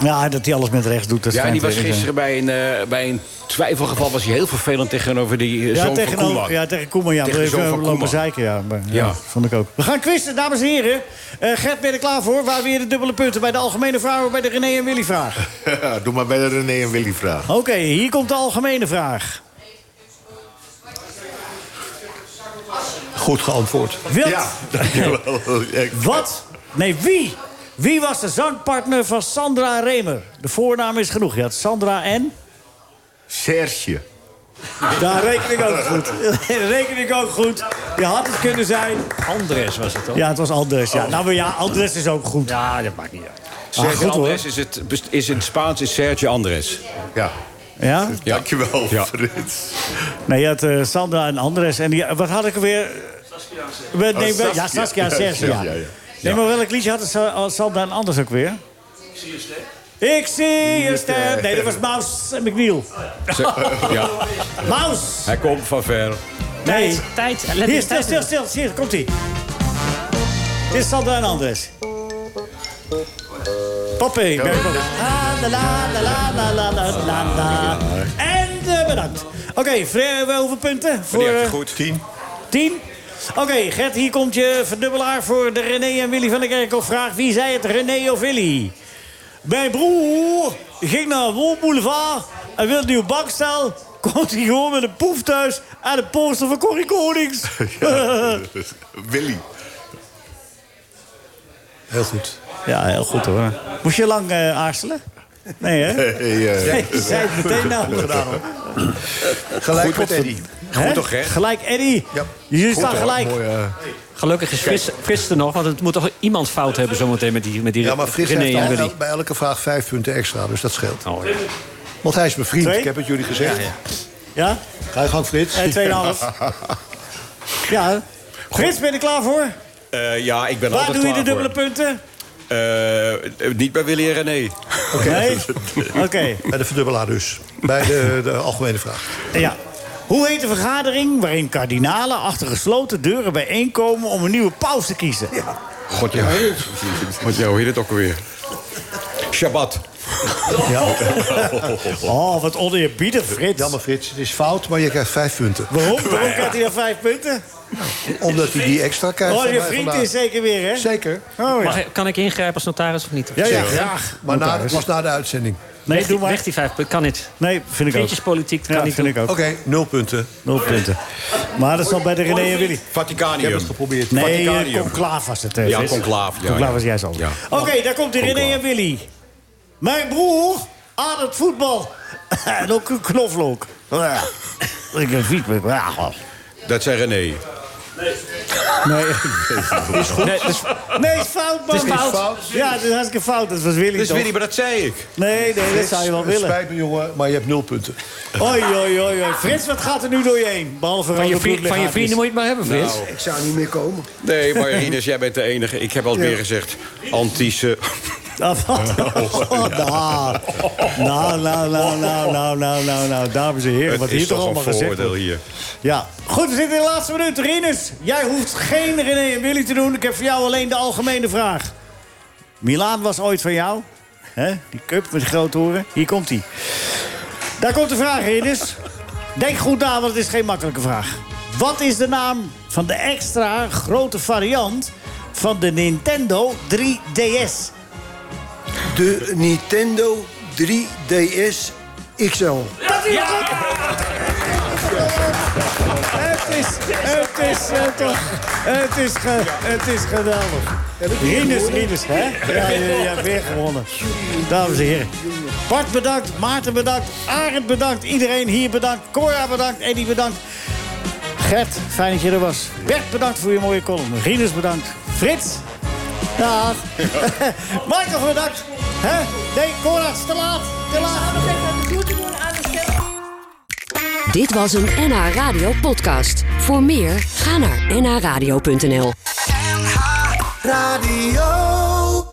C: Ja, dat hij alles met rechts doet. Dat
D: Ja, die
C: schijnt
D: was
C: weer, eh,
D: gisteren bij een, eh, bij een twijfelgeval was hij heel vervelend tegenover die eh,
C: Ja
D: zoon
C: tegen,
D: van Koeman.
C: ja, tegen Koeman. Ja,
D: Tegen
C: we
D: de zoon
C: even
D: van
C: lopen
D: Koeman.
C: zeiken. Ja, maar, ja,
D: Ja.
C: vond ik ook. We gaan quizzen, dames en heren. Eh Gert, ben je er klaar voor? Waar weer de dubbele punten? Bij de algemene vraag of bij de René en Willy vraag?
J: Doe maar bij de René en Willy vraag.
C: Oké, hier komt de algemene vraag.
I: Goed geantwoord.
C: Wat?
J: Ja, dankjewel.
C: Wat? Nee, wie? Wie was de zangpartner van Sandra Remer? De voornaam is genoeg. Je had Sandra en...
J: Serge.
C: Daar reken ik ook goed. Daar reken ik ook goed. Je had het kunnen zijn.
H: Andres was het toch?
C: Ja, het was Andres. Ja. Nou maar ja, Andres is ook goed.
H: Ja, dat maakt niet uit.
C: Ah,
D: Sergio
C: goed, hoor.
D: Andres is het, is in het Spaans is Sergio Andres.
J: Ja.
C: Ja?
J: Dankjewel,
D: Ja.
J: Frits.
C: Nee, je had eh, Sandra en Andres. En die, eh, wat had ik er weer? We- nee,
J: Oh,
C: we-
J: Saskia.
C: Ja, Saskia en
J: Ja,
C: Serge, ja.
J: ja, ja.
C: Nee, maar welk liedje hadden Sa- eh, Sandra en Anders ook weer? Ik zie je ster. Nee, dat was Maus en McNeil.
D: Ze- ja.
C: Maus!
D: Hij komt van ver.
C: Nee.
H: Tijd, eh, let
C: Hier,
H: die
C: stil,
H: tijd
C: stil, stil. Hier, komt ie. Dit is Sandra en Andres. Pappé. ik ben er ook. La, la, la, la, la, la, la, la, la. En eh, bedankt. Oké, Fre- eh, hoeveel punten? Voor,
D: Die heb je
C: eh,
D: goed.
J: Tien.
C: Tien. Oké, Gert, hier komt je verdubbelaar voor de René en Willy van der Kerkhoff. Vraag wie zei het, René of Willy? Mijn broer ging naar een woonboulevard en wilde nieuw bankstel. Komt hij gewoon met een poef thuis en een poster van Corrie Konings. Ja,
J: Willy.
I: Heel goed.
C: heel goed hoor. Moest je lang eh, aarzelen? Nee, hè?
J: Hey, eh,
C: Nee, je zei het meteen nou gedaan. hoor.
I: Gelijk
D: Goed,
I: met
D: wat-
I: Eddie.
C: Hè?
D: Goed toch, hè?
C: Gelijk, Eddie.
I: Ja.
C: Jullie
J: goed,
C: staan
J: hoor.
C: gelijk.
J: Mooi, eh,
H: Gelukkig is Frits, Frits er nog, want het moet toch iemand fout hebben zometeen met die, met die
I: Ja, maar Frits
H: René
I: heeft
H: en
I: al
H: Willy.
I: el- bij elke vraag vijf punten extra, dus dat scheelt.
H: Oh, ja.
I: Want hij is mijn vriend,
C: Twee?
I: ik heb het jullie gezegd.
C: Ja?
I: Ga je gang, Frits.
C: En 2,5. Ja. Frits, ben je er klaar voor?
D: Eh, ja, ik ben
C: Waar
D: altijd
C: doe je de
D: klaar
C: dubbele
D: voor.
C: punten?
D: Eh, niet bij Willy en René.
C: Nee? Oké.
I: Bij de verdubbelaar dus. Bij de, de algemene vraag.
C: Ja. Hoe heet de vergadering waarin kardinalen achter gesloten deuren bijeenkomen om een nieuwe paus te kiezen?
D: God, ja. Want jou heet het ook alweer. Shabbat.
C: Oh, wat oneerbiedig, Frits.
I: Jammer, Frits, het is fout, maar je krijgt vijf punten.
C: Waarom? Waarom krijgt hij dan vijf punten?
I: Omdat hij die extra krijgt.
C: Oh,
I: van
C: je
I: mij
C: vriend
I: vandaag.
C: is zeker weer, hè?
I: Zeker.
C: Oh, ja.
H: Mag ik- kan ik ingrijpen als notaris of niet?
C: Ja, ja, graag.
I: Maar na, het was na de uitzending.
C: Nee, doe maar.
H: Weg die vijf punten, kan niet.
C: Nee, vind ik ook.
H: Vriendjespolitiek, dat
C: Ja,
H: kan niet
C: vind ik ook.
I: Oké, nul punten.
C: Nul punten. Maar dat zal bij de René en Willy.
I: Ik heb
D: Vaticanium.
I: het geprobeerd.
C: Nee, eh,
D: Vaticanium.
C: conclaaf was het.
D: Ja, conclaaf, ja,
C: conclaaf
D: ja.
C: was jij zo.
D: Ja.
C: Oké, daar komt de René en Willy. Mijn broer aan het voetbal. en ook een knoflook. Ja. Ik een fiets met ja, man.
D: Dat zei René.
C: Nee. Nee, is fout, man.
H: Het is fout.
C: Ja, het is hartstikke fout. Dat was Willy
D: Dus
C: toch?
D: Willy, maar dat zei ik.
C: Nee, nee, dat zou je wel
I: Het
C: willen.
I: Spijt me, jongen, maar je hebt nul punten.
C: Oei, oei, oei, oei. Frits, wat gaat er nu door je heen? Behalve
H: Van je,
C: rode
H: vriend- van je
C: bloedlichaampjes.
H: vrienden moet je het maar hebben, Frits.
G: Ik zou niet meer komen.
D: Nee, maar Rinus, jij bent de enige. Ik heb al meer gezegd. Antische.
C: Ah, wat? Oh, nou. nou, nou, nou, nou, nou, nou, nou, nou, dames en heren, wat
D: Het is
C: hier toch
D: toch
C: allemaal
D: een
C: gezegd
D: voordeel
C: wordt.
D: hier.
C: Ja, goed, we zitten in de laatste minuut. Rinus, jij hoeft geen René en Willy te doen. Ik heb voor jou alleen de algemene vraag. Milaan was ooit van jou. hè? Die cup met de grote oren. Hier komt hij. Daar komt de vraag, Rinus. Denk goed na, want het is geen makkelijke vraag. Wat is de naam van de extra grote variant van de Nintendo 3DS?
G: De Nintendo 3DS XL.
C: Dat is het! Het is, het is eh, toch, het is, ge- het is geweldig. Rinus, Rinus, hè? Ja, ja, ja, weer gewonnen. Dames en heren. Bart bedankt, Maarten bedankt, Arend bedankt, iedereen hier bedankt, Cora bedankt, Eddie bedankt. Gert, fijn dat je er was. Bert, bedankt voor je mooie column. Rinus, bedankt. Frits, dag. Michael, bedankt. Hè? Nee, Cora, is te laat. Te laat.
L: Dit was een NH Radio podcast. Voor meer, ga naar nhradio.nl.
O: Radio.